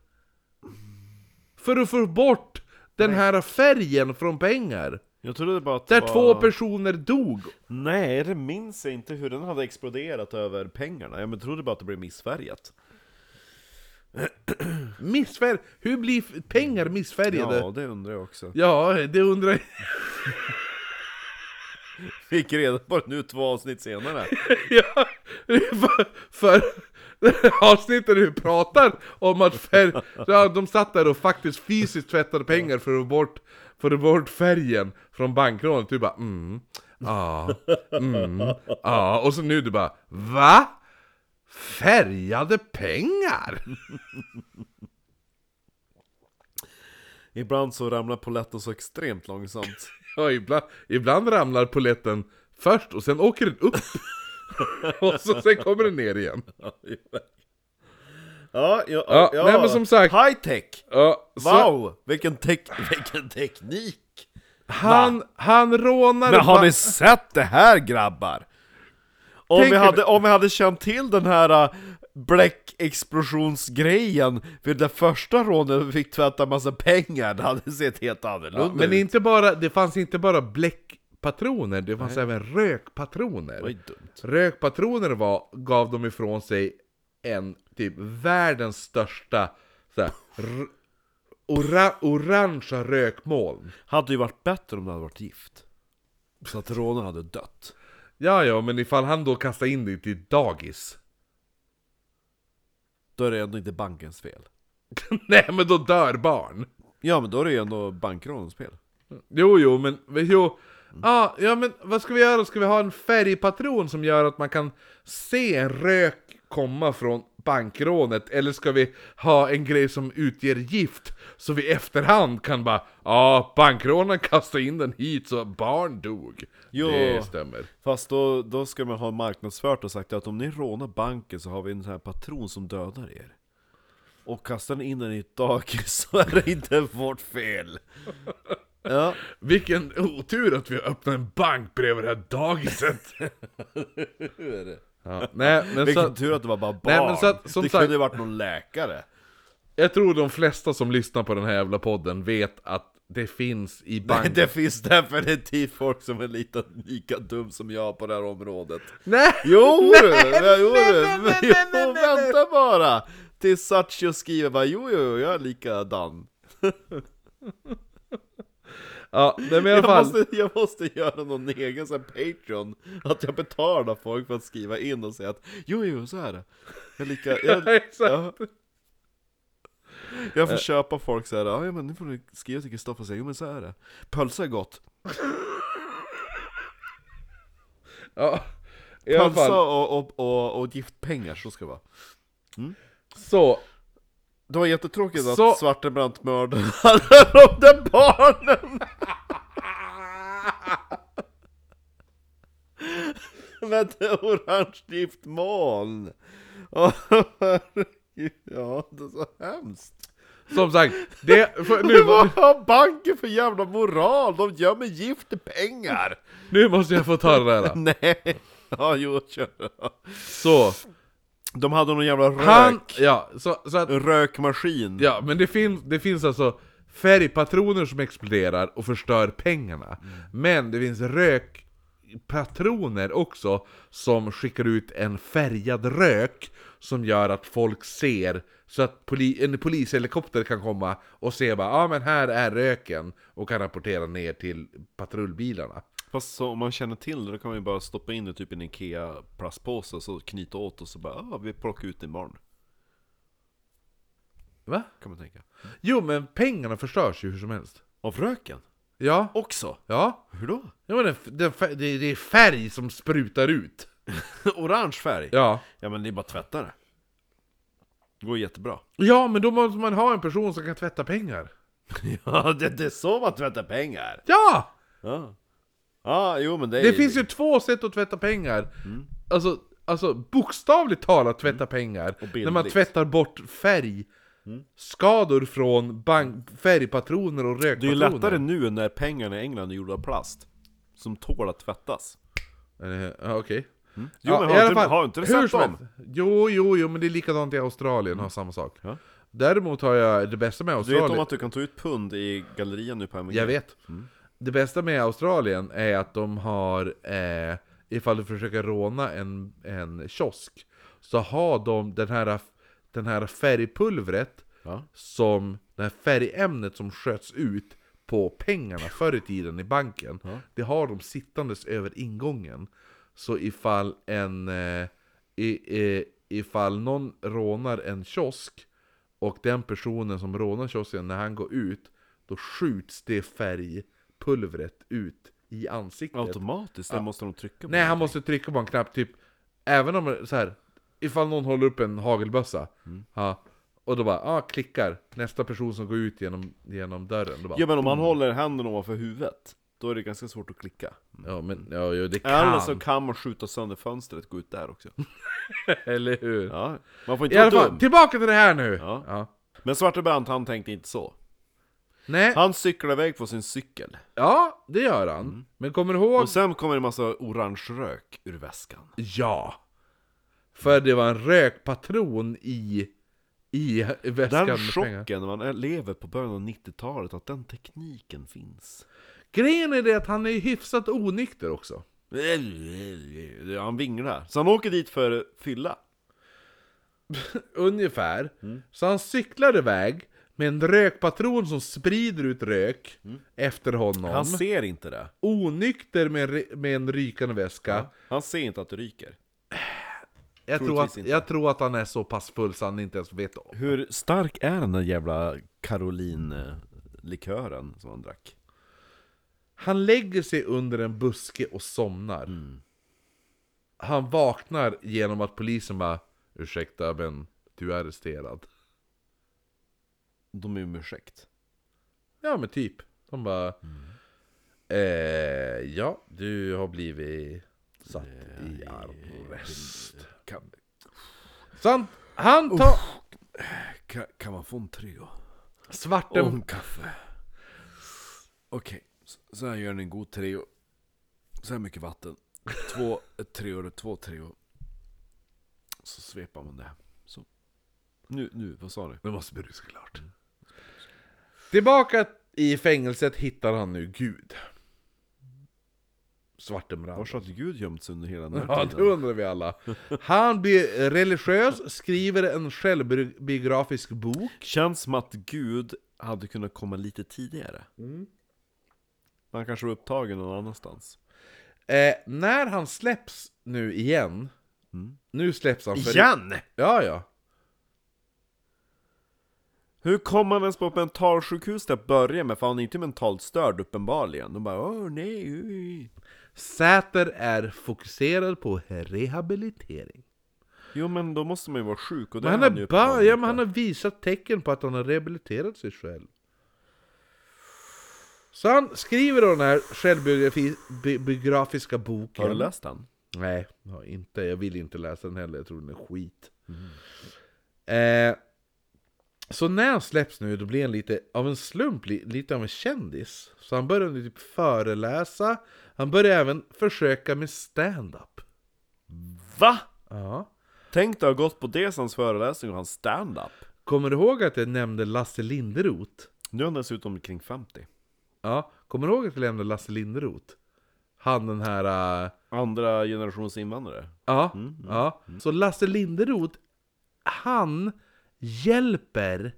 Speaker 2: För att få bort den här färgen från pengar.
Speaker 1: jag trodde bara att det
Speaker 2: Där
Speaker 1: var...
Speaker 2: två personer dog.
Speaker 1: Nej, det minns jag inte hur den hade exploderat över pengarna. Jag men trodde bara att det blev missfärgat.
Speaker 2: Missfärg. Hur blir f- pengar missfärgade?
Speaker 1: Ja,
Speaker 2: Ja,
Speaker 1: det undrar jag också.
Speaker 2: ja det undrar jag.
Speaker 1: Fick reda på det nu två avsnitt senare.
Speaker 2: Ja, för, för det här avsnittet du pratar om att färg, ja, de satt där och faktiskt fysiskt tvättade pengar för att få bort, för att få bort färgen från bankrånet. Du bara mm, ja, mm, ja. Och så nu du bara va? Färgade pengar?
Speaker 1: Ibland så ramlar polletten så extremt långsamt.
Speaker 2: Ja, ibland, ibland ramlar poletten först och sen åker den upp. Och så, sen kommer den ner igen.
Speaker 1: Ja, ja,
Speaker 2: Ja, nej, men som sagt-
Speaker 1: High tech!
Speaker 2: Ja, så-
Speaker 1: Wow! Vilken, tek vilken teknik!
Speaker 2: Han, han rånar
Speaker 1: Men har
Speaker 2: ba-
Speaker 1: ni sett det här grabbar? Om
Speaker 2: Tänker
Speaker 1: vi,
Speaker 2: ni-
Speaker 1: hade, om vi hade känt till den här äh, bläckexplosionsgrejen vid det första rånet vi fick tvätta massa pengar, det hade sett helt annorlunda ut.
Speaker 2: Men inte bara, det fanns inte bara bläckpatroner, det fanns även rökpatroner.
Speaker 1: Oj, dumt.
Speaker 2: Rökpatroner var, gav de ifrån sig en typ världens största så här, r- ora, orangea rökmoln.
Speaker 1: Hade ju varit bättre om det hade varit gift. Så att rånaren hade dött.
Speaker 2: Ja, ja, men ifall han då kastar in det i ett dagis.
Speaker 1: Då är det ändå inte bankens fel.
Speaker 2: Nej, men då dör barn.
Speaker 1: Ja men då är det ju ändå bankrånens fel.
Speaker 2: Jo, jo, men jo. Ja, ja, men vad ska vi göra? Ska vi ha en färgpatron som gör att man kan se en rök komma från bankrånet? Eller ska vi ha en grej som utger gift? Så vi i efterhand kan bara, ja, bankrånaren kastade in den hit så barn dog.
Speaker 1: Jo.
Speaker 2: Det stämmer.
Speaker 1: Fast då, då ska man ha marknadsfört och sagt att om ni rånar banken så har vi en sån här patron som dödar er. Och kastar ni in den i ett dagis så är det inte vårt fel. Ja,
Speaker 2: Vilken otur att vi öppnade en bank bredvid det här dagiset. Ja, nej, men
Speaker 1: vilken
Speaker 2: så,
Speaker 1: tur att det var bara barn.
Speaker 2: Nej, men så att- som
Speaker 1: det
Speaker 2: sagt-
Speaker 1: kunde ju varit någon läkare.
Speaker 2: jag tror de flesta som lyssnar på den här jävla podden vet att det finns i bank...
Speaker 1: Det finns definitivt folk som är lite lika dum som jag på det här området.
Speaker 2: Nej!
Speaker 1: Jo du! jo,
Speaker 2: nej,
Speaker 1: du.
Speaker 2: nej, nej,
Speaker 1: jo,
Speaker 2: nej, nej, nej.
Speaker 1: vänta bara! Tills Satchio skriver bara jo, jo, jo, jag är likadan.
Speaker 2: Ja, nej, men i alla
Speaker 1: Jag
Speaker 2: fall.
Speaker 1: måste, jag måste göra någon egen sån här Patreon, att jag betalar folk för att skriva in och säga att jo, jo, så är det. Jag, lika, jag,
Speaker 2: Ja, exakt. Eh.
Speaker 1: ja. jag får köpa folk så här, "Ja, ja men nu får du skriva till Kristoffer och säga, jo men så är det. Pölsa är gott.
Speaker 2: Ja, i alla
Speaker 1: Pölsa
Speaker 2: fall.
Speaker 1: och, och, och, och giftpengar, så ska det vara.
Speaker 2: Så,
Speaker 1: Det var jättetråkigt att
Speaker 2: Så-
Speaker 1: Svartenbrandt mördade alla de där barnen! Med ett orange gift moln! Åh, herregud, Ja, det är så hemskt!
Speaker 2: som sagt. Det, för, nu,
Speaker 1: Vad har banken för jävla moral? De gömmer gift i pengar!
Speaker 2: nu måste jag få ta det där. då.
Speaker 1: Nej! Ja, jo, kör.
Speaker 2: Så,
Speaker 1: De hade någon jävla rök,
Speaker 2: han... Ja, så, så att
Speaker 1: rökmaskin.
Speaker 2: Ja, men det finns, det finns alltså färgpatroner som exploderar och förstör pengarna.
Speaker 1: Mm.
Speaker 2: Men det finns rökpatroner också som skickar ut en färgad rök som gör att folk ser så att poli, en polishelikopter kan komma och se bara ja ah, men här är röken och kan rapportera ner till patrullbilarna.
Speaker 1: Fast så, om man känner till det, då kan man ju bara stoppa in det typ i en IKEA-plastpåse och så knyta åt och så bara ah, vi plockar ut det imorgon.
Speaker 2: Va?
Speaker 1: Kan man tänka.
Speaker 2: Jo men pengarna förstörs ju hur som helst.
Speaker 1: Av röken?
Speaker 2: Ja,
Speaker 1: Också?
Speaker 2: ja.
Speaker 1: Hur då?
Speaker 2: ja men den, den, fär- det, det är färg som sprutar ut.
Speaker 1: Orange färg? Ja.
Speaker 2: Ja.
Speaker 1: men det är bara att tvätta det. Det går jättebra.
Speaker 2: Ja, men då måste man ha en person som kan tvätta pengar.
Speaker 1: ja, det, det är så man tvättar pengar!
Speaker 2: Ja!
Speaker 1: Ja. Ja, jo men det är
Speaker 2: Det finns ju två sätt att tvätta pengar.
Speaker 1: Mm.
Speaker 2: Alltså, alltså bokstavligt talat tvätta pengar.
Speaker 1: bildligt.
Speaker 2: När man tvättar bort färg.
Speaker 1: Mm.
Speaker 2: Skador från bank, färgpatroner och rökpatroner.
Speaker 1: Det är ju lättare nu när pengarna i England är gjorda av plast. Som tål att tvättas.
Speaker 2: Eh, Ja, okej.
Speaker 1: Mm. Jo, men har
Speaker 2: i alla
Speaker 1: inte- har inte du
Speaker 2: hur
Speaker 1: sett
Speaker 2: som
Speaker 1: dem? Mm.
Speaker 2: helst. Jo, jo, jo, men det är likadant i Australien, har samma sak.
Speaker 1: Ja.
Speaker 2: Däremot har jag det bästa med
Speaker 1: Du
Speaker 2: Australien...
Speaker 1: vet om att du kan ta ut pund i gallerian nu på MG?
Speaker 2: Jag vet. Det bästa med Australien är att de har, eh, ifall du försöker råna en, en kiosk, så har de den här, den här färgpulvret,
Speaker 1: Ja.
Speaker 2: som, det här färgämnet som sköts ut på pengarna förr i tiden i banken, det har de sittandes över ingången. Så ifall en, eh, i, i, ifall någon rånar en kiosk, och den personen som rånar kiosken, när han går ut, då skjuts det färgpulvret ut i ansiktet.
Speaker 1: Automatiskt? Den måste de trycka på?
Speaker 2: Nej, han måste trycka på en knapp, typ Även om så här Ifall någon håller upp en hagelbössa
Speaker 1: Mm.
Speaker 2: ja, Och då bara, ah, klickar Nästa person som går ut genom, genom dörren då bara,
Speaker 1: Ja men om man håller handen ovanför huvudet, då är det ganska svårt att klicka.
Speaker 2: Ja men, ja, ja det kan
Speaker 1: Eller så kan man skjuta sönder fönstret och gå ut där också.
Speaker 2: Eller hur?
Speaker 1: Ja, man får
Speaker 2: I
Speaker 1: inte
Speaker 2: alla
Speaker 1: vara
Speaker 2: fall,
Speaker 1: dum.
Speaker 2: tillbaka till det här nu!
Speaker 1: Ja. Men Svarte Brandt, han tänkte inte så.
Speaker 2: Nej,
Speaker 1: Han cyklar iväg på sin cykel.
Speaker 2: ja det gör han Men kommer du ihåg?
Speaker 1: Mm. Och sen kommer en massa orange rök ur väskan.
Speaker 2: Ja! För det var en rökpatron i i väskan
Speaker 1: Den
Speaker 2: med pengar.
Speaker 1: chocken när man lever på början av 90-talet, att den tekniken finns.
Speaker 2: Grejen är det att han är hyfsat onykter också
Speaker 1: Han vinglar. Så han åker dit för fylla.
Speaker 2: ungefär.
Speaker 1: Mm.
Speaker 2: Så han cyklar iväg med en rökpatron som sprider ut rök efter honom.
Speaker 1: Mm. Han ser inte det.
Speaker 2: Onykter med en, ry- med en rykande väska.
Speaker 1: Han ser inte att det ryker.
Speaker 2: Jag, tror
Speaker 1: Troligtvis
Speaker 2: att,
Speaker 1: inte.
Speaker 2: jag tror att han är så pass full så han inte ens vet om.
Speaker 1: Hur stark är den där jävla Caroline-likören som han drack?
Speaker 2: Han lägger sig under en buske och somnar.
Speaker 1: Mm.
Speaker 2: Han vaknar genom att polisen bara Ursäkta men du är arresterad.
Speaker 1: De är ju om ursäkt.
Speaker 2: Ja men typ. De bara eh, Ja, du har blivit satt i arrest.
Speaker 1: Kan,
Speaker 2: Så han, han tar...
Speaker 1: kan, kan man få en Treo?
Speaker 2: Svarten...
Speaker 1: Och en kaffe. Okej, så- så här gör ni en god Treo. Så här mycket vatten. Två treor, två treor. Så svepar man det. Så. Nu, nu, vad sa Mm. du?
Speaker 2: Nu måste berusa klart. Tillbaka i fängelset hittar han nu Gud. Svartenbrand.
Speaker 1: Var satt Gud gömt sig under hela den
Speaker 2: Ja,
Speaker 1: här
Speaker 2: det undrar vi alla. Han blir religiös, skriver en självbiografisk bok.
Speaker 1: Känns som att Gud hade kunnat komma lite tidigare. Han kanske var upptagen någon annanstans.
Speaker 2: Eh, när han släpps nu igen, nu släpps han för...
Speaker 1: Igen!
Speaker 2: Mm. Ja, ja.
Speaker 1: Hur kom han ens på ett mentalsjukhus till att börja med? För han är inte mentalt störd uppenbarligen. De bara åh nej, oj.
Speaker 2: Säter är fokuserad på rehabilitering.
Speaker 1: Jo men då måste man ju vara sjuk och det
Speaker 2: Men han,
Speaker 1: är han ju
Speaker 2: är bara, ja,
Speaker 1: uppenbarligen
Speaker 2: men han har visat tecken på att han har rehabiliterat sig själv. Så han skriver då den här självbiografiska
Speaker 1: inte.
Speaker 2: boken.
Speaker 1: Har du läst den?
Speaker 2: Nej, jag har inte. Jag vill inte läsa den heller. Jag tror den är skit.
Speaker 1: Mm.
Speaker 2: Eh, så när han släpps nu, då blir han lite av en slump, li- lite av en kändis. Så han börjar nu typ föreläsa. Han börjar även försöka med stand-up.
Speaker 1: Va?
Speaker 2: Ja.
Speaker 1: Tänk dig att ha gått på Desans föreläsning och hans stand-up.
Speaker 2: Kommer du ihåg att jag nämnde Lasse Linderoth?
Speaker 1: Nu är han dessutom kring 50.
Speaker 2: Ja, kommer du ihåg att jag nämnde Lasse Linderoth? Han den här... eh,
Speaker 1: Andra generationens invandrare.
Speaker 2: Ja,
Speaker 1: Mm,
Speaker 2: ja. Så Lasse Linderoth, han hjälper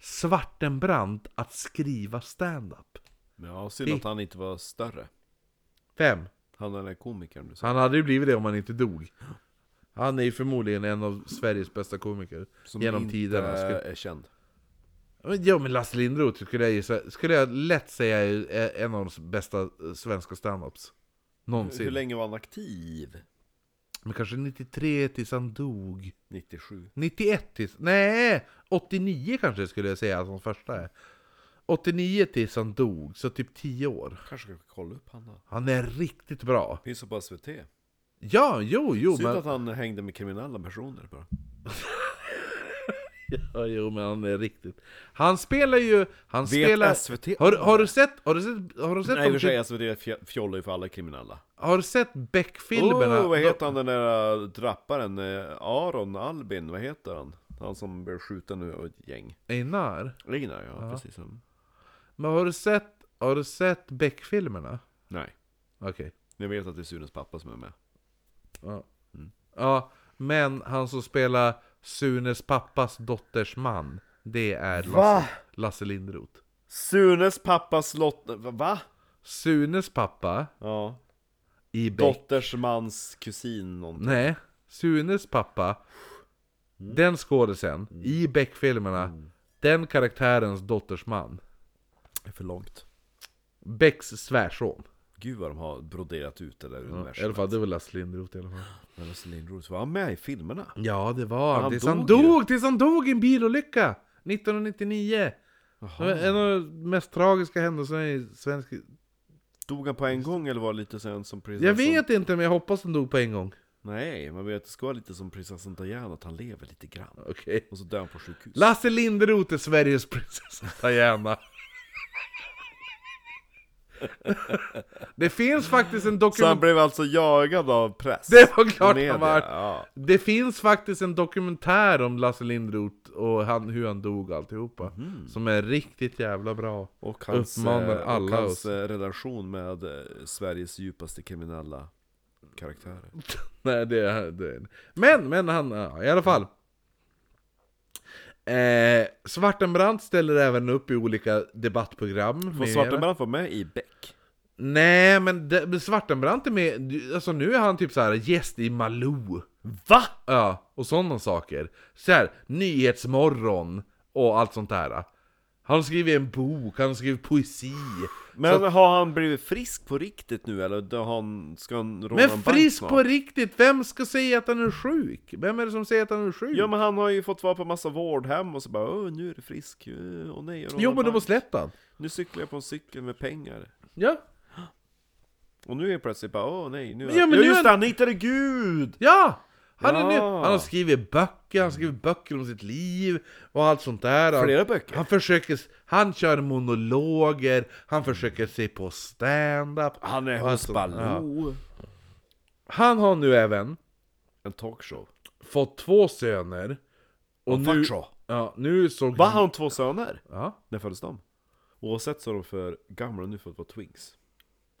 Speaker 2: Svartenbrandt att skriva stand-up.
Speaker 1: Ja, synd att han inte var större.
Speaker 2: Vem?
Speaker 1: Han är den där komikern du sa.
Speaker 2: Han hade ju blivit det om han inte dog. Han är ju förmodligen en av Sveriges bästa komiker
Speaker 1: Som
Speaker 2: genom
Speaker 1: inte
Speaker 2: tiderna. Skulle-
Speaker 1: är känd.
Speaker 2: Men, Ja men Lasse Linderoth skulle jag gissa, skulle jag lätt säga är en av de bästa eh, svenska standups.
Speaker 1: Hur
Speaker 2: Någonsin.
Speaker 1: länge var han aktiv?
Speaker 2: Men kanske 93 tills han dog.
Speaker 1: 97.
Speaker 2: 91 tills... Nej! 89 kanske skulle jag säga att hans första är. 89 tills han dog, så typ 10 år.
Speaker 1: Kanske ska kolla upp han då.
Speaker 2: Han är riktigt bra.
Speaker 1: Finns det på SVT?
Speaker 2: Ja, jo, jo,
Speaker 1: Synd
Speaker 2: men...
Speaker 1: att han hängde med kriminella personer bara.
Speaker 2: Ja, jo, men han är riktigt... Han spelar ju... Han spelar...
Speaker 1: SVT?
Speaker 2: Har, har du sett... Har du sett... Har du sett,
Speaker 1: Nej i och för sig,
Speaker 2: de,
Speaker 1: SVT fj- fjollar ju för alla kriminella.
Speaker 2: har du sett Beck-filmerna?
Speaker 1: Oh, vad
Speaker 2: De-
Speaker 1: heter han den där äh, drapparen? eh, Aron Albin, vad heter han? Han som blev skjuten nu av ett gäng.
Speaker 2: Einar?
Speaker 1: Einar, ja, precis. Mm. som-
Speaker 2: Men har du sett... Har du sett Beck-filmerna?
Speaker 1: Nej,
Speaker 2: Okej.
Speaker 1: jag vet att det är Sunes pappa som är med.
Speaker 2: Ja. Mm. ja, men han som spelar Sunes pappas dotters man, det är Lasse, Lasse Linderoth.
Speaker 1: Sunes pappas lott... Va?
Speaker 2: Sunes pappa
Speaker 1: Ja.
Speaker 2: i Beck.
Speaker 1: Dotters mans kusin någonting.
Speaker 2: Nej, Sunes pappa, den skådisen i Beck-filmerna, den karaktärens dotters man.
Speaker 1: Det är för långt.
Speaker 2: Becks svärson.
Speaker 1: Gud vad de har broderat ut det där
Speaker 2: I alla
Speaker 1: universumet.
Speaker 2: fall, det var Lasse Linderoth i alla fall.
Speaker 1: Men Lasse Lindros, var han med i filmerna?
Speaker 2: Ja, det var han.
Speaker 1: Han
Speaker 2: tills
Speaker 1: dog
Speaker 2: han
Speaker 1: ju.
Speaker 2: dog, tills han dog i en bilolycka! 1999. Det var En av de mest tragiska händelserna i svensk...
Speaker 1: Dog han på en gång eller var det lite sen som prinsessan?
Speaker 2: Jag vet inte, men jag hoppas han dog på en gång.
Speaker 1: Nej, man vet det ska vara lite som prinsessan Diana, att han lever lite grann.
Speaker 2: Okej.
Speaker 1: Och så dör han på sjukhus.
Speaker 2: Lasse Linderoth är Sveriges prinsessa Diana. det finns faktiskt en
Speaker 1: Så han
Speaker 2: dokumentär...
Speaker 1: blev alltså jagad av press?
Speaker 2: Det var klart
Speaker 1: Media,
Speaker 2: han var.
Speaker 1: Ja.
Speaker 2: Det finns faktiskt en dokumentär om Lasse Linderoth och han, hur han dog och alltihopa.
Speaker 1: Mhm.
Speaker 2: Som är riktigt jävla bra.
Speaker 1: Och hans,
Speaker 2: Uppmanar
Speaker 1: eh,
Speaker 2: alla
Speaker 1: och hans
Speaker 2: oss.
Speaker 1: eh, relation med eh, Sveriges djupaste kriminella karaktärer.
Speaker 2: Nej, det, det Men, men han, ja, i alla fall. Eh, Svartenbrandt ställer även upp i olika debattprogram.
Speaker 1: Får
Speaker 2: med-
Speaker 1: Svartenbrandt vara med i Beck?
Speaker 2: Nej, men det, men Svartenbrandt är med, alltså nu är han typ så här gäst i Malou.
Speaker 1: VA?
Speaker 2: Ja, och sådana saker. Så här, Nyhetsmorgon och allt sånt där. Han har skrivit en bok, han har skrivit poesi.
Speaker 1: Men har han blivit frisk på riktigt nu eller då har han, ska han råna
Speaker 2: Men
Speaker 1: en bank
Speaker 2: frisk
Speaker 1: snart?
Speaker 2: på riktigt, vem ska säga att han är sjuk? Vem är det som säger att han är sjuk?
Speaker 1: Ja men han har ju fått vara på massa vårdhem och så bara Åh, nu är det frisk, Åh, åh nej jag rånar
Speaker 2: jo, men de
Speaker 1: bank.
Speaker 2: har släppt han.
Speaker 1: Nu cyklar jag på en cykel med pengar
Speaker 2: Ja.
Speaker 1: Och nu är jag plötsligt bara åh nej nu är
Speaker 2: Ja,
Speaker 1: ja,
Speaker 2: men nu
Speaker 1: ja, just
Speaker 2: är-
Speaker 1: det, han hittade Gud!
Speaker 2: Ja! Han, är
Speaker 1: Ja.
Speaker 2: ny. han har skrivit böcker, han har skrivit böcker om sitt liv och allt sånt där. Han,
Speaker 1: Flera böcker.
Speaker 2: Han försöker, han kör monologer, han försöker sig på stand-up.
Speaker 1: Han är
Speaker 2: och
Speaker 1: hos
Speaker 2: allt sånt- ja.
Speaker 1: Baloo
Speaker 2: Han har nu även
Speaker 1: En talkshow
Speaker 2: fått två söner. Och nu,
Speaker 1: Fuck så.
Speaker 2: ja, nu såg
Speaker 1: Va, har han två söner?
Speaker 2: Ja.
Speaker 1: När föddes de? Oavsett så är de för gamla nu för att vara twins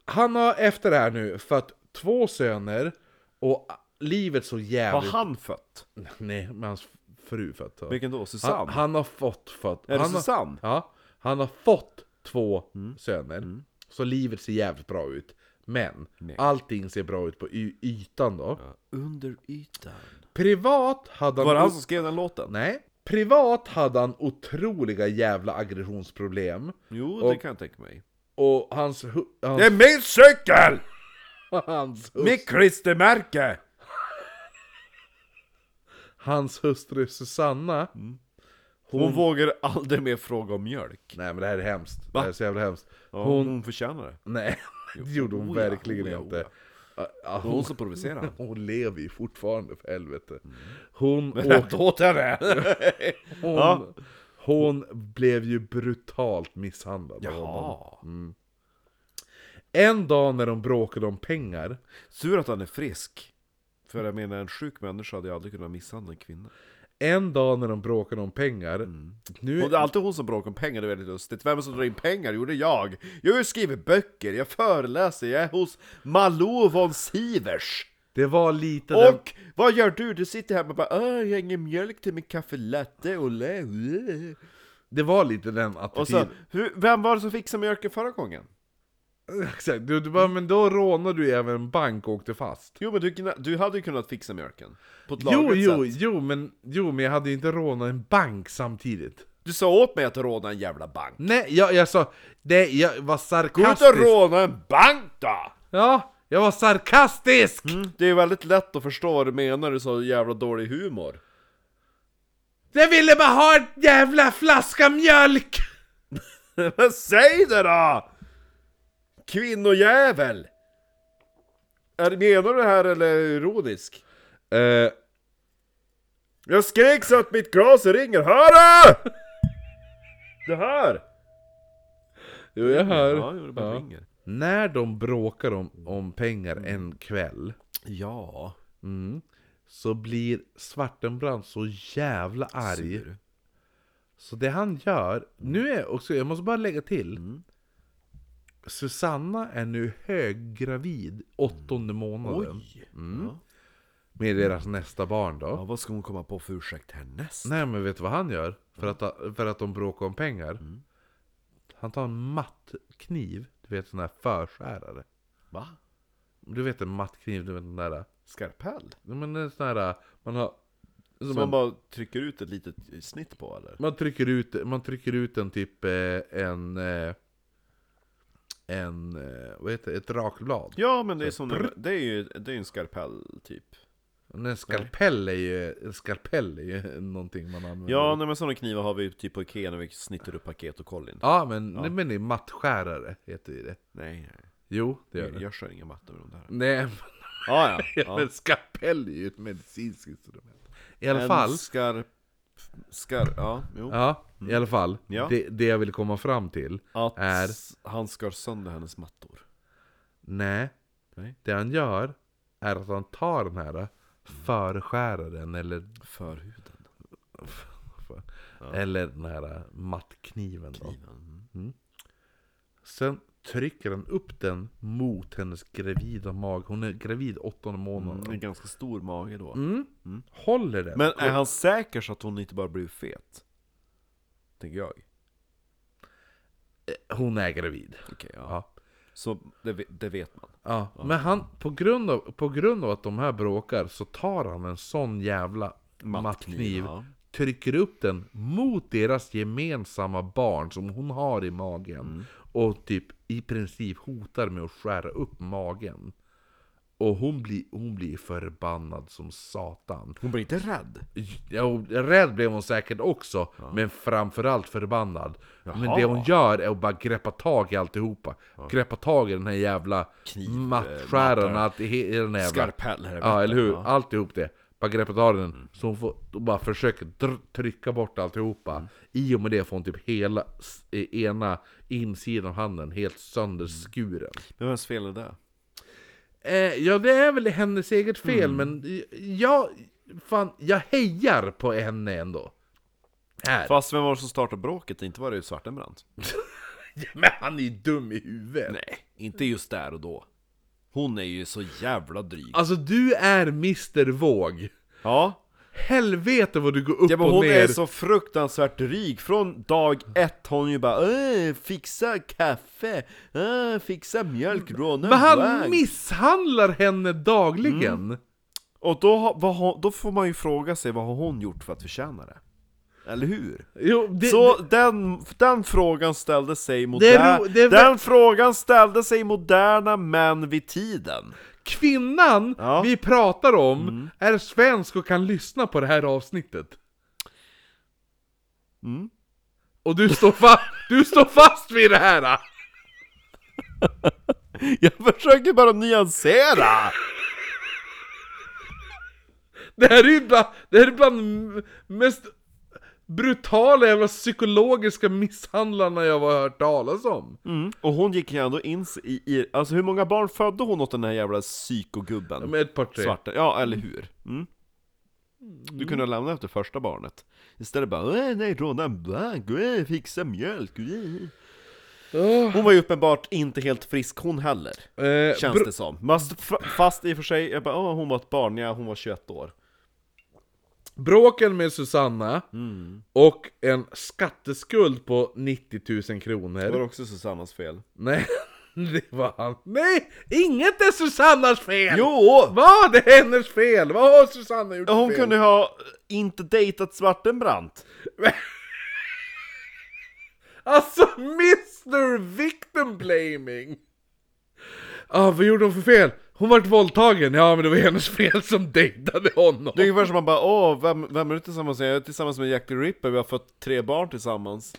Speaker 2: Han har efter det här nu fött två söner och livet så
Speaker 1: Har
Speaker 2: jävligt...
Speaker 1: han fött?
Speaker 2: Nej, men hans fru fött. ja.
Speaker 1: Vilken då?
Speaker 2: Han,
Speaker 1: Susanne?
Speaker 2: han har fått fött.
Speaker 1: är det Mm.
Speaker 2: han har,
Speaker 1: Susanne?
Speaker 2: Ja, han har fått två söner. Så livet ser jävligt bra ut. Men allting ser bra ut på y- ytan då.
Speaker 1: Under ytan.
Speaker 2: Privat hade han...
Speaker 1: Var det han som skrev den låten?
Speaker 2: Nej. Privat hade han otroliga jävla aggressionsproblem.
Speaker 1: Jo, det
Speaker 2: Och-
Speaker 1: kan jag tänka mig.
Speaker 2: Och hans... hu- hans,
Speaker 1: Det är min cykel!
Speaker 2: hans, hus,
Speaker 1: Mitt klistermärke!
Speaker 2: hans hustru Susanna.
Speaker 1: Mm. Hon, vågar aldrig mer fråga om mjölk.
Speaker 2: Nej men det här är hemskt. Det här är så jävla hemskt.
Speaker 1: Ja,
Speaker 2: Hon...
Speaker 1: hon... förtjänar det.
Speaker 2: Nej, det gjorde hon
Speaker 1: Oh ja,
Speaker 2: verkligen
Speaker 1: oh ja, oh
Speaker 2: inte. Ja,
Speaker 1: Det
Speaker 2: ja,
Speaker 1: var
Speaker 2: hon,
Speaker 1: hon som provocerade.
Speaker 2: hon lever ju fortfarande för helvete.
Speaker 1: Mm.
Speaker 2: Hon åkte
Speaker 1: Rätt åt henne!
Speaker 2: Hon,
Speaker 1: Ja.
Speaker 2: hon blev ju brutalt misshandlad av honom.
Speaker 1: Jaha.
Speaker 2: En dag när de bråkade om pengar
Speaker 1: Tur att han är frisk. För jag menar, en sjuk människa hade ju aldrig kunnat misshandla en kvinna.
Speaker 2: En dag när de bråkade om pengar Nu...
Speaker 1: Mm. Och det är alltid hon som bråkar om pengar, det är väldigt lustigt. Vem som drar in pengar? Jo, det är jag. Jag har ju skrivit böcker, jag föreläser, jag är hos Malou von Sivers.
Speaker 2: Det var lite den...
Speaker 1: Och vad gör du? Du sitter här och bara "Åh, jag har ingen mjölk till min kaffelatte, och
Speaker 2: Det var lite den attityden.
Speaker 1: Och så, hur, vem var det som fixade mjölken förra gången?
Speaker 2: Exakt. Du, du bara, men då rånade du ju även en bank och åkte fast.
Speaker 1: Jo men du, kunna- du hade ju kunnat fixa mjölken. På ett
Speaker 2: Jo,
Speaker 1: lagligt
Speaker 2: jo,
Speaker 1: sätt.
Speaker 2: jo men, jo, men jag hade ju inte rånat en bank samtidigt.
Speaker 1: Du sa åt mig att råna en jävla bank.
Speaker 2: Nej, jag, jag sa... Det, jag var
Speaker 1: Gå ut och
Speaker 2: sarkastisk.
Speaker 1: råna en bank då!
Speaker 2: Ja, jag var sarkastisk!
Speaker 1: Det är väldigt lätt att förstå vad du menar, du sa jävla dålig humor.
Speaker 2: Jag ville bara ha en jävla flaska mjölk!
Speaker 1: Men säg det då! Kvinnojävel! Är, menar du det här eller är du ironisk?
Speaker 2: Eh,
Speaker 1: Jag skrek så att mitt glas ringer, hör du? Det här!
Speaker 2: jo, jag hör.
Speaker 1: Ja, jo, det bara ringer.
Speaker 2: När de bråkar om, om pengar en kväll
Speaker 1: Ja,
Speaker 2: så blir Svartenbrandt så jävla arg. Så det han gör, nu är också, jag måste bara lägga till.
Speaker 1: Mm.
Speaker 2: Susanna är nu höggravid åttonde månaden
Speaker 1: oj! Ja.
Speaker 2: med deras nästa barn då.
Speaker 1: Mm. Ja, vad ska hon komma på för ursäkt härnäst?
Speaker 2: Nej men vet du vad han gör? För att, för att de bråkar om pengar? Han tar en mattkniv, du vet sån här förskärare.
Speaker 1: Va?
Speaker 2: Du vet en mattkniv, du vet den där...
Speaker 1: Skarpell?
Speaker 2: ja, Men en sån här, man har...
Speaker 1: Som
Speaker 2: man,
Speaker 1: man bara trycker ut ett litet snitt på eller?
Speaker 2: man, trycker ut, man trycker ut en typ eh, en... eh, En... eh, Vad heter det? Ett rakblad.
Speaker 1: Ja men det är som en, det är ju det är ju en skarpell typ
Speaker 2: Men En skalpell är ju... En skalpell är ju någonting man använder.
Speaker 1: Ja nej, men sådana knivar har vi typ på Ikea när vi snittar upp paket och kollar in
Speaker 2: Ja, men, Nej, men det är mattskärare, heter ju det.
Speaker 1: Nej nej,
Speaker 2: Jo, det gör
Speaker 1: jag,
Speaker 2: det.
Speaker 1: jag kör inga mattor med de där
Speaker 2: Nej, men-
Speaker 1: ah, ja,
Speaker 2: Ja.
Speaker 1: ja.
Speaker 2: Men skapell är ju ett medicinskt instrument. I alla
Speaker 1: En
Speaker 2: fall,
Speaker 1: skarp, skarp, ja jo
Speaker 2: ja, i alla fall
Speaker 1: Mm. Ja.
Speaker 2: Det, det jag vill komma fram till
Speaker 1: Att
Speaker 2: är,
Speaker 1: han skar sönder hennes mattor
Speaker 2: nej,
Speaker 1: Nej.
Speaker 2: det han gör är att han tar den här förskäraren eller,
Speaker 1: För huden
Speaker 2: eller den här mattkniven. Då.
Speaker 1: mm.
Speaker 2: Sen trycker han upp den mot hennes gravida mag. Hon är gravid åttonde månaden.
Speaker 1: En ganska stor mage då
Speaker 2: Håller den.
Speaker 1: Mm. Men är han säker så att hon inte bara blir fet? Tänker jag
Speaker 2: Hon är gravid.
Speaker 1: Okej, ja.
Speaker 2: Ja.
Speaker 1: Så det, ve- det vet man
Speaker 2: Ja, men han, på grund, av, på grund av att de här bråkar så tar han en sån jävla
Speaker 1: Mattkniv,
Speaker 2: mattkniv,
Speaker 1: ja.
Speaker 2: trycker upp den mot deras gemensamma barn som hon har i magen och typ i princip hotar med att skära upp magen. Och hon blir, hon blir förbannad som satan.
Speaker 1: Hon blir inte rädd?
Speaker 2: Ja, rädd blev hon säkert också, men framförallt förbannad.
Speaker 1: Jaha.
Speaker 2: Men det hon gör är att bara greppa tag i alltihopa. Greppa tag i den här jävla
Speaker 1: Kniv, eh,
Speaker 2: mattskäraren, allt i he- i den här jävla...
Speaker 1: Skarpell här i
Speaker 2: Ja,
Speaker 1: mitten,
Speaker 2: eller hur?
Speaker 1: ja. Mm.
Speaker 2: Alltihop det. Bara greppa tag i den. Så hon får, och bara försöker dr- trycka bort alltihopa.
Speaker 1: Mm.
Speaker 2: I och med det får hon typ hela s- eh, ena insidan av handen helt sönderskuren.
Speaker 1: Men vems fel är det?
Speaker 2: Eh, ja, det är väl hennes eget fel,
Speaker 1: Mm.
Speaker 2: men jag... Fan, jag hejar på henne ändå. Här.
Speaker 1: Fast vem var det som startade bråket? Inte var det ju Svartenbrandt?
Speaker 2: Men han är ju dum i huvudet.
Speaker 1: Nej, inte just där och då. Hon är ju så jävla dryg.
Speaker 2: Alltså, du är Mr Våg.
Speaker 1: Ja,
Speaker 2: Helvete vad du går upp
Speaker 1: Ja men
Speaker 2: och
Speaker 1: hon
Speaker 2: ner!
Speaker 1: är så fruktansvärt rik, från dag ett hon ju bara "Äh, fixa kaffe, äh, fixa mjölk, råna
Speaker 2: Men han
Speaker 1: väg."
Speaker 2: misshandlar henne dagligen!
Speaker 1: Mm. Och då, har- vad, har- då får man ju fråga sig vad har hon gjort för att förtjäna det? Eller hur?
Speaker 2: Jo, det,
Speaker 1: så den, den frågan ställde sig
Speaker 2: Det är
Speaker 1: moderna,
Speaker 2: ro- det är vä-
Speaker 1: den frågan ställde sig moderna män vid tiden.
Speaker 2: Kvinnan
Speaker 1: Ja. Mm.
Speaker 2: vi pratar om är svensk och kan lyssna på det här avsnittet.
Speaker 1: Mm.
Speaker 2: Och du står, fa- du står fast vid det här! ah.
Speaker 1: Jag försöker bara nyansera!
Speaker 2: Det här är ju bland, det här är bland m- mest brutala jävla psykologiska misshandlarna jag har hört talas om.
Speaker 1: Mm. Och hon gick ju ändå in sig i, i, alltså hur många barn födde hon åt den här jävla psykogubben?
Speaker 2: Med ett par tre.
Speaker 1: Svarta, ja eller hur? Mm. Du kunde ha lämnat efter första barnet Istället bara "Äh, nej, råna en bank, äh, fixa mjölk äh."
Speaker 2: Åh,
Speaker 1: Hon var ju uppenbart inte helt frisk hon heller
Speaker 2: eh,
Speaker 1: Känns det som Fast, f- fast i och för sig, jag bara, "Åh, hon var ett barn, ja hon var 21 år
Speaker 2: Bråken med Susanna
Speaker 1: Mm.
Speaker 2: och en skatteskuld på 90
Speaker 1: Det var
Speaker 2: 000 kronor.
Speaker 1: också Susannas fel
Speaker 2: Nej, det var han. Nej, inget är Susannas fel!
Speaker 1: Jo!
Speaker 2: Vad är hennes fel? Vad har Susanna gjort
Speaker 1: Hon
Speaker 2: fel?
Speaker 1: kunde ha inte dejtat Svartenbrandt
Speaker 2: Alltså, Mr Victim Blaming! Ah, vad gjorde hon för fel? Hon vart våldtagen, ja men det var hennes fel som dejtade honom!
Speaker 1: Det är ungefär som man bara åh, vem, vem är du tillsammans med? Jag är tillsammans med Jack the Ripper, vi har fått tre barn tillsammans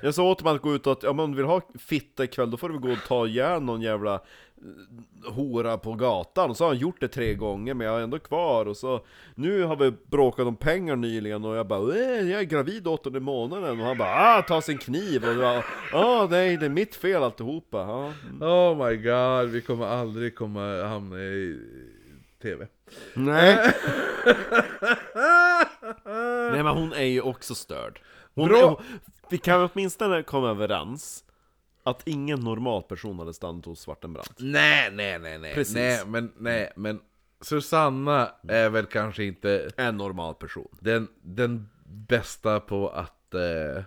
Speaker 1: Jag sa åt dem att gå ut och att, ja, men om du vill ha fitta ikväll då får du väl gå och ta igen någon jävla eh, hora på gatan Och så har han gjort det tre gånger men jag är ändå kvar och så Nu har vi bråkat om pengar nyligen och jag bara eh, jag är gravid åttonde månaden och han bara ah, ta sin kniv och jag ah, nej det är mitt fel alltihopa ja. mm.
Speaker 2: Oh my god, vi kommer aldrig komma hamna i TV.
Speaker 1: Nej Nej men hon är ju också störd hon,
Speaker 2: Bra.
Speaker 1: hon, Vi kan åtminstone komma överens Att ingen normal person hade stannat hos Svartenbrandt
Speaker 2: Nej, nej, nej, nej.
Speaker 1: Precis.
Speaker 2: Nej, men, nej, men Susanna är väl kanske inte
Speaker 1: En normal person
Speaker 2: den, den bästa på att... Eh,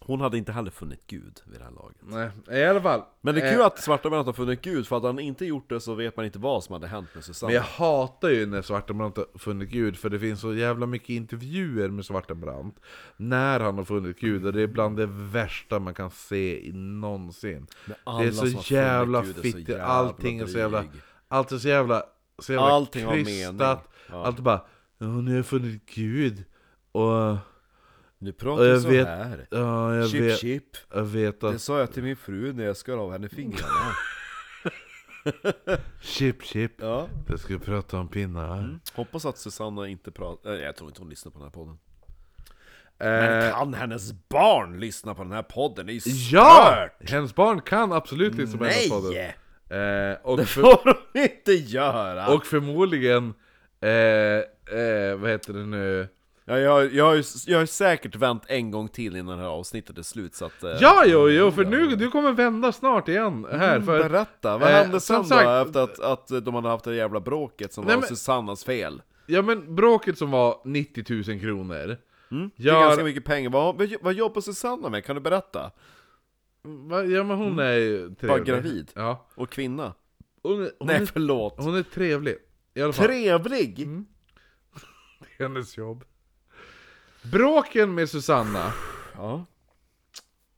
Speaker 1: Hon hade inte heller funnit Gud vid det här laget
Speaker 2: nej, i alla fall.
Speaker 1: Men det är
Speaker 2: eh,
Speaker 1: kul att Svartenbrandt har funnit Gud För hade han inte gjort det så vet man inte vad som hade hänt med Susanne
Speaker 2: Men jag hatar ju när Svartenbrandt har funnit Gud, för det finns så jävla mycket intervjuer med Svartenbrandt när han har funnit Gud, och det är bland det värsta man kan se i någonsin.
Speaker 1: alla
Speaker 2: Det är
Speaker 1: som har
Speaker 2: så
Speaker 1: funnit
Speaker 2: jävla
Speaker 1: Gud är så
Speaker 2: fitt
Speaker 1: jävla
Speaker 2: allting är så jävla...
Speaker 1: dryg.
Speaker 2: Allt är så jävla... Så jävla
Speaker 1: Allting har mening.
Speaker 2: krystat. Allt är bara, "Ja, nu har jag funnit Gud, och...
Speaker 1: Nu
Speaker 2: Och
Speaker 1: pratar
Speaker 2: jag
Speaker 1: jag så
Speaker 2: vet,
Speaker 1: här
Speaker 2: ja, jag,
Speaker 1: Chip
Speaker 2: vet,
Speaker 1: chip
Speaker 2: jag vet
Speaker 1: Det
Speaker 2: att...
Speaker 1: sa jag till min fru när jag skar av henne fingrarna
Speaker 2: Chip, chip.
Speaker 1: Ja
Speaker 2: Jag ska prata om pinnar.
Speaker 1: Mm.
Speaker 2: Eh,
Speaker 1: Hoppas att Susanna inte pratar, jag tror inte hon lyssnar på den här podden
Speaker 2: Eh,
Speaker 1: Men kan hennes barn lyssna på den här podden? Det är ju stört!
Speaker 2: Ja! Hennes barn kan absolut lyssna på
Speaker 1: Nej!
Speaker 2: hennes podden. Eh, och, för,
Speaker 1: får de inte göra!
Speaker 2: och förmodligen, eh, eh, vad heter det nu?
Speaker 1: ja, jag, jag, har ju, jag har ju säkert vänt en gång till innan det här avsnittet är slut så att... eh,
Speaker 2: Ja, jo, jo, för nu, du kommer vända snart igen
Speaker 1: Mm,
Speaker 2: här. För,
Speaker 1: Berätta, vad
Speaker 2: eh,
Speaker 1: hände
Speaker 2: som
Speaker 1: sen
Speaker 2: sagt-
Speaker 1: då? Efter att, att de hade haft det jävla bråket som
Speaker 2: Nej,
Speaker 1: var
Speaker 2: men-
Speaker 1: Susannas fel
Speaker 2: Ja men bråket som var 90 000 kronor.
Speaker 1: Mm, Det är ganska
Speaker 2: Gör,
Speaker 1: mycket pengar, vad, vad, vad jobbar Susanna med? Kan du berätta?
Speaker 2: va, ja men hon är ju trevlig.
Speaker 1: Mm. gravid.
Speaker 2: Ja.
Speaker 1: Och kvinna?
Speaker 2: Hon, är- hon,
Speaker 1: Nej
Speaker 2: är,
Speaker 1: förlåt!
Speaker 2: hon Mm. är trevlig. I alla fall.
Speaker 1: Trevlig!
Speaker 2: Hennes jobb. Bråken med Susanna.
Speaker 1: Ja.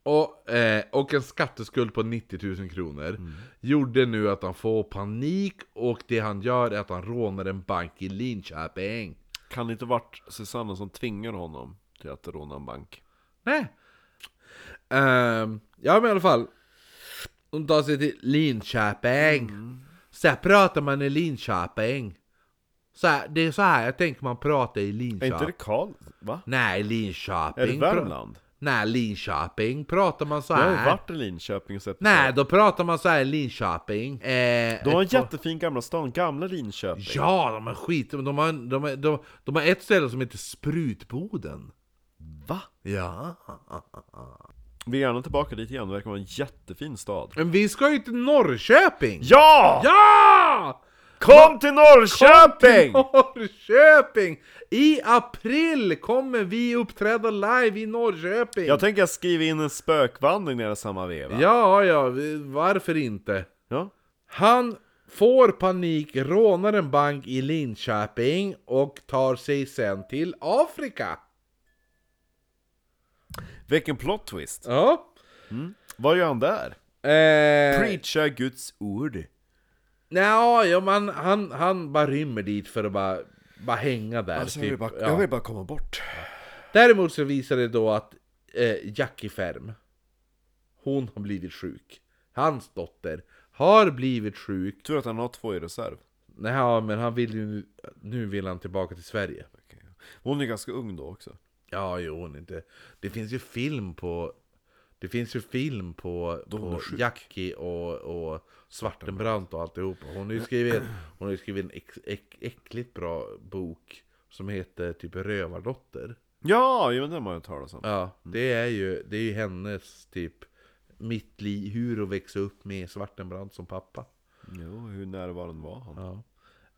Speaker 2: Och, eh, och en skatteskuld på 90 000 kronor
Speaker 1: Mm.
Speaker 2: Gjorde nu att han får panik och det han gör är att han rånar en bank i Linköping
Speaker 1: Kan det inte varit Susanna som tvingar honom till att råna en bank?
Speaker 2: Nej Ehm, Ja men i alla fall Hon tar sig till Linköping
Speaker 1: Mm.
Speaker 2: Så här pratar man i Linköping så här, Det är så här jag tänker man pratar
Speaker 1: Är
Speaker 2: i
Speaker 1: inte det
Speaker 2: Linköping
Speaker 1: Karl? Va?
Speaker 2: Nej Linköping
Speaker 1: Är det
Speaker 2: pra-
Speaker 1: Värmland?
Speaker 2: Nej Linköping pratar man så
Speaker 1: Jag
Speaker 2: här
Speaker 1: har ju varit i Linköping och sett
Speaker 2: Nej, då pratar man så här i Linköping. Eh,
Speaker 1: De har en
Speaker 2: ett par-
Speaker 1: jättefin gamla stan, gamla Linköping
Speaker 2: Ja, de har skit. De har, de, har, de, de har ett ställe som heter Sprutboden.
Speaker 1: Va?
Speaker 2: Ja.
Speaker 1: Vi är gärna tillbaka dit igen, det verkar vara en jättefin stad
Speaker 2: Men vi ska ju till Norrköping!
Speaker 1: Ja!
Speaker 2: Ja!
Speaker 1: Kom till Norrköping!
Speaker 2: Norrköping! I april kommer vi uppträda live i Norrköping!
Speaker 1: Jag tänker skriva in en spökvandring när det är samma veva.
Speaker 2: Ja, ja, vi- varför inte?
Speaker 1: Ja.
Speaker 2: Han får panik, rånar en bank i Linköping och tar sig sen till Afrika.
Speaker 1: Vilken plot twist!
Speaker 2: Ja.
Speaker 1: Vad gör han där?
Speaker 2: Eh,
Speaker 1: Preacha Guds ord.
Speaker 2: nja, ja, man, han, han bara rymmer dit för att bara, bara hänga där.
Speaker 1: Alltså,
Speaker 2: typ. ja.
Speaker 1: komma bort.
Speaker 2: Däremot så visar det då att eh, Jackie Ferm, hon har blivit sjuk. Hans dotter har blivit sjuk.
Speaker 1: Tur att han har två i reserv.
Speaker 2: Nej, ja, men han vill ju nu, nu vill han tillbaka till Sverige.
Speaker 1: Hon är ganska ung då också.
Speaker 2: Ja, jo, hon inte. Det finns ju film på... Det finns ju film på,
Speaker 1: hon är
Speaker 2: på
Speaker 1: sjuk.
Speaker 2: Jackie och, och Svartenbrandt och alltihopa. Hon har ju skrivit, hon har ju skrivit en äck, äck, äckligt bra bok som heter typ Rövardotter.
Speaker 1: Ja, jo, men den har jag talat om.
Speaker 2: Ja, det är ju, det är ju hennes typ mitt liv, hur att växa upp med Svartenbrandt som pappa.
Speaker 1: Jo, hur närvarande var han?
Speaker 2: Ja.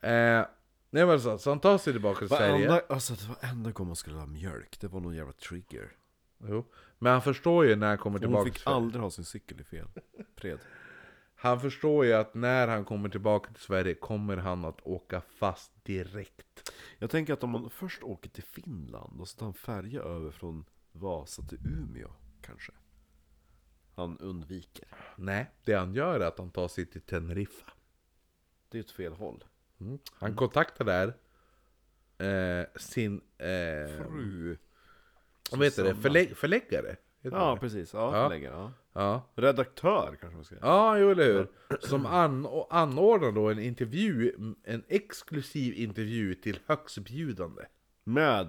Speaker 2: Eh, nej men så, så han tar sig tillbaka till Sverige.
Speaker 1: Varenda, alltså det var enda gång man skulle ha mjölk, det var någon jävla trigger.
Speaker 2: Jo. Men han förstår ju när han kommer
Speaker 1: Hon
Speaker 2: tillbaka till
Speaker 1: fick
Speaker 2: Sverige.
Speaker 1: aldrig ha sin cykel i fel. Fred.
Speaker 2: Han förstår ju att när han kommer tillbaka till Sverige kommer han att åka fast direkt.
Speaker 1: Jag tänker att om man först åker till Finland och så tar en färja över från Vasa till Umeå, kanske. Han undviker.
Speaker 2: Nej, det han gör är att han tar sig till Teneriffa.
Speaker 1: Det är ett fel håll.
Speaker 2: Mm. Han kontaktar där eh, sin... Eh,
Speaker 1: Fru.
Speaker 2: vad heter det?
Speaker 1: Susanna.
Speaker 2: Förlä- förläggare? Heter
Speaker 1: Ja,
Speaker 2: det?
Speaker 1: precis. Ja,
Speaker 2: Ja.
Speaker 1: förläggare. Ja.
Speaker 2: ja.
Speaker 1: Redaktör kanske man ska säga.
Speaker 2: Ja, jo eller hur. Som an- och anordnar då en intervju, en exklusiv intervju till högstbjudande.
Speaker 1: Med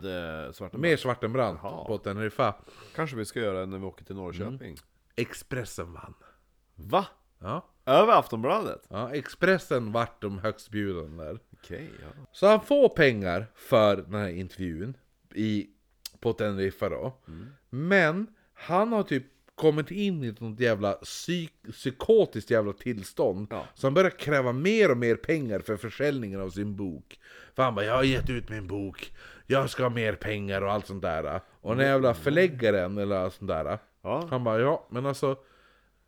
Speaker 1: eh, Svarta
Speaker 2: Med Svartenbrandt
Speaker 1: Jaha.
Speaker 2: på Teneriffa.
Speaker 1: Kanske vi ska göra när vi åker till Norrköping.
Speaker 2: Mm. Expressen vann.
Speaker 1: Va?
Speaker 2: Ja.
Speaker 1: Över Aftonbladet?
Speaker 2: Ja, Expressen vart de högstbjudande där.
Speaker 1: Okej, ja.
Speaker 2: Så han får pengar för den här intervjun i, på Teneriffa då. Men han har typ kommit in i ett sånt jävla psyk- psykotiskt jävla tillstånd.
Speaker 1: Ja.
Speaker 2: Så han börjar kräva mer och mer pengar för försäljningen av sin bok. För han bara, jag har gett ut min bok, jag ska ha mer pengar och allt sånt där. Och den jävla förläggaren eller allt sånt där.
Speaker 1: Ja.
Speaker 2: Han bara, ja men alltså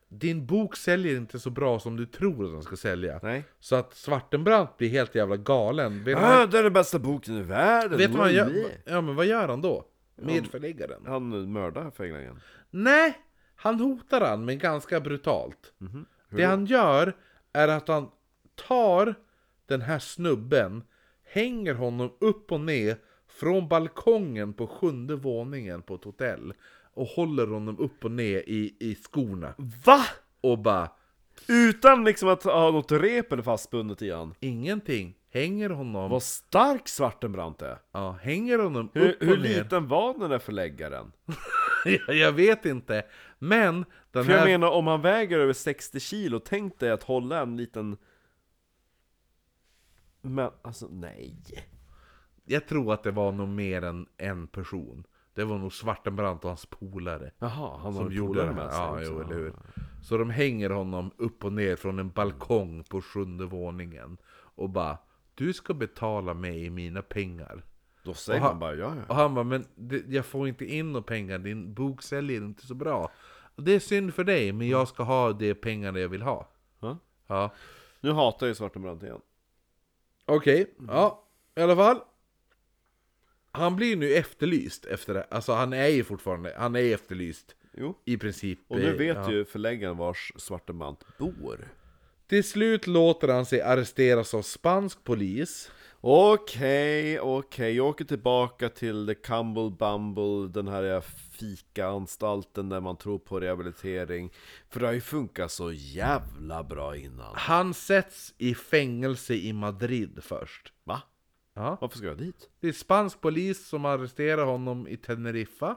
Speaker 2: din bok säljer inte så bra som du tror att den ska sälja.
Speaker 1: Nej.
Speaker 2: Så att Svartenbrandt blir helt jävla galen. Vet, han,
Speaker 1: Ah, det är den bästa boken i världen!
Speaker 2: vet du vad han
Speaker 1: Oj.
Speaker 2: gör? Ja men vad gör han då? Medförläggaren?
Speaker 1: Han mördar fängslingen.
Speaker 2: Nej! Han hotar han, men ganska brutalt.
Speaker 1: Mhm.
Speaker 2: Det han gör är att han tar den här snubben, hänger honom upp och ner från balkongen på sjunde våningen på ett hotell och håller honom upp och ner i, i skorna
Speaker 1: Va?
Speaker 2: och bara
Speaker 1: Utan liksom att ha något rep eller fastbundet i han.
Speaker 2: ingenting. Hänger honom,
Speaker 1: Vad stark Svartenbrandt är!
Speaker 2: ja, hänger honom
Speaker 1: Hur,
Speaker 2: upp och
Speaker 1: hur
Speaker 2: ner.
Speaker 1: liten var den där förläggaren?
Speaker 2: Jag- jag vet inte. Men den
Speaker 1: För jag
Speaker 2: här...
Speaker 1: menar om han väger över 60 kilo, tänk dig att hålla en liten... Men alltså nej.
Speaker 2: Jag tror att det var nog mer än en person. Det var nog Svartenbrandt och hans polare.
Speaker 1: Jaha, han har
Speaker 2: Som
Speaker 1: en
Speaker 2: gjorde
Speaker 1: polare
Speaker 2: det här.
Speaker 1: med sig
Speaker 2: Ja,
Speaker 1: också.
Speaker 2: jo, eller hur. Så de hänger honom upp och ner från en balkong på sjunde våningen. Och bara, du ska betala mig mina pengar.
Speaker 1: Då säger
Speaker 2: Och han-
Speaker 1: man bara ja, ja.
Speaker 2: Och han bara, men det, jag får inte in några pengar, din bok säljer inte så bra. Och det är synd för dig,
Speaker 1: Mm.
Speaker 2: men jag ska ha de pengarna jag vill ha.
Speaker 1: Ja.
Speaker 2: Ja.
Speaker 1: Nu hatar jag ju Svartenbrandt igen.
Speaker 2: Okej, ja. I alla fall. Han blir nu efterlyst efter det. Alltså han är ju fortfarande, han är efterlyst.
Speaker 1: Jo.
Speaker 2: I princip.
Speaker 1: Och nu
Speaker 2: eh,
Speaker 1: vet
Speaker 2: ja.
Speaker 1: ju förläggaren vars Svartenbrandt bor.
Speaker 2: Till slut låter han sig arresteras av spansk polis.
Speaker 1: Okej, okej, jag åker tillbaka till the Cumble Bumble, den här fikaanstalten där man tror på rehabilitering. För det har ju funkat så jävla bra innan.
Speaker 2: Han sätts i fängelse i Madrid först.
Speaker 1: Va?
Speaker 2: Ja.
Speaker 1: Varför ska jag dit?
Speaker 2: Det är spansk polis som arresterar honom i Teneriffa.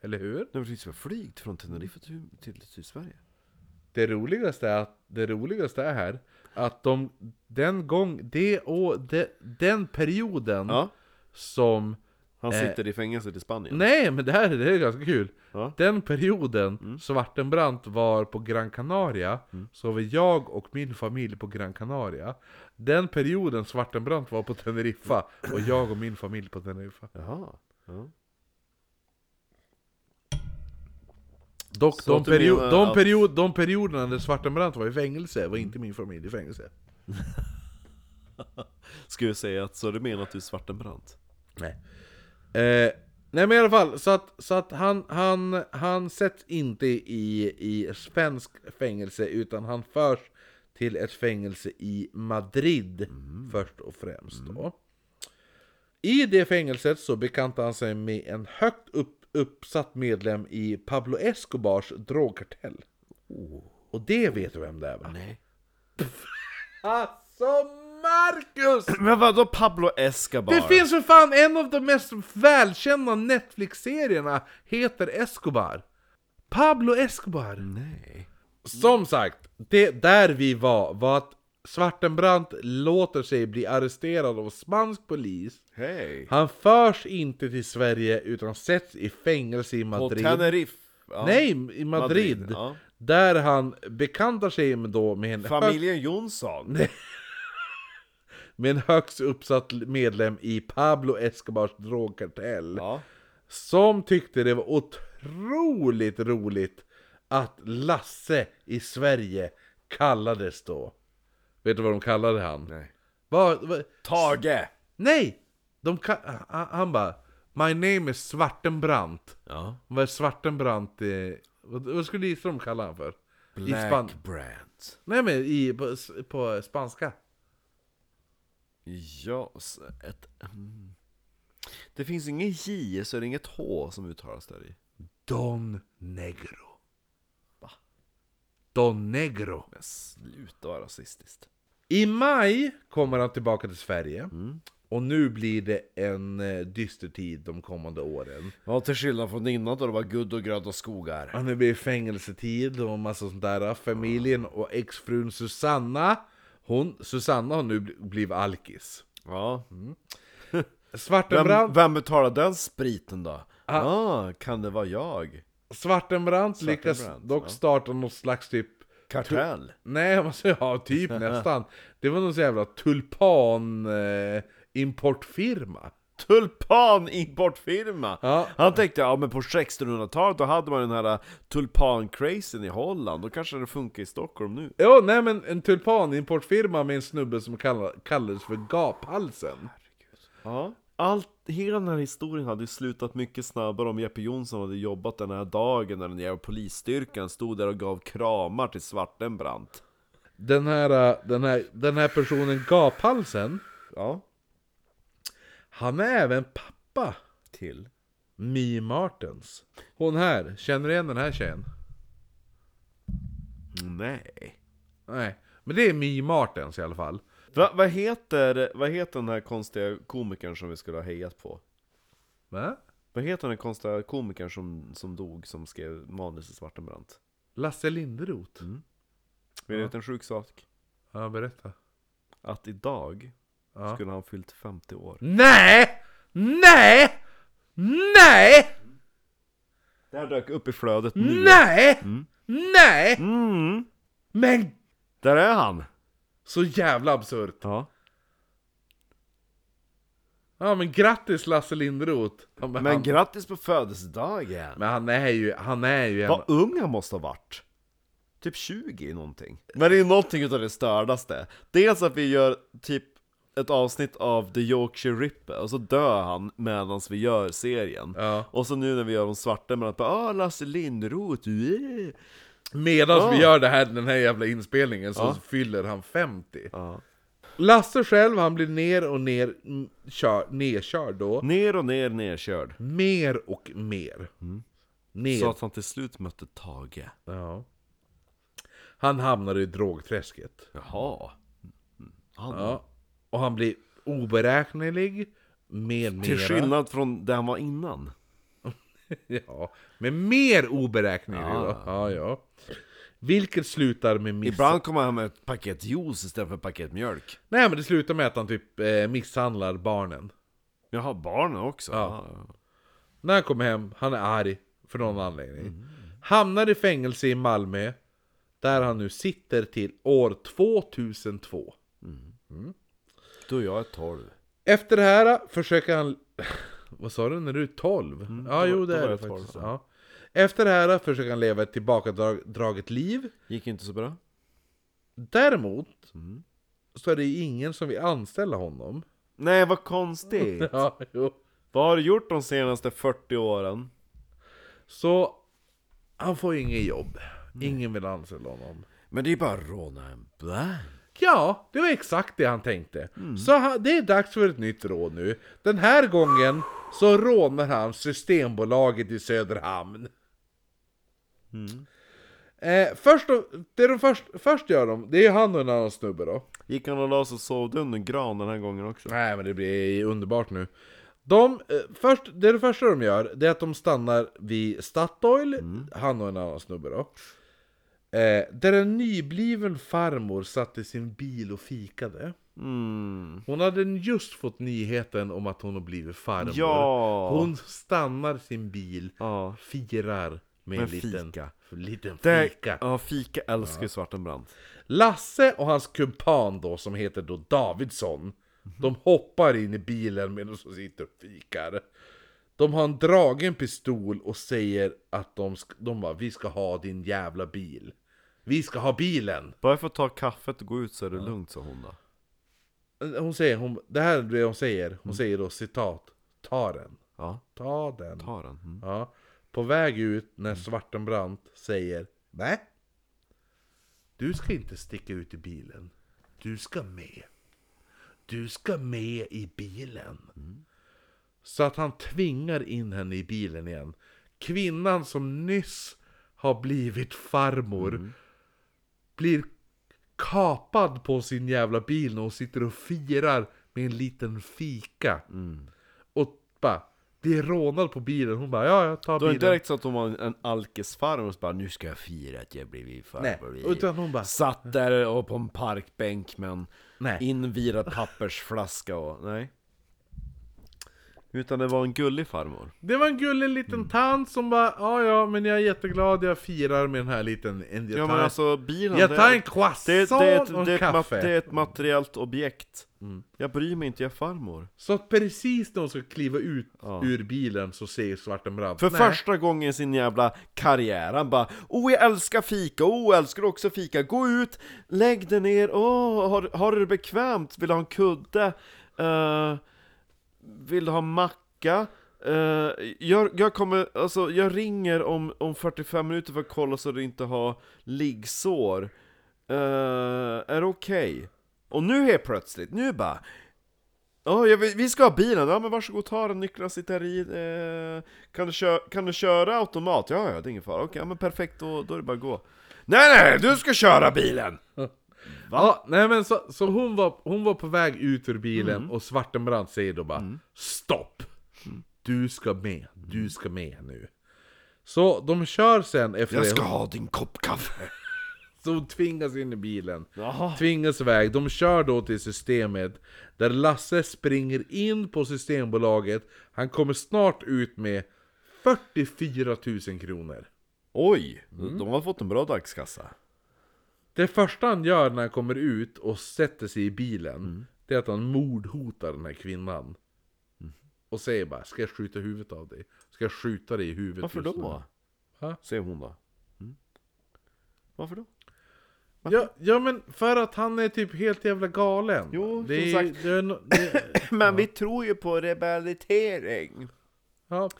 Speaker 2: Eller hur?
Speaker 1: Nu finns jag flygt från Teneriffa till, till, till Sverige.
Speaker 2: Mm. Det roligaste är att, det roligaste är här att de, den gång, det och de, den perioden
Speaker 1: Ja.
Speaker 2: som
Speaker 1: Han sitter i fängelset i Spanien.
Speaker 2: Eh. Nej, men det här det här är ganska kul.
Speaker 1: Ja. Mm.
Speaker 2: Den perioden Svartenbrandt var på Gran Canaria, så var jag och min familj på Gran Canaria. Den perioden Svartenbrandt var på Teneriffa, och jag och min familj på Teneriffa.
Speaker 1: Jaha. Ja.
Speaker 2: Dock,
Speaker 1: Så
Speaker 2: de,
Speaker 1: att du
Speaker 2: perio-
Speaker 1: menar
Speaker 2: de,
Speaker 1: att-
Speaker 2: period, de perioderna när Svartenbrandt var i fängelse var inte min familj i fängelse.
Speaker 1: Ska vi säga att så du menar att du är Svartenbrandt?
Speaker 2: Nej. Eh, nej men i alla fall, så att, så att han, han, han sätts inte i, i svensk fängelse utan han förs till ett fängelse i Madrid först och främst då. I det fängelset så bekantar han sig med en högt upp, uppsatt medlem i Pablo Escobars drogkartell. Och det vet du vem det är va?
Speaker 1: Nej.
Speaker 2: Alltså Marcus!
Speaker 1: Men vadå Pablo Escobar?
Speaker 2: Det finns för fan en av de mest välkända Netflix-serierna heter Escobar. Pablo Escobar.
Speaker 1: Nej.
Speaker 2: Som sagt, det där vi var var att Svartenbrandt låter sig bli arresterad av spansk polis.
Speaker 1: Hej.
Speaker 2: Han förs inte till Sverige utan sätts i fängelse i
Speaker 1: På
Speaker 2: Madrid.
Speaker 1: Teneriffa? Ja.
Speaker 2: Nej, i Madrid.
Speaker 1: ja.
Speaker 2: Där han bekantar sig med, då med en
Speaker 1: Familjen Jonsson?
Speaker 2: med en högst uppsatt medlem i Pablo Escobars drogkartell.
Speaker 1: Ja.
Speaker 2: Som tyckte det var otroligt roligt att Lasse i Sverige kallades då. Vet du vad de kallade han?
Speaker 1: Nej.
Speaker 2: Vad- vad-
Speaker 1: Tage!
Speaker 2: nej! De ka- han, han bara My name is Svartenbrandt.
Speaker 1: Ja.
Speaker 2: Vad är Svartenbrandt? Eh, vad, vad skulle du gissa de kallar han för? I span-
Speaker 1: Brandt.
Speaker 2: nej men i, på, på spanska.
Speaker 1: Ja, så ett... mm. Det finns inget J, så är det inget H som uttalas där i.
Speaker 2: Don Negro. Don Negro.
Speaker 1: Men sluta vara rasistiskt.
Speaker 2: I maj kommer han tillbaka till Sverige. Och nu blir det en eh, dyster tid de kommande åren.
Speaker 1: Ja, till skillnad från innan då det var guld och gröda skogar.
Speaker 2: Han blir fängelsetid och massa sånt där. Familjen och exfrun Susanna. Hon, Susanna har nu bl- blivit alkis.
Speaker 1: Ja. Vem,
Speaker 2: Svartenbrandt,
Speaker 1: vem betalar den spriten då? Ah, kan det vara jag?
Speaker 2: Svartenbrandt lyckas
Speaker 1: Svartenbrandt,
Speaker 2: dock starta något slags typ
Speaker 1: Kartell?
Speaker 2: Nej, man säger ja, typ nästan. Det var någon sån jävla tulpan eh, importfirma.
Speaker 1: Tulpanimportfirma!
Speaker 2: Ja.
Speaker 1: Han tänkte, ja men på 1600-talet då hade man den här tulpan-crazen i Holland, då kanske det funkar i Stockholm nu.
Speaker 2: Ja, nej men en tulpanimportfirma med en snubbe som kall- kallades för Gaphalsen.
Speaker 1: Ja. Allt, hela den här historien hade ju slutat mycket snabbare om Jeppe Jonsson hade jobbat den här dagen när den jävla polisstyrkan stod där och gav kramar till Svartenbrandt.
Speaker 2: Den här, eh, den här, den här personen Gaphalsen,
Speaker 1: Ja.
Speaker 2: han är även pappa
Speaker 1: Till?
Speaker 2: Mi Martens. Hon här, känner du igen den här tjejen?
Speaker 1: Nej.
Speaker 2: Nej, men det är Mi Martens i alla fall.
Speaker 1: Va, vad, heter, vad heter den här konstiga komikern som vi skulle ha hejat på?
Speaker 2: Va?
Speaker 1: Vad heter den här konstiga komikern som, som dog, som skrev manus till Svartenbrandt?
Speaker 2: Lasse Linderoth?
Speaker 1: Vill du veta en sjuk sak?
Speaker 2: Ja, berätta.
Speaker 1: Att idag
Speaker 2: Ja.
Speaker 1: skulle han fyllt 50 år.
Speaker 2: Nej! Nej! Nej!
Speaker 1: Det här dök upp i flödet nu.
Speaker 2: Nej! Nej!
Speaker 1: Mm.
Speaker 2: Men
Speaker 1: Där är han!
Speaker 2: så jävla absurt.
Speaker 1: Ja.
Speaker 2: Ja men grattis Lasse Linderoth! Ja, men,
Speaker 1: Men
Speaker 2: han,
Speaker 1: grattis på födelsedagen!
Speaker 2: men han är ju, han är ju en...
Speaker 1: Vad ung han måste ha varit! Typ 20 någonting. Men det är någonting utav det stördaste. Dels att vi gör typ ett avsnitt av The Yorkshire Ripper, och så dör han medan vi gör serien.
Speaker 2: Ja.
Speaker 1: Och så nu när vi gör de svarta, men att bara ah, Lasse Lindroth, yeah.
Speaker 2: Medan
Speaker 1: Ja.
Speaker 2: vi gör det här, den här jävla inspelningen så
Speaker 1: Ja.
Speaker 2: fyller han 50
Speaker 1: Ja.
Speaker 2: Lasse själv, han blir ner och ner, mm, kör, nerkörd då
Speaker 1: Ner och ner, nerkörd.
Speaker 2: Mer och mer Ner
Speaker 1: Mm. Så att han till slut mötte Tage.
Speaker 2: ja. Han hamnar i drogträsket
Speaker 1: Jaha. Han,
Speaker 2: ja. Och han blir oberäknelig Mer,
Speaker 1: Till
Speaker 2: mera
Speaker 1: skillnad från där han var innan.
Speaker 2: ja. Men mer oberäknelig då ja, ja. Vilket slutar med miss
Speaker 1: Ibland kommer han med ett paket juice istället för ett paket mjölk.
Speaker 2: Nej men det slutar med att han typ eh, misshandlar barnen.
Speaker 1: Jaha, barnen också?
Speaker 2: Ja.
Speaker 1: Ah, ja.
Speaker 2: När han kommer hem, han är arg för någon anledning.
Speaker 1: Mm.
Speaker 2: Hamnar i fängelse i Malmö, där han nu sitter till år 2002.
Speaker 1: Du, jag är 12.
Speaker 2: Efter det här ah, försöker han... Vad sa du? När du är 12? ja,
Speaker 1: Mm, då-
Speaker 2: jo
Speaker 1: då
Speaker 2: det
Speaker 1: var
Speaker 2: är det
Speaker 1: jag 12,
Speaker 2: faktiskt. Ja. Efter det här ah, försöker han leva ett tillbakadraget liv.
Speaker 1: Gick inte så bra?
Speaker 2: Däremot
Speaker 1: Mm.
Speaker 2: så är det ingen som vill anställa honom.
Speaker 1: Nej, vad konstigt!
Speaker 2: Ja, jo.
Speaker 1: vad har du gjort de senaste 40 åren?
Speaker 2: Så han får inget jobb. Ingen vill anställa honom.
Speaker 3: Men det är ju bara att råna en bank.
Speaker 2: Ja, det var exakt det han tänkte. Så ha- det är dags för ett nytt rån nu. Den här gången så rånar han Systembolaget i Söderhamn. Eh, först, då- det de först, först gör de, det är han och en annan snubbe då.
Speaker 1: Gick han och la sig och sov under en gran den här gången också?
Speaker 2: Nej men det blir underbart nu. De, eh, först, det, det första de gör, det är att de stannar vid Statoil,
Speaker 1: Mm.
Speaker 2: han och en annan snubbe då. Eh, där en nybliven farmor satt i sin bil och fikade.
Speaker 1: Mm.
Speaker 2: Hon hade just fått nyheten om att hon har blivit farmor.
Speaker 1: Ja.
Speaker 2: Hon stannar sin bil,
Speaker 1: Ja.
Speaker 2: firar med en
Speaker 1: Med
Speaker 2: liten
Speaker 1: fika.
Speaker 2: liten
Speaker 1: Det,
Speaker 2: fika.
Speaker 1: Ja, fika älskar ju Svartenbrandt.
Speaker 2: Lasse och hans kumpan då, som heter då Davidsson, de hoppar in i bilen medan de sitter och fikar. De har en dragen pistol och säger att de, sk- de bara, vi ska ha din jävla bil. Vi ska ha bilen!
Speaker 1: Bara för att ta kaffet och gå ut så är det lugnt, sa hon då.
Speaker 2: Hon säger, hon, det här är det hon säger, hon säger då citat, ta den,
Speaker 1: Ja,
Speaker 2: ta den.
Speaker 1: ta den. Mm.
Speaker 2: Ja. På väg ut när Svartenbrandt säger Nej Du ska inte sticka ut i bilen Du ska med Du ska med i bilen Så att han tvingar in henne i bilen igen Kvinnan som nyss har blivit farmor Blir kapad på sin jävla bil när hon sitter och firar med en liten fika och bara blir rånad på bilen. Hon bara ja, jag tar
Speaker 1: Då är det
Speaker 2: bilen.
Speaker 1: inte direkt så att hon var en, en alkisfarm och så bara nu
Speaker 3: Nu ska jag fira att jag blivit
Speaker 2: Nej,
Speaker 3: farbror.
Speaker 2: utan hon bara
Speaker 1: Satt där och på en parkbänk med en
Speaker 2: Nej.
Speaker 1: invirad pappersflaska och nej. Utan det var en gullig farmor.
Speaker 2: Det var en gullig liten
Speaker 1: Mm.
Speaker 2: tant som bara ja, ja, men jag är jätteglad. Jag firar med den här liten. En, jag
Speaker 1: Ja
Speaker 2: tar,
Speaker 1: men alltså bilen,
Speaker 2: jag tar en
Speaker 1: det,
Speaker 2: croissant
Speaker 1: det, är
Speaker 2: och
Speaker 1: ett,
Speaker 2: en
Speaker 1: det, är ett,
Speaker 2: kaffe. Mm.
Speaker 1: ma- det är ett materiellt objekt. Jag bryr mig inte, jag är farmor.
Speaker 2: Så att precis när hon ska kliva ut ur bilen så säger Svartenbrandt
Speaker 1: För
Speaker 2: "Nej."
Speaker 1: första gången i sin jävla karriär, han bara Oh jag älskar fika, oh jag älskar också fika, gå ut, lägg dig ner, åh, har, har du det bekvämt? Vill du ha en kudde? Eh, vill du ha macka? Eh, jag, jag kommer, alltså jag ringer om, om 45 minuter för att kolla så du inte har liggsår. Eh, är det okej? Och nu helt plötsligt, nu bara Ja, jag vill- vi ska ha bilen. Ja, men varsågod ta den, nycklarna sitter i. Eh, kan, du köra, kan du köra automat? Ja, ja, det är ingen fara. Okej, ja, men perfekt, då, då är det bara att gå. Nej, nej, du ska köra bilen!
Speaker 2: Ja, nej men så, så hon, var, hon var på väg ut ur bilen
Speaker 1: Mm.
Speaker 2: och Svartenbrandt säger då bara Stopp! Du ska med, du ska med nu. Så de kör sen efter
Speaker 3: Jag ska
Speaker 2: det,
Speaker 3: ha din kopp kaffe.
Speaker 2: så hon tvingas in i bilen.
Speaker 1: Jaha.
Speaker 2: Tvingas iväg, de kör då till systemet Där Lasse springer in på Systembolaget Han kommer snart ut med 44 000 kronor.
Speaker 1: Oj, de har fått en bra dagskassa.
Speaker 2: Det första han gör när han kommer ut och sätter sig i bilen
Speaker 1: Mm.
Speaker 2: Det är att han mordhotar den här kvinnan Och säger bara Ska jag skjuta huvudet av dig? Ska jag skjuta dig i huvudet
Speaker 1: Varför
Speaker 2: just nu?"
Speaker 1: då?
Speaker 2: Ha?
Speaker 1: Säger hon då. Mm. Varför då?
Speaker 2: Ja, ja men för att han är typ helt jävla galen
Speaker 1: Jo,
Speaker 2: det
Speaker 1: som
Speaker 2: är,
Speaker 1: sagt.
Speaker 2: Det är, no- det,
Speaker 1: Men vi tror ju på rehabilitering.
Speaker 2: ja.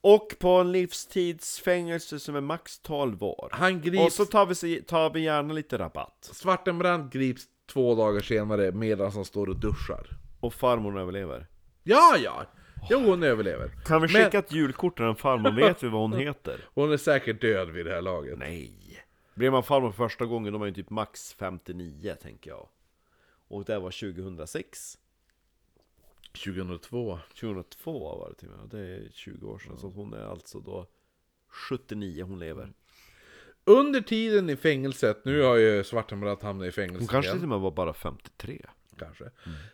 Speaker 1: Och på en livstidsfängelse som är max 12 år.
Speaker 2: Han
Speaker 1: Och
Speaker 2: grips
Speaker 1: så tar vi, sig- tar vi gärna lite rabatt.
Speaker 2: Svartenbrandt grips två dagar senare medan han står och duschar
Speaker 1: Och farmor överlever.
Speaker 2: Ja ja! Jo hon överlever
Speaker 1: Kan vi
Speaker 2: Men-
Speaker 1: skicka ett julkort till den farmor? Vet vi vad hon heter?
Speaker 2: Hon är säkert död vid det här laget
Speaker 1: Nej! Blir man farmor för första gången, de är ju typ max 59 tänker jag. Och det här var 2006?
Speaker 2: 2002
Speaker 1: 2002 var det till och med, det är 20 år sedan. Så hon är alltså då 79, hon lever.
Speaker 2: Under tiden i fängelset, nu har ju Svartenbrandt hamnat i fängelse
Speaker 1: Hon kanske
Speaker 2: igen,
Speaker 1: till och med var bara 53.
Speaker 2: kanske.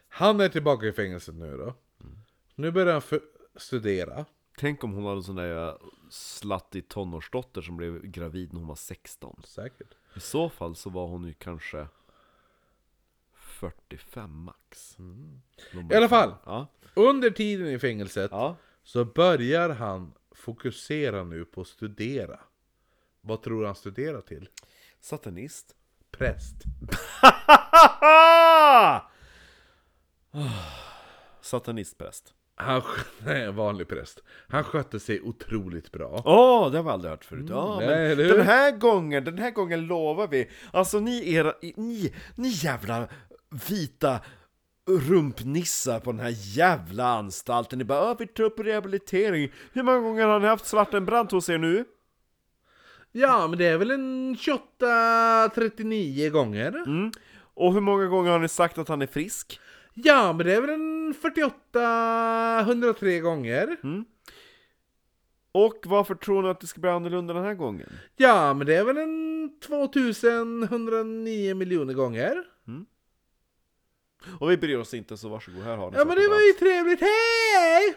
Speaker 2: Han är tillbaka i fängelset nu då. Nu börjar han för- studera.
Speaker 1: Tänk om hon hade en sån där eh, slattig tonårsdotter som blev gravid när hon var 16.
Speaker 2: Säkert.
Speaker 1: I så fall så var hon ju kanske 45 max.
Speaker 2: I alla fall.
Speaker 1: Ja.
Speaker 2: Under tiden i fängelset
Speaker 1: ja.
Speaker 2: så börjar han fokusera nu på att studera. Vad tror du han studerar till?
Speaker 1: Satanist.
Speaker 2: Präst.
Speaker 1: Satanistpräst.
Speaker 2: Han, sk- nej, en vanlig präst. Han skötte sig otroligt bra.
Speaker 1: Åh, det har vi aldrig hört förut. Ja,
Speaker 2: Mm, nej,
Speaker 1: men
Speaker 2: eller hur?
Speaker 1: den här gången, den här gången lovar vi. Alltså ni era, ni, ni jävla vita rumpnissar på den här jävla anstalten. Ni bara "Ja, vi tar upp rehabilitering. Hur många gånger har ni haft Svartenbrandt hos er nu?
Speaker 2: Ja, men det är väl en 28-39 gånger?
Speaker 1: Mm. Och hur många gånger har ni sagt att han är frisk?
Speaker 2: Ja, men det är väl en 48-103 gånger?
Speaker 1: Och varför tror ni att det ska bli annorlunda den här gången?
Speaker 2: Ja, men det är väl en 2109 miljoner gånger?
Speaker 1: Och vi bryr oss inte, så varsågod, här har ni
Speaker 2: Ja, men det var ju trevligt. Hej!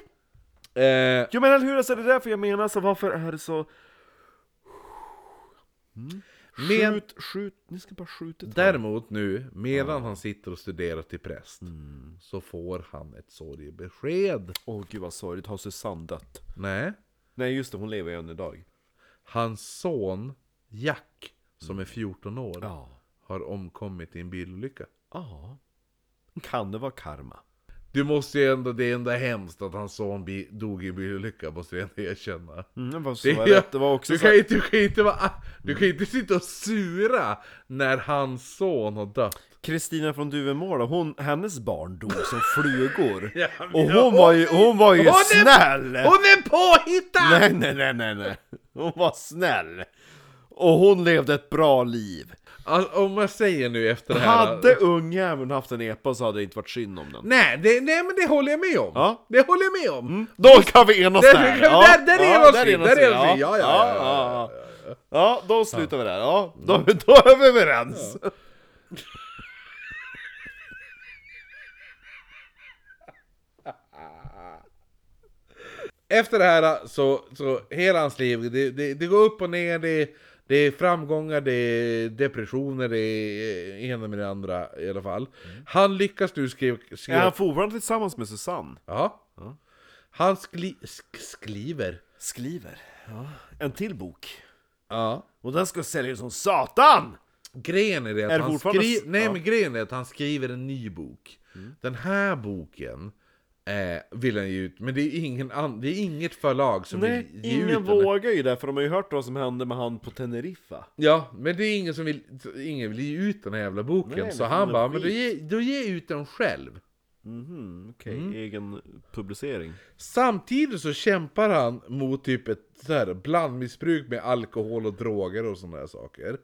Speaker 2: Eh,
Speaker 1: Jo men eller hur, alltså det är därför jag menar, så varför är det så...
Speaker 2: men...
Speaker 1: Skjut, skjut, ni ska bara skjuta ett
Speaker 2: Däremot nu, medan han sitter och studerar till präst, så får han ett sorgebesked.
Speaker 1: Åh gud vad sorgligt, har Susanne dött?
Speaker 2: Nej,
Speaker 1: Nej just det, hon lever ju än idag.
Speaker 2: hans son Jack, som är 14 år,
Speaker 1: Mm. Ja.
Speaker 2: har omkommit i en bilolycka.
Speaker 1: Ja. Kan det vara karma?
Speaker 2: Du måste ju ändå, det är ändå hemskt att hans son bi- dog i en bilolycka, måste jag ändå erkänna.
Speaker 1: Mm, men så
Speaker 2: Det,
Speaker 1: är det. det var också
Speaker 2: du,
Speaker 1: så här,
Speaker 2: kan inte, du, kan inte vara, du kan inte sitta och sura när hans son har dött.
Speaker 1: Kristina från Duvemåla, hon, hennes barn dog som flugor.
Speaker 2: Ja, men
Speaker 1: Och hon var ju, hon var ju
Speaker 2: Hon är-
Speaker 1: snäll!
Speaker 2: Hon är påhittad!
Speaker 1: Nej, nej, nej, nej, nej. Hon var snäll. Och hon levde ett bra liv.
Speaker 2: Alltså, om jag säger nu efter det här...
Speaker 1: Hade ungjäveln haft en epa så hade det inte varit synd om den.
Speaker 2: Nej, det, nej men det håller jag med om.
Speaker 1: Ja.
Speaker 2: Det håller jag med om.
Speaker 1: Då kan vi enas
Speaker 2: Där-
Speaker 1: där!
Speaker 2: där- där- där enas vi, där enas vi. Ja, ja, ja, Mm.
Speaker 1: ja, ja. Ja, då slutar vi där. Ja, då, då är vi överens.
Speaker 2: Efter det här så, så hela hans liv, det, det, det går upp och ner, det, det är framgångar, det är depressioner, det är ena med det andra i alla fall.
Speaker 1: Mm.
Speaker 2: Han lyckas nu skriva...
Speaker 1: Är
Speaker 2: skriva
Speaker 1: han fortfarande tillsammans med Susanne?
Speaker 2: ja. Han skli, sk, skriver.
Speaker 1: Skriver. Ja. En till bok.
Speaker 2: Ja.
Speaker 1: Och den ska säljas som satan!
Speaker 2: Grejen är det att
Speaker 1: Är det
Speaker 2: han
Speaker 1: fortfarande-
Speaker 2: skriver... Nej
Speaker 1: Ja. Mm.
Speaker 2: men grejen är att han skriver en ny bok. Den här boken eh, vill han ge ut, men det är, ingen an... det är inget förlag som
Speaker 1: Nej,
Speaker 2: vill ge
Speaker 1: ingen
Speaker 2: ut den.
Speaker 1: vågar ju det, för de har ju hört vad som hände med han på Teneriffa.
Speaker 2: Ja, men det är ingen som vill, ingen vill ge ut den här jävla boken.
Speaker 1: Nej,
Speaker 2: så
Speaker 1: men
Speaker 2: han
Speaker 1: det
Speaker 2: bara,
Speaker 1: skit.
Speaker 2: men då ge, då ge ut den själv.
Speaker 1: Mhm, okej. Egen publicering.
Speaker 2: Samtidigt så kämpar han mot typ ett så här blandmissbruk med alkohol och droger och sådana där saker.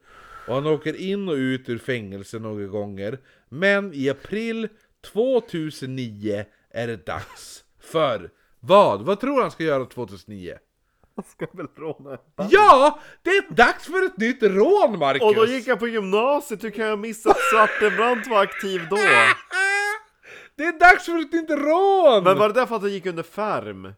Speaker 2: Och han åker in och ut ur fängelse några gånger. Men i april 2009 är det dags för vad? Vad tror han ska göra 2009?
Speaker 1: Han ska väl råna
Speaker 2: Ja! Det är dags för ett nytt rån, Marcus!
Speaker 1: Och då gick jag på gymnasiet, hur kan jag missa att Svartenbrandt var aktiv då?
Speaker 2: Det är dags för ett nytt rån!
Speaker 1: Men var det därför att han gick under färm?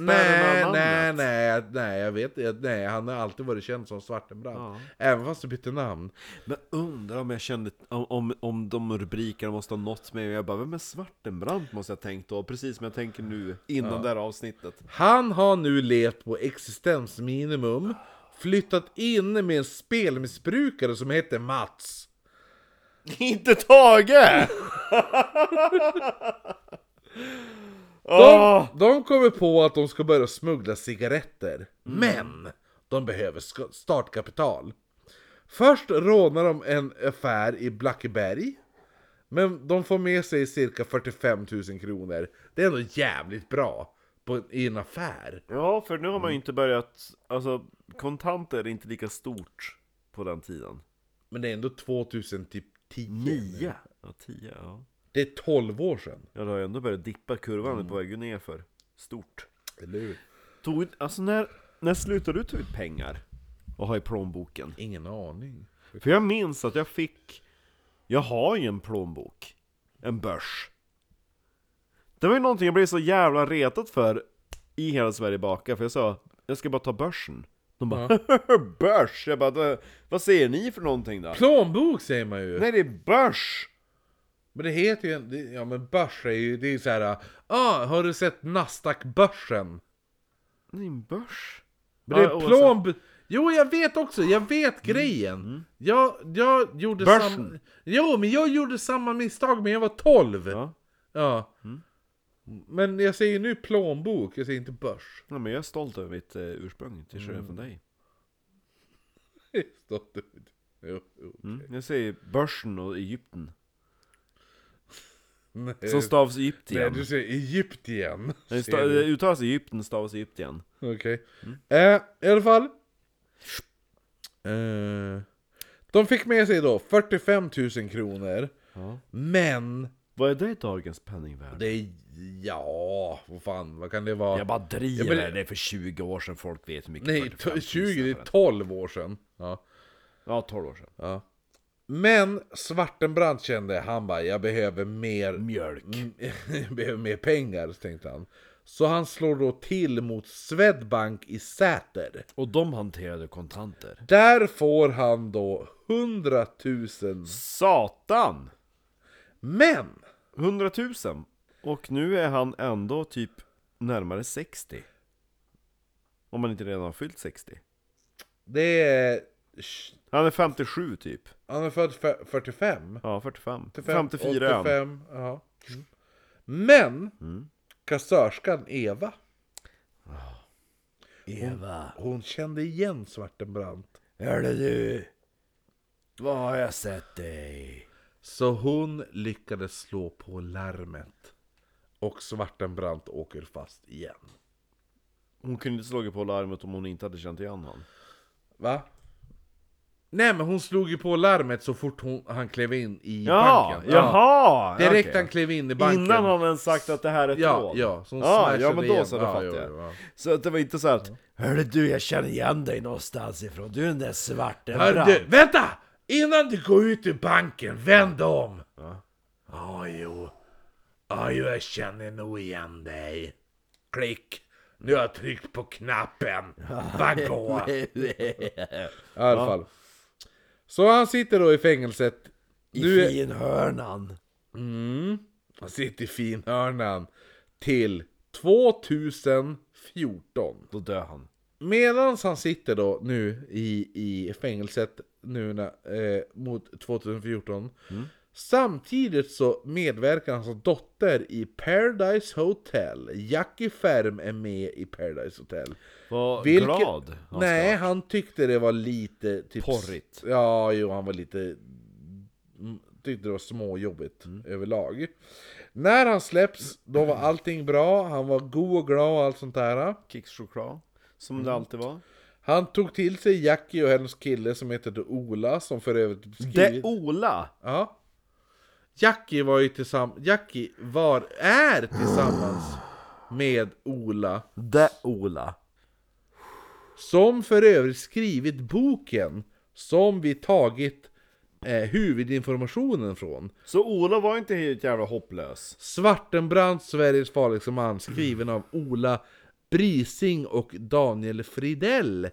Speaker 2: Nej,
Speaker 1: Spärren av
Speaker 2: nej,
Speaker 1: namnet?
Speaker 2: nej, nej, jag vet inte. Nej, han har alltid varit känd som Svartenbrandt.
Speaker 1: Ja.
Speaker 2: Även fast du bytte namn.
Speaker 1: Men undrar om jag kände, om, om, om de rubrikerna måste ha nått mig och jag bara, vem är Svartenbrandt måste jag tänkt då? Precis som jag tänker nu, innan det här avsnittet.
Speaker 2: Han har nu levt på existensminimum, flyttat in med en spelmissbrukare som heter Mats.
Speaker 1: Inte Tage!
Speaker 2: De,
Speaker 1: Åh!
Speaker 2: de kommer på att de ska börja smuggla cigaretter, men de behöver sk- startkapital. Först rånar de en affär i Blackeberg, men de får med sig cirka 45 000 kronor. Det är ändå jävligt bra på, i en affär.
Speaker 1: Ja, för nu har man ju inte börjat, alltså kontanter är inte lika stort på den tiden.
Speaker 2: Men det är ändå 2010.
Speaker 1: Nio? Ja, tio, ja.
Speaker 2: Det är 12 år sedan.
Speaker 1: Ja, det har ju ändå börjat dippa, kurvan är på väg ner för Stort.
Speaker 2: Eller hur?
Speaker 1: Tog, alltså när, när slutade du ta ut pengar? Och ha i plånboken?
Speaker 2: Ingen aning.
Speaker 1: För jag minns att jag fick, jag har ju en plånbok, en börs. Det var ju någonting jag blev så jävla retad för i Hela Sverige bakar, för jag sa jag ska bara ta börsen. De bara börs! Jag bara, "Vad- vad säger ni för någonting då?
Speaker 2: Plånbok säger man ju!
Speaker 1: Nej det är börs!
Speaker 2: Men det heter ju, en- det- ja men börs är ju, det är ju så här. ah, har du sett Nasdaq-börsen?
Speaker 1: Det är en börs?
Speaker 2: Men det
Speaker 1: Ja,
Speaker 2: är
Speaker 1: oavsett.
Speaker 2: plånb... Jo, jag vet också, jag vet grejen! Jag, jag gjorde
Speaker 1: Mm. Börsen.
Speaker 2: samma... Jo, men jag gjorde samma misstag, men jag var 12! Ja.
Speaker 1: Ja. Mm.
Speaker 2: Men jag säger nu plånbok, jag säger inte börs.
Speaker 1: ja, men jag är stolt över mitt eh, ursprung, till skillnad från dig.
Speaker 2: Stopp. Jo, jo.
Speaker 1: Mm. Jag säger börsen och Egypten.
Speaker 2: Nej.
Speaker 1: Som stavas
Speaker 2: Nej,
Speaker 1: Egyptien.
Speaker 2: du säger Egyptien.
Speaker 1: Det Mm. sta-
Speaker 2: Ser
Speaker 1: det
Speaker 2: du.
Speaker 1: uttalas Egypten, stavas Egyptien.
Speaker 2: Okej. Eh, I alla fall. Eh, de fick med sig då 45 000 kronor.
Speaker 1: Ja.
Speaker 2: Men
Speaker 1: Vad är det i dagens penningvärde?
Speaker 2: det är... Ja, vad fan, vad kan det vara?
Speaker 3: Jag bara driver,
Speaker 2: Ja, men-
Speaker 3: det är för 20 år sedan folk vet hur mycket
Speaker 2: Nej,
Speaker 3: 45 000
Speaker 2: t- 20, det
Speaker 3: är
Speaker 2: är
Speaker 3: för en-
Speaker 2: 12 år sedan. Ja.
Speaker 1: Ja, 12 år sedan.
Speaker 2: Ja. Men Svartenbrandt kände, han bara, jag behöver mer
Speaker 3: Mjölk.
Speaker 2: Mm, jag behöver mer pengar, tänkte han. Så han slår då till mot Swedbank i Säter.
Speaker 3: Och de hanterade kontanter.
Speaker 2: Där får han då 100 000.
Speaker 1: Satan!
Speaker 2: Men!
Speaker 1: 100 000! Och nu är han ändå typ närmare 60. Om man inte redan har fyllt 60.
Speaker 2: Det är...
Speaker 1: Han är 57 typ.
Speaker 2: Han är född fe- 45.
Speaker 1: Ja, 45.
Speaker 2: 55,
Speaker 1: 54 är han.
Speaker 2: 85, ja. Mm. Men!
Speaker 1: Mm.
Speaker 2: Kassörskan Eva,
Speaker 3: Eva,
Speaker 2: hon kände igen Svartenbrandt.
Speaker 3: hörde du? Vad har jag sett dig?
Speaker 2: Så hon lyckades slå på larmet. Och Svartenbrandt åker fast igen.
Speaker 1: Hon kunde inte slagit på larmet om hon inte hade känt igen honom.
Speaker 2: Va? Nej men hon slog ju på larmet så fort hon, han klev in i
Speaker 1: Jaha!
Speaker 2: banken. Ja.
Speaker 1: Jaha!
Speaker 2: Direkt
Speaker 1: okej.
Speaker 2: han klev in i banken.
Speaker 1: Innan han ens sagt att det här är
Speaker 2: Ja,
Speaker 1: tråd.
Speaker 2: ja. Så hon
Speaker 1: ja,
Speaker 2: smashade
Speaker 1: ja, men då
Speaker 2: igen.
Speaker 1: så, det
Speaker 2: Ja,
Speaker 1: fattar
Speaker 2: jo,
Speaker 1: jag.
Speaker 2: jo, ja.
Speaker 1: Så att det var inte så här att
Speaker 3: Hörde du, jag känner igen dig någonstans ifrån. Du är den där svarte
Speaker 2: Hör
Speaker 3: Brandt.
Speaker 2: du, vänta! Innan du går ut ur banken, vänd om!
Speaker 3: Ja, jo. Ja, jo, jag känner nog igen dig.
Speaker 2: Klick! Nu har jag tryckt på knappen. Vad går? I alla fall. Så han sitter då i fängelset.
Speaker 3: I
Speaker 2: Nu är-
Speaker 3: finhörnan.
Speaker 2: Mm. Han sitter i finhörnan. Till 2014.
Speaker 1: då dör han.
Speaker 2: Medan han sitter då nu i, i fängelset nu när, eh, mot 2014
Speaker 1: Mm.
Speaker 2: Samtidigt så medverkar hans dotter i Paradise Hotel Jackie Ferm är med i Paradise Hotel
Speaker 1: Vad
Speaker 2: Vilket-
Speaker 1: glad han
Speaker 2: Nej, han tyckte det var lite typ,
Speaker 1: Porrigt.
Speaker 2: Ja, jo, han var lite mm, Tyckte det var småjobbigt
Speaker 1: Mm.
Speaker 2: överlag När han släpps, då var allting bra Han var god och glad och allt sånt där
Speaker 1: Kickschoklad, som Mm. det alltid var.
Speaker 2: Han tog till sig Jackie och hennes kille som heter Ola som för övrigt
Speaker 1: Det
Speaker 2: skrivit...
Speaker 1: Ola!
Speaker 2: Ja. Jackie var ju tillsammans... Jackie var... Är tillsammans med Ola.
Speaker 3: Det Ola.
Speaker 2: Som för övrigt skrivit boken som vi tagit eh, huvudinformationen från.
Speaker 1: Så Ola var inte helt jävla hopplös.
Speaker 2: Svartenbrandt, Sveriges farligaste man, skriven av Ola Brising och Daniel Fridell.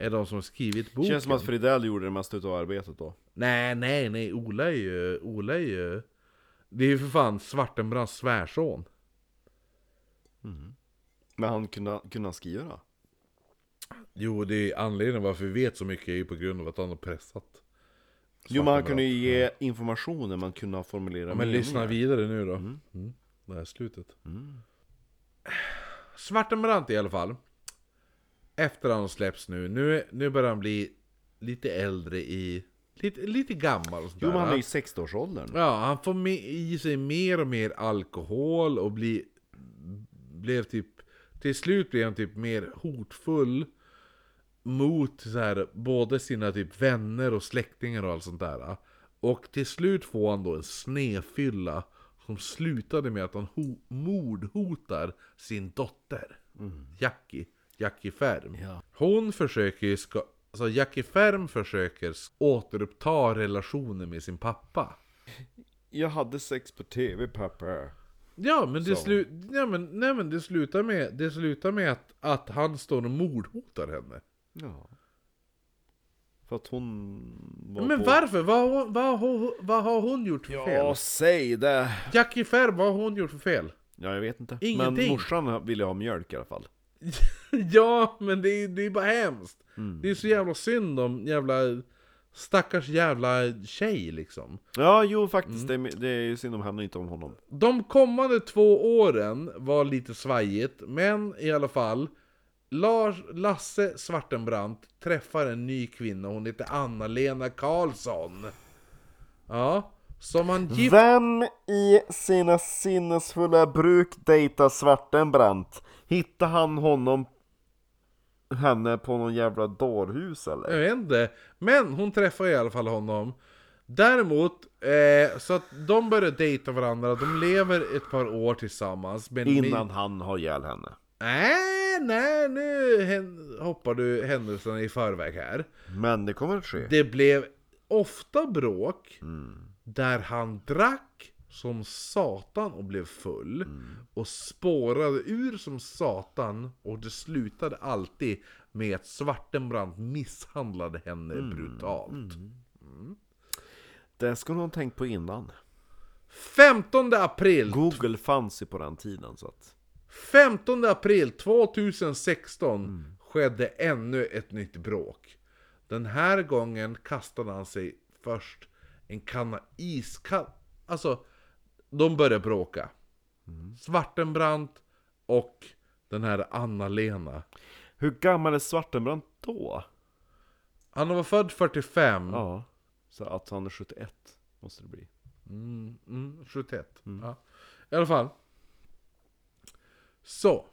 Speaker 2: Är de som har skrivit boken.
Speaker 1: Hmm. Känns som att Fridell gjorde det mesta utav arbetet då.
Speaker 2: Nej, nej, nej. Ola är ju... Ola är ju... Det är ju för fan Svartenbrandts svärson.
Speaker 1: Men han kunde, kunde han skriva?
Speaker 2: Jo, det är anledningen varför vi vet så mycket är ju på grund av att han har pressat.
Speaker 1: Jo men han kunde ju ge informationen, man kunde ha formulerat
Speaker 2: Men
Speaker 1: meningar.
Speaker 2: lyssna vidare nu då. Mm. Det här är slutet.
Speaker 1: Mm.
Speaker 2: Svartenbrandt i alla fall. Efter han släpps nu. Nu, nu börjar han bli lite äldre i... Lite, lite gammal och sånt
Speaker 1: Jo
Speaker 2: där,
Speaker 1: men han
Speaker 2: va?
Speaker 1: är ju i 60-årsåldern.
Speaker 2: Ja, han får med, i sig mer och mer alkohol och blir, blev typ... Till slut blev han typ mer hotfull mot så här, både sina typ vänner och släktingar och allt sånt där. Och till slut får han då en snefylla som slutade med att han ho- mordhotar sin dotter. Jackie. Jackie Färm.
Speaker 3: Ja.
Speaker 2: Hon försöker ju ska... Alltså Jackie Färm försöker s- återuppta relationen med sin pappa.
Speaker 1: Jag hade sex på tv pappa.
Speaker 2: Ja men, det slu, ja, men, nej, men det slutar med, det slutar med att, att han står och mordhotar henne.
Speaker 1: Ja. För att hon var
Speaker 2: Men
Speaker 1: på...
Speaker 2: varför? Vad, har hon- vad, har- vad har hon gjort för fel?
Speaker 1: Ja, säg det!
Speaker 2: Jackie Färb, vad har hon gjort för fel?
Speaker 1: Ja, jag vet inte. Men
Speaker 2: Ingenting.
Speaker 1: morsan ville ha mjölk i alla fall.
Speaker 2: ja, men det är, det är bara hemskt.
Speaker 1: Mm.
Speaker 2: Det är så jävla synd om jävla stackars jävla tjej liksom.
Speaker 1: Ja, jo faktiskt.
Speaker 2: Mm.
Speaker 1: Det, är, det är ju synd om henne och inte om honom.
Speaker 2: De kommande två åren var lite svajigt, men i alla fall. Lars, Lasse Svartenbrandt träffar en ny kvinna, hon heter Anna-Lena Karlsson. Ja, som han gifter
Speaker 1: Vem i sina sinnesfulla bruk dejtar Svartenbrandt? Hittar han honom, henne på någon jävla dårhus eller?
Speaker 2: Jag vet inte. Men hon träffar i alla fall honom. Däremot, eh, så att de börjar dejta varandra, de lever ett par år tillsammans. Men
Speaker 1: Innan han har ihjäl henne.
Speaker 2: Nej, nej, nu hän- hoppar du händelserna i förväg här.
Speaker 1: Men det kommer att ske.
Speaker 2: Det blev ofta bråk där han drack som satan och blev full och spårade ur som satan och det slutade alltid med att Svartenbrandt misshandlade henne brutalt.
Speaker 1: Det skulle någon tänkt på innan.
Speaker 2: 15 april!
Speaker 1: Google fanns ju på den tiden så att...
Speaker 2: 15 april 2016 skedde ännu ett nytt bråk. Den här gången kastade han sig först en kanna iskall... Alltså, de började bråka. Svartenbrandt och den här Anna-Lena.
Speaker 1: Hur gammal är Svartenbrandt då?
Speaker 2: Han var född 45,
Speaker 1: Ja, så att han är 71 måste det bli.
Speaker 2: mm, mm, 71. Ja. I alla fall. Så.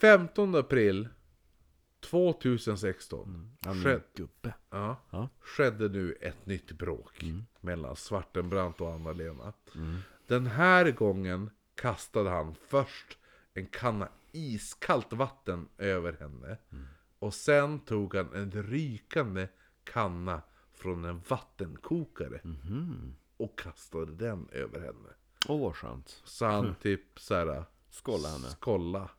Speaker 2: 15 april 2016. Sked,
Speaker 1: gubbe.
Speaker 2: ja,
Speaker 1: Ja.
Speaker 2: skedde nu ett nytt bråk mellan Svartenbrandt och Anna-Lena. Den här gången kastade han först en kanna iskallt vatten över henne. Och sen tog han en rykande kanna från en vattenkokare. Och kastade den över henne.
Speaker 1: Åh vad skönt.
Speaker 2: Så han typ såhär
Speaker 1: Hm. Skålla henne.
Speaker 2: Skolla.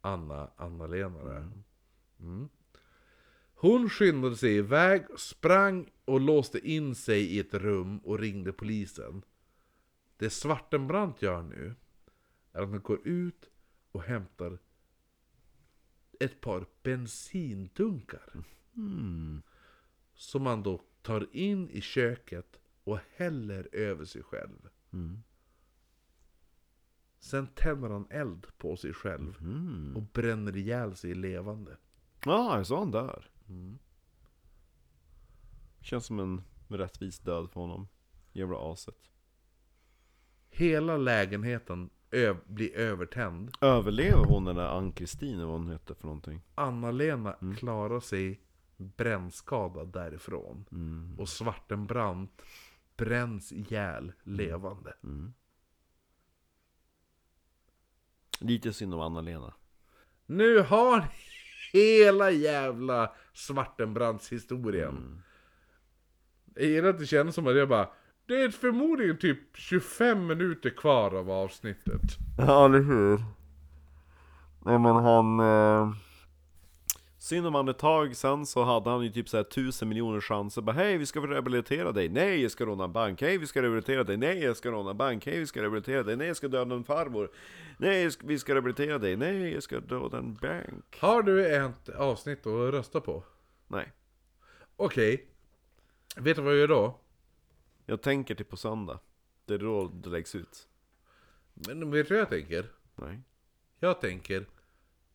Speaker 2: Anna, Anna-Lena där. Mm. Hon skyndade sig iväg, sprang och låste in sig i ett rum och ringde polisen. Det Svartenbrandt gör nu är att han går ut och hämtar ett par bensindunkar.
Speaker 1: Mm.
Speaker 2: Som han då tar in i köket och häller över sig själv. Sen tänder han eld på sig själv och bränner ihjäl sig levande.
Speaker 1: Ja, jag sa han där. Känns som en rättvis död för honom. Jävla aset.
Speaker 2: Hela lägenheten ö- blir övertänd.
Speaker 1: Överlever hon den där Ann-Kristin eller vad hon hette för någonting?
Speaker 2: Anna-Lena klarar sig brännskadad därifrån. Och Svartenbrandt bränns ihjäl levande.
Speaker 1: Lite synd om Anna-Lena.
Speaker 2: Nu har ni hela jävla Svartenbrandts historien. Jag gillar att det känns som att jag bara Det är förmodligen typ 25 minuter kvar av avsnittet.
Speaker 1: Ja, eller hur? Nej men han... eh, Synd om han ett tag sen så hade han ju typ såhär tusen miljoner chanser bara Hej vi ska rehabilitera dig, nej jag ska råna en bank, hej vi ska rehabilitera dig, nej jag ska råna en bank, hej vi ska rehabilitera dig, nej jag ska döda en farmor Nej jag ska- vi ska rehabilitera dig, nej jag ska döda en bank
Speaker 2: Har du ett avsnitt att rösta på?
Speaker 1: Nej,
Speaker 2: Okej. Vet du vad jag gör då?
Speaker 1: jag tänker till på söndag Det är då det läggs ut
Speaker 2: Men vet du vad jag tänker?
Speaker 1: Nej
Speaker 2: Jag tänker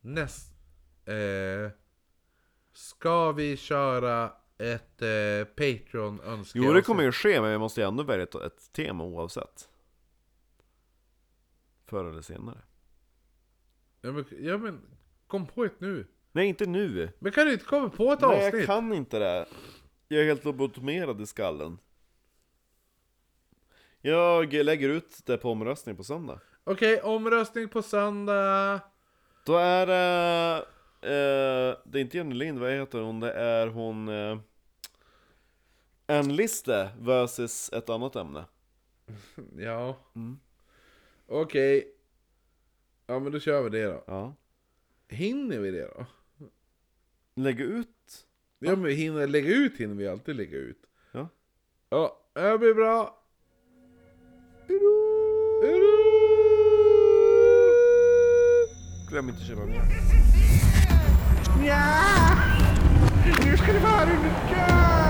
Speaker 2: näst... Eh, ska vi köra ett eh, Patreon önskemål?
Speaker 1: Jo det kommer ju ske men vi måste ju ändå välja ett, ett tema oavsett Förr eller senare
Speaker 2: Ja men, ja men kom på ett nu.
Speaker 1: Nej inte nu!
Speaker 2: Men kan du inte komma på ett
Speaker 1: Nej jag
Speaker 2: avsnitt?
Speaker 1: kan inte det. Jag är helt lobotomerad i skallen. Jag lägger ut det på omröstning på söndag.
Speaker 2: Okej, omröstning på söndag.
Speaker 1: Då är det... eh, det är inte Jenny Lind, vad heter hon? Det är hon... eh, en liste versus ett annat ämne.
Speaker 2: Ja.
Speaker 1: Mm.
Speaker 2: Okej. Ja men då kör vi det då.
Speaker 1: Ja.
Speaker 2: Hinner vi det då?
Speaker 1: Lägg ut.
Speaker 2: Ja men vi hinner lägga ut hinner vi alltid lägga ut.
Speaker 1: Ja.
Speaker 2: Ja, det blir bra. Hejdå!
Speaker 1: Glöm inte att köpa mer.
Speaker 4: Ja! Nu ska det vara underkant!